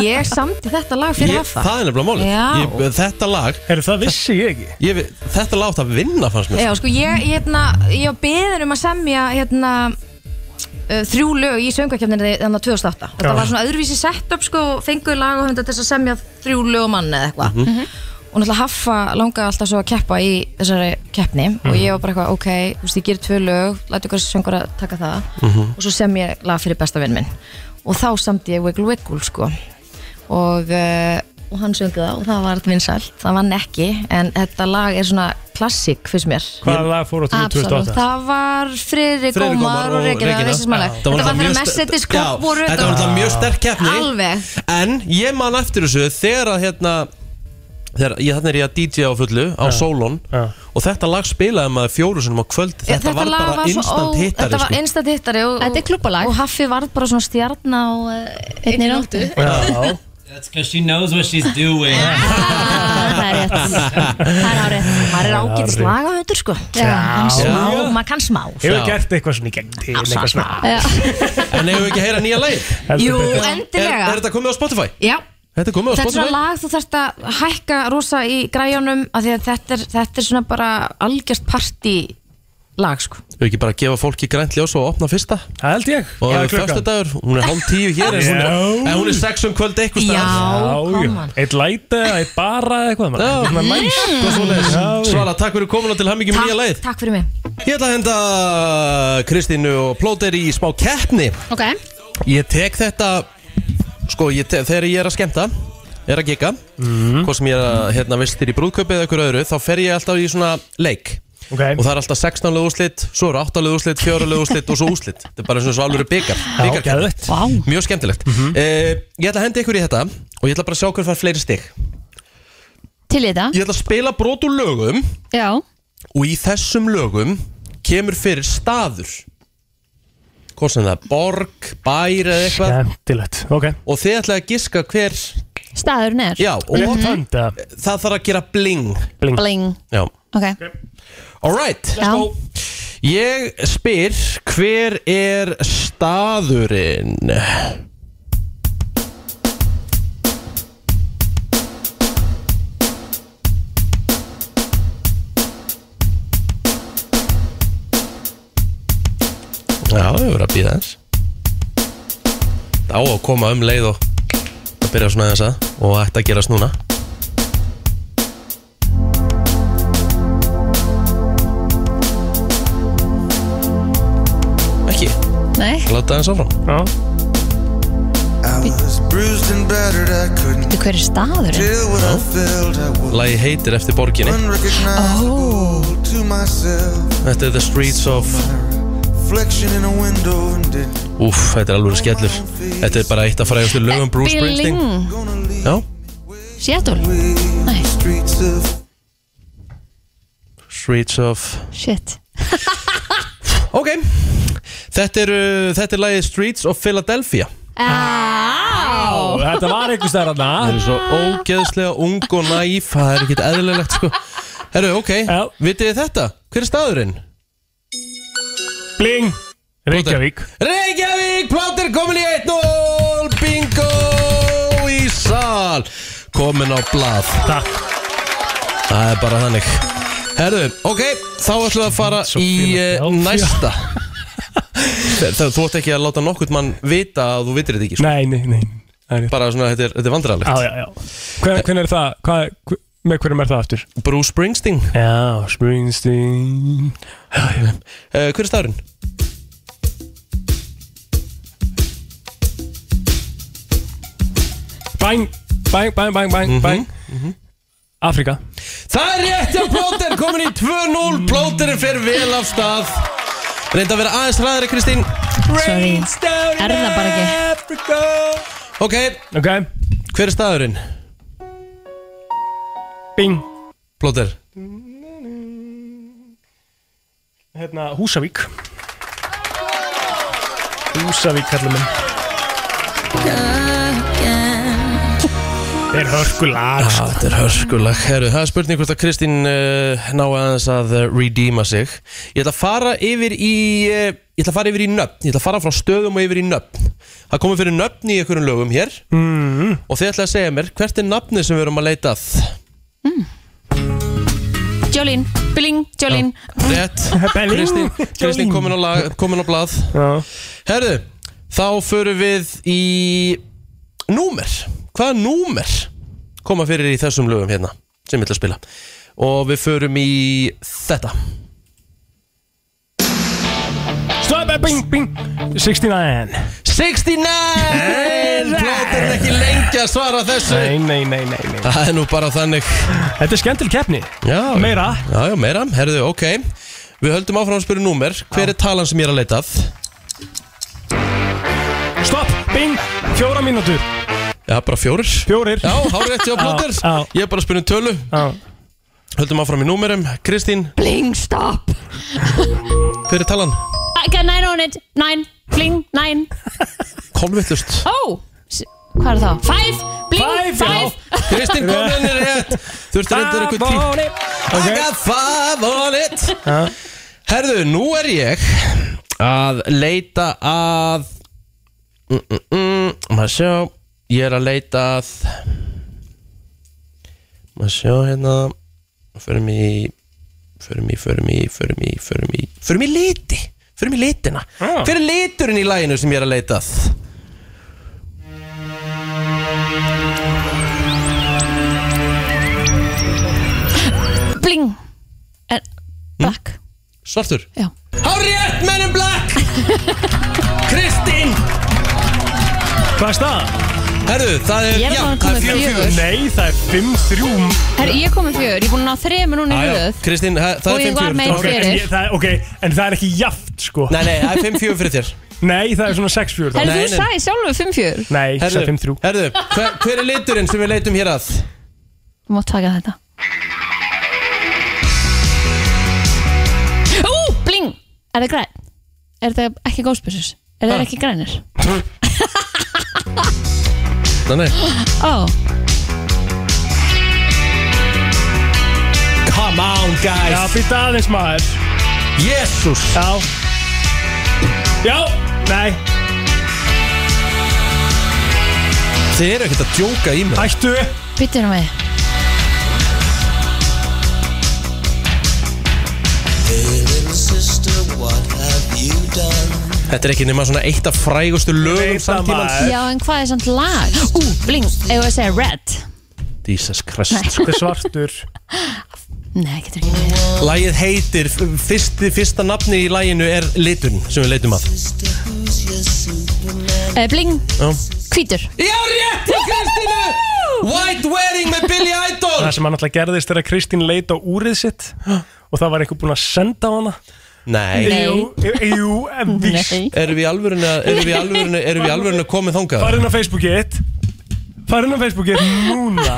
ég samti þetta lag fyrir Ég- hafa Það er nefnilega málið Já. ég, Þetta lag Heru, Það vissi ég ekki Þetta lag átt að vinna fannst mér Já, sko, ég, hérna, ég var beðin um að semja, hérna, uh, þrjú lög í söngvakefninni þannig 2008. Þetta Já. var svona öðruvísi setup, sko, og fenguði lag og til þess að semja þrjú lög á mann eða eitthvað. Mhm. Og náttúrulega Haffa langaði alltaf svo að keppa í þessari keppni og ég var bara eitthvað, ok, þú veist, ég gerir tvö lög, lætu ykkur söngur að taka það Mhm. og svo sem ég lag fyrir besta vinn minn. Og þá samti ég Wiggle Wiggle, sko. Og, uh, og hann söngu það og það var vinsælt, það vann ekki, en þetta lag er svona klassik, finnst mér. Hvaða lag fór á til Absolutt, 2008? það var Friðrik Friðrik Ómar Ómar og og Regina, Regína. Vissismaleg Já. Þetta var þannig að Mercedes Club voru Þetta var alltaf mjög sterk keppni Alveg En ég man eftir þessu þegar að hérna Þegar ég þannig er ég að DJ á fullu á ja. Solon og þetta lag spilaði maður fjóru sinum á kvöld þetta, var lag bara svo ó- instant hittari Þetta var sko. instant hittari og, Þetta er klubbalag Og Haffi varð bara svona stjarna á eh, Einni nóttu Já. That's because she knows what she's doing Ah, Það er rétt Það er árið Maður er ágætt slagahöndur sko Já. Hann Já. smá, maður kann smá Hefur gert eitthvað svona í gegn til eitthvað svona Já. En hefur við ekki að heyra nýja lagið? Heldur Jú, betur. endilega. Er, er þetta komið á Spotify? Já Þetta er komið á Þetta er Spotify? svona lag þú þarft að hækka rosa í græjunum af því að þetta er, þetta er svona bara algjört party lag sko Hefur ekki bara að gefa fólki grænt ljós og opna fyrsta? Það held ég Hvað Og það er er klukkan? föstudagur, hún er hálf tíu hér en hún er, Já. en hún er sex um kvöld eitthvað Já, já. Eitt læta, eitt bara eða eitthvað maður. Svona næs, eitthvað svoleiðis. Svala, takk fyrir komin og til hammingjum í nýja leið Mm. Takk fyrir mig Ég ætla að henda Kristínu og Plóter í smá keppni Ok Ég tek þetta Sko, ég te þegar ég er að skemmta Er að gigga Hvort sem ég er að hérna, vistir í brúðköpi eða ykkur öðru Þá fer ég alltaf í svona leik okay. Og það er alltaf 16 lög úrslit Svo eru 8 lög úrslit, 4 lög úrslit og svo úrslit Þetta er bara eins og alveg byggar, byggar Mjög skemmtilegt Eh, Ég ætla að henda ykkur í þetta Og ég ætla bara að sjá hver fær fleiri stig Til í þetta Ég ætla að spila brot úr lögum Já, Og í þessum lögum kemur fyrir staður Hvort sem það er borg, bær eða eitthvað Skemmtilegt, ok Og þið ætlaði að giska hver staðurinn er Já, og Mhm. það þarf að gera bling Bling, Bling. Já, Ok, alright Já. go. Ég spyr hver er staðurinn Já, við verðum að býða eins Það á að koma um leið og að byrja svona þess að og ætti að gerast núna Ekki nei Láta það eins áfram Já Veitu hver er staðurinn? Lagi heitir eftir borginni Ó, Þetta er The Streets of Úf, þetta er alveg skellur Þetta er bara eitt af frægastu lögum Bruce Springsteen Já, Seattle Nei, Streets of shit Ok Þetta er, uh, þetta er lagið Streets of Philadelphia Á, Þetta var einhvers þar aðna Það er svo ógeðslega ung og næf Það er ekkert eðlilegt sko Herru, ok, vitið þið þetta? Hver er staðurinn? Bling Reykjavík Reykjavík, Plóter komin í 1-0 Bingo í sal Komin á blað Takk Það er bara þannig Herðu, ok, þá ætlum við að fara í eh, næsta Þa- það- Þú ætti ekki að láta nokkurt mann vita að þú vitir þetta ekki sko. Nei, nei, nei Bara svona, þetta er, þetta er vandrarlegt Já, já, já Hver, hver er það? Hvað, hver, með hverjum er það aftur? Eh. Bruce Springsteen Já, Springsteen uh, Hver er staðurinn? Bang, bang, bang, bang, bang, Mhm. bang Afrika Það er rétt hjá Plóter, komin í 2-0 Plóter fer vel af stað Reynda að vera aðeins ræðari, Kristín Sorry, er það bara ekki Ok Ok Hver er staðurinn? Bing Plóter Hérna, Húsavík Húsavík, kallum minn Þetta er hörkulag sko. Já, þetta er hörkulag Heru, Það er spurning hvort að Kristín uh, ná aðeins að uh, redeema sig Ég ætla að fara yfir í uh, Ég ætla að fara yfir í nöfn Ég ætla að fara frá stöðum og yfir í nöfn Það komið fyrir nöfn í einhverjum lögum hér mm. Og þið ætla að segja mér hvert er nafnið sem við erum að leita að Jolín, bling, Jolín Rétt Kristín, Kristín komin á, lag, komin á blað Herðu, þá förum við í Númer Hvaða númer koma fyrir í þessum lögum hérna sem ég ætla að spila Og við förum í þetta Stop, bing, bing 69 69 Eh. Plóter er ekki lengi að svara þessu Nei, nei, nei, nei, nei. Það er nú bara þannig Þetta er skemmtileg keppni Já, Meira. Já, já, meira, herðu, ok Við höldum áfram að spyrja númer Hver er talan sem ég er að leita að? Stopp, bing, fjóra mínútur Já, bara fjórir Fjórir Já, hárið eftir á plóter Ég er bara að spyrja um tölu já. Höldum áfram í númerum Kristín Bling, stopp Hver er talan? I got nine on it, nine, bling, nine Kolvillust Ó, s- hvað er það? Five, bling, five, Kristín kom henni rétt Þurfti reyndar eitthvað Five on tí I got five on it Herðu, nú er ég að leita að mm, mm, mm, Maður sjá Ég er að leita að Maður sjá hérna Förum í Förum í, förum í, förum í, förum í Förum í liti Förum í litina Já. Hver er liturinn í læginu sem ég er að leita að? bling Er- Black Hm? Svartur Já Hárið, Men in Black Kristín Hvað er staða? Herru, það er, Ég er já, bara það komin er með fjögur fjögur. Nei, það er fimm, þrjú Herri, ég kom með fjör, ég er búin að ná þremur núna í Já, já, röð Kristín, það það Og er ég 5-4 var með Ok, fyrir. en ég, það, er- Ok, en það er ekki jaft, sko Nei, nei, það er 5-4 fyrir þér Nei, það er svona 6-4 Herri, þú sagði sjálfur fimm fjör Nei, ég sagði 5-3 Herru, hver, hver er liturinn sem við leitum hér að? Þú mátt taka þetta Ú, bling Er það græn? Er það ekki góðspursus? Er það Ha. ekki grænir? Nei, nei Ó, Come on, guys Já, býta aðeins maður Jesus Já Já, nei, Þið eru ekkert að djóka í mig hættu býttu nú með Þetta er ekki nema svona eitt af frægustu lögum samtímans Já, en hvað er samt lag? Ú, bling, ef að segja red Jesus Christ Þetta er Sko, svartur Nei, getur ekki verið. Lægið heitir, fyrsti, fyrsta nafni í læginu er liturinn sem við leitum að Eh, Bling, Já. hvítur Já, rétt til Kristínu White Wedding með Billy Idol Það sem hann alltaf gerðist er að Kristín leit á úrið sitt Og það var einhver búinn að senda á hana Nei Jú, jú, en víst Nei Erum við í alvörinu Erum við í alvörinu Erum við í alvörinu komið þangað Farin á Facebookið Farin á Facebookið núna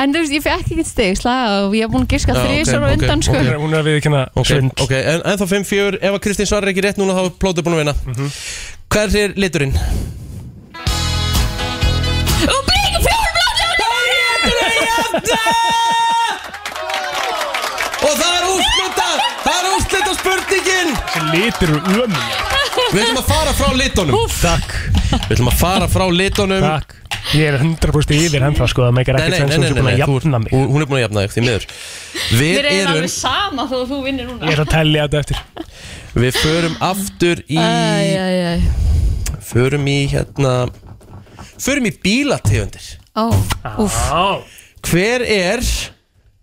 En þú veist, ég fekk ekki stig slag og ég hef búin að giska Já, þrið ok, okay, ok, undan sko ok. Hún er- Hún er að viðkynna Ok, svindl ok, en, en þá 5-4 Ef að Kristín svarar ekki rétt núna þá er plótið búin að vinna Mhm. Hver er liturinn? Ú, bling, fjórum Og það er úrslita Það er úrslita spurningin Lítur og ömum Við ætlum að fara frá litunum Takk Við ætlum að fara frá litunum Takk Ég er 100% yfir ennþá sko Það meikir Nei, ekkert nei, sens nei, hún nei, sé búin að nei, þú- jafna mig hún- Hún er búin að jafna þig, því miður Við Mér er erum, alveg sama þó að þú vinnir núna Ég er að tellja þetta eftir við förum aftur í Æ, æ, æ. Förum í hérna Förum í bílategundir Ó, úff. Hver er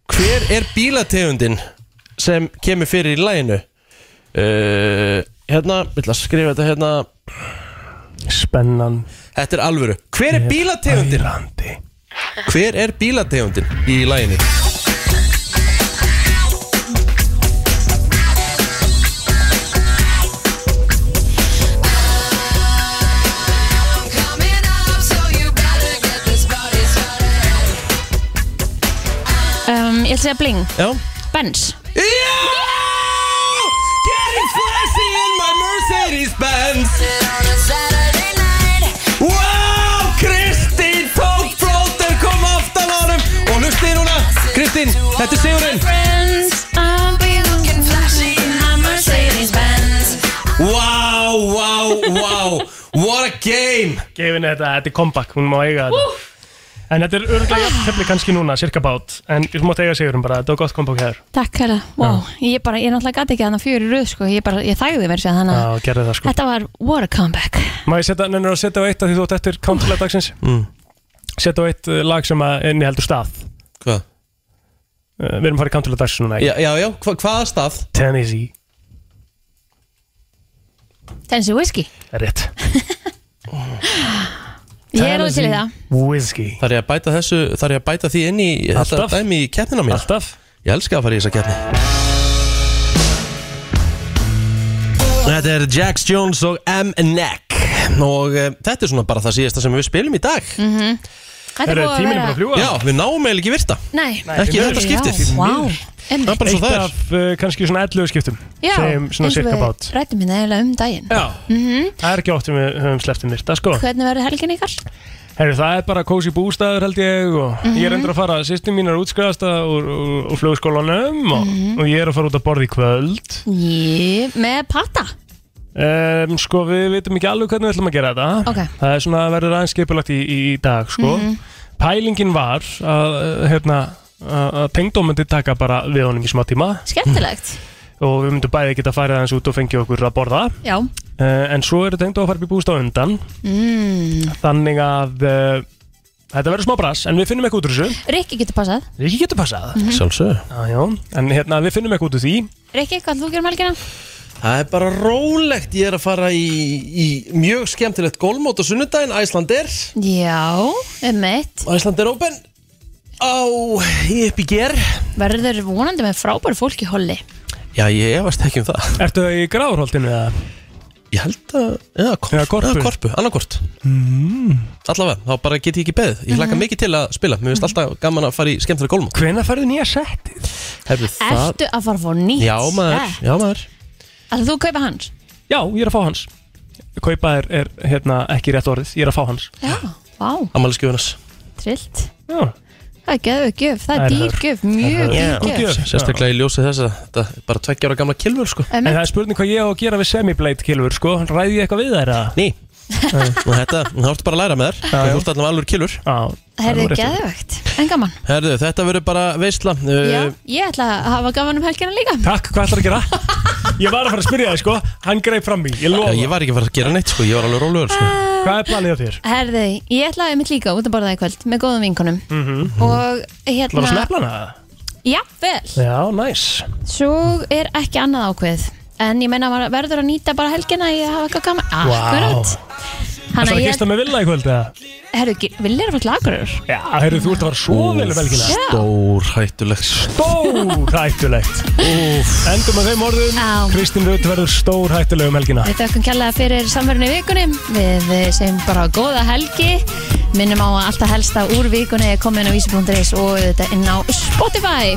Hver er bílategundin sem kemur fyrir í læginu? Uh, hérna, ég ætla að skrifa þetta hérna Spennan Þetta er alvöru Hver er bílategundin? Hver er bílategundin í læginu? Um, ég ætla að segja bling Já Benz Getting flashy in my Mercedes Benz Wow, Kristín tók bróður kom aftan á honum Og hlustið núna, Kristín, þetta er Sigurinn Wow, wow, wow What a game Gefin þetta, þetta er comeback, hún má eiga þetta En þetta er örgulega tefni kannski núna, cirka bát En þú mátt eiga sigurum bara, þetta var gott comeback hér Takk hæra, wow, ég bara, ég náttúrulega gæti ekki þannig fjögur í röð sko, ég bara, ég þægði mér sér þannig Já, að gerði það sko Þetta var what a comeback Má ég setja, nennir að setja á eitt að því þú átt eftir counterlega dagsins Mm. Setja á eitt uh, lag sem að inni heldur stað Hvað? Við erum að fara í counterlega dagsins núna Já, já, já hva, hvaða stað? Tennessee, Tennessee Whiskey rétt Ég er alveg til í það Whiskey Þar ég að bæta þessu, þar ég að bæta því inn í Þetta Alltaf. dæmi í keppnina mín Alltaf Ég elska að fara í þessa keppni Þetta er Jax Jones og M-Neck Og e, þetta er svona bara það síðasta sem við spilum í dag mm Þetta er búið að vera Já, við náum eiginlega ekki virta Nei, Ekki í þetta skiptið. Já, Vá, Það er bara svo það er Eitt af uh, kannski svona 11 skiptum Já, Sem svona eins og cirka bát við rættum hérna eiginlega um daginn Mhm. Já Það er ekki oft sem við höfum sleppt um þetta sko Hvernig verður helgin ykkar? Herri, það er bara kósi bústæður held ég og ég er Mhm. endur að fara, sýstin mín er útskriðast úr, úr, úr flugskólanum og, Mhm. og ég er að fara út að borða í kvöld Ég, með patta um, Sko, við veitum ekki alveg hvernig við ætlum að gera þetta Ok. Það er svona verður aðeins skipulagt í, í dag, sko Mhm. Pælingin var að, hérna, að að tengdóm myndi taka bara við honum í smá tíma Skemmtilegt og við myndum bæði geta farið aðeins út og fengið okkur að borða Já uh, En svo eru tengdóm að fara upp í bústæð undan mm. Þannig að uh, þetta verður smá brass, en við finnum eitthvað út úr þessu Rikki getur passað Rikki getur passað Mhm. Sjálfsög Jájá, en hérna við finnum eitthvað út úr því Rikki, hvað þú gerum helgina? Það er bara rólegt Ég er að fara í, í mjög skemmtilegt gólmót á sunnudaginn Æslander Já, um mitt Æslander Open Á, ég upp í ger Verður vonandi með frábær fólk í holli Já, ég efast ekki um það Ertu það í gráðurholtinu eða? Ég held að, já, korp, Já, korpu. Já, korpu, annarkort mm. Allavega, þá bara get ég ekki beðið Ég hlakka Mhm. mikið til að spila Mér finnst alltaf gaman að fara í skemmtilega gólmót Hvenær færðu nýja sett? Herðu, það Ertu að fara að fá nýtt? Já maður, já maður Alltaf þú kaupa hans? Já, ég er að fá hans Kaupa er, er hérna, ekki rétt orðið, ég er að fá hans Já, vá, Amalskjöfunas trillt Já Það er geðvöð gjöf, það Það er er dýr hörð. gjöf, mjög dýr gjöf Sérstaklega ég ljósi þess að þetta er bara tveggja ára gamla kilfur sko En það er spurning hvað ég á að gera við semiblade kilfur sko Ræði ég eitthvað við þær að? Ný Og þetta, þá ertu bara að læra með þær Þú ert allavega alveg kilfur Það er geðvögt, en gaman Herðu, þetta verður bara veisla Eh, Já, ég ætla að hafa gaman um helgina líka Takk, hvað ætlar að gera? Ég var að fara að spyrja þig sko, hann greip fram í, ég lofa Ég var ekki að fara að gera neitt sko, ég var alveg rólegur sko Hvað er planið á þér? Herði, ég ætla að mitt líka út að borða í kvöld með góðum vinkunum Mm Og Var að snefla hérna hana? Já, vel Já, næs Svo er ekki annað ákveð En ég meina maður verður að nýta bara helgina Ég hafa eitthvað gaman Akkurat Það Þannig er að að ég- gista með villa í kvöld eða? Herru, viljið er að fara til Akureyrar? Já, heyrðu, þú ert að fara svo vel um helgina Já. Stór hættulegt Stór hættulegt Endum að þeim orðum Kristín Rutt verður stór hættuleg um helgina Við þökkum kærlega fyrir samverðinu í vikunni Við eh, segjum bara góða helgi Minnum á að alltaf helsta úr vikunni er komin á vísi.is og þetta inn á Spotify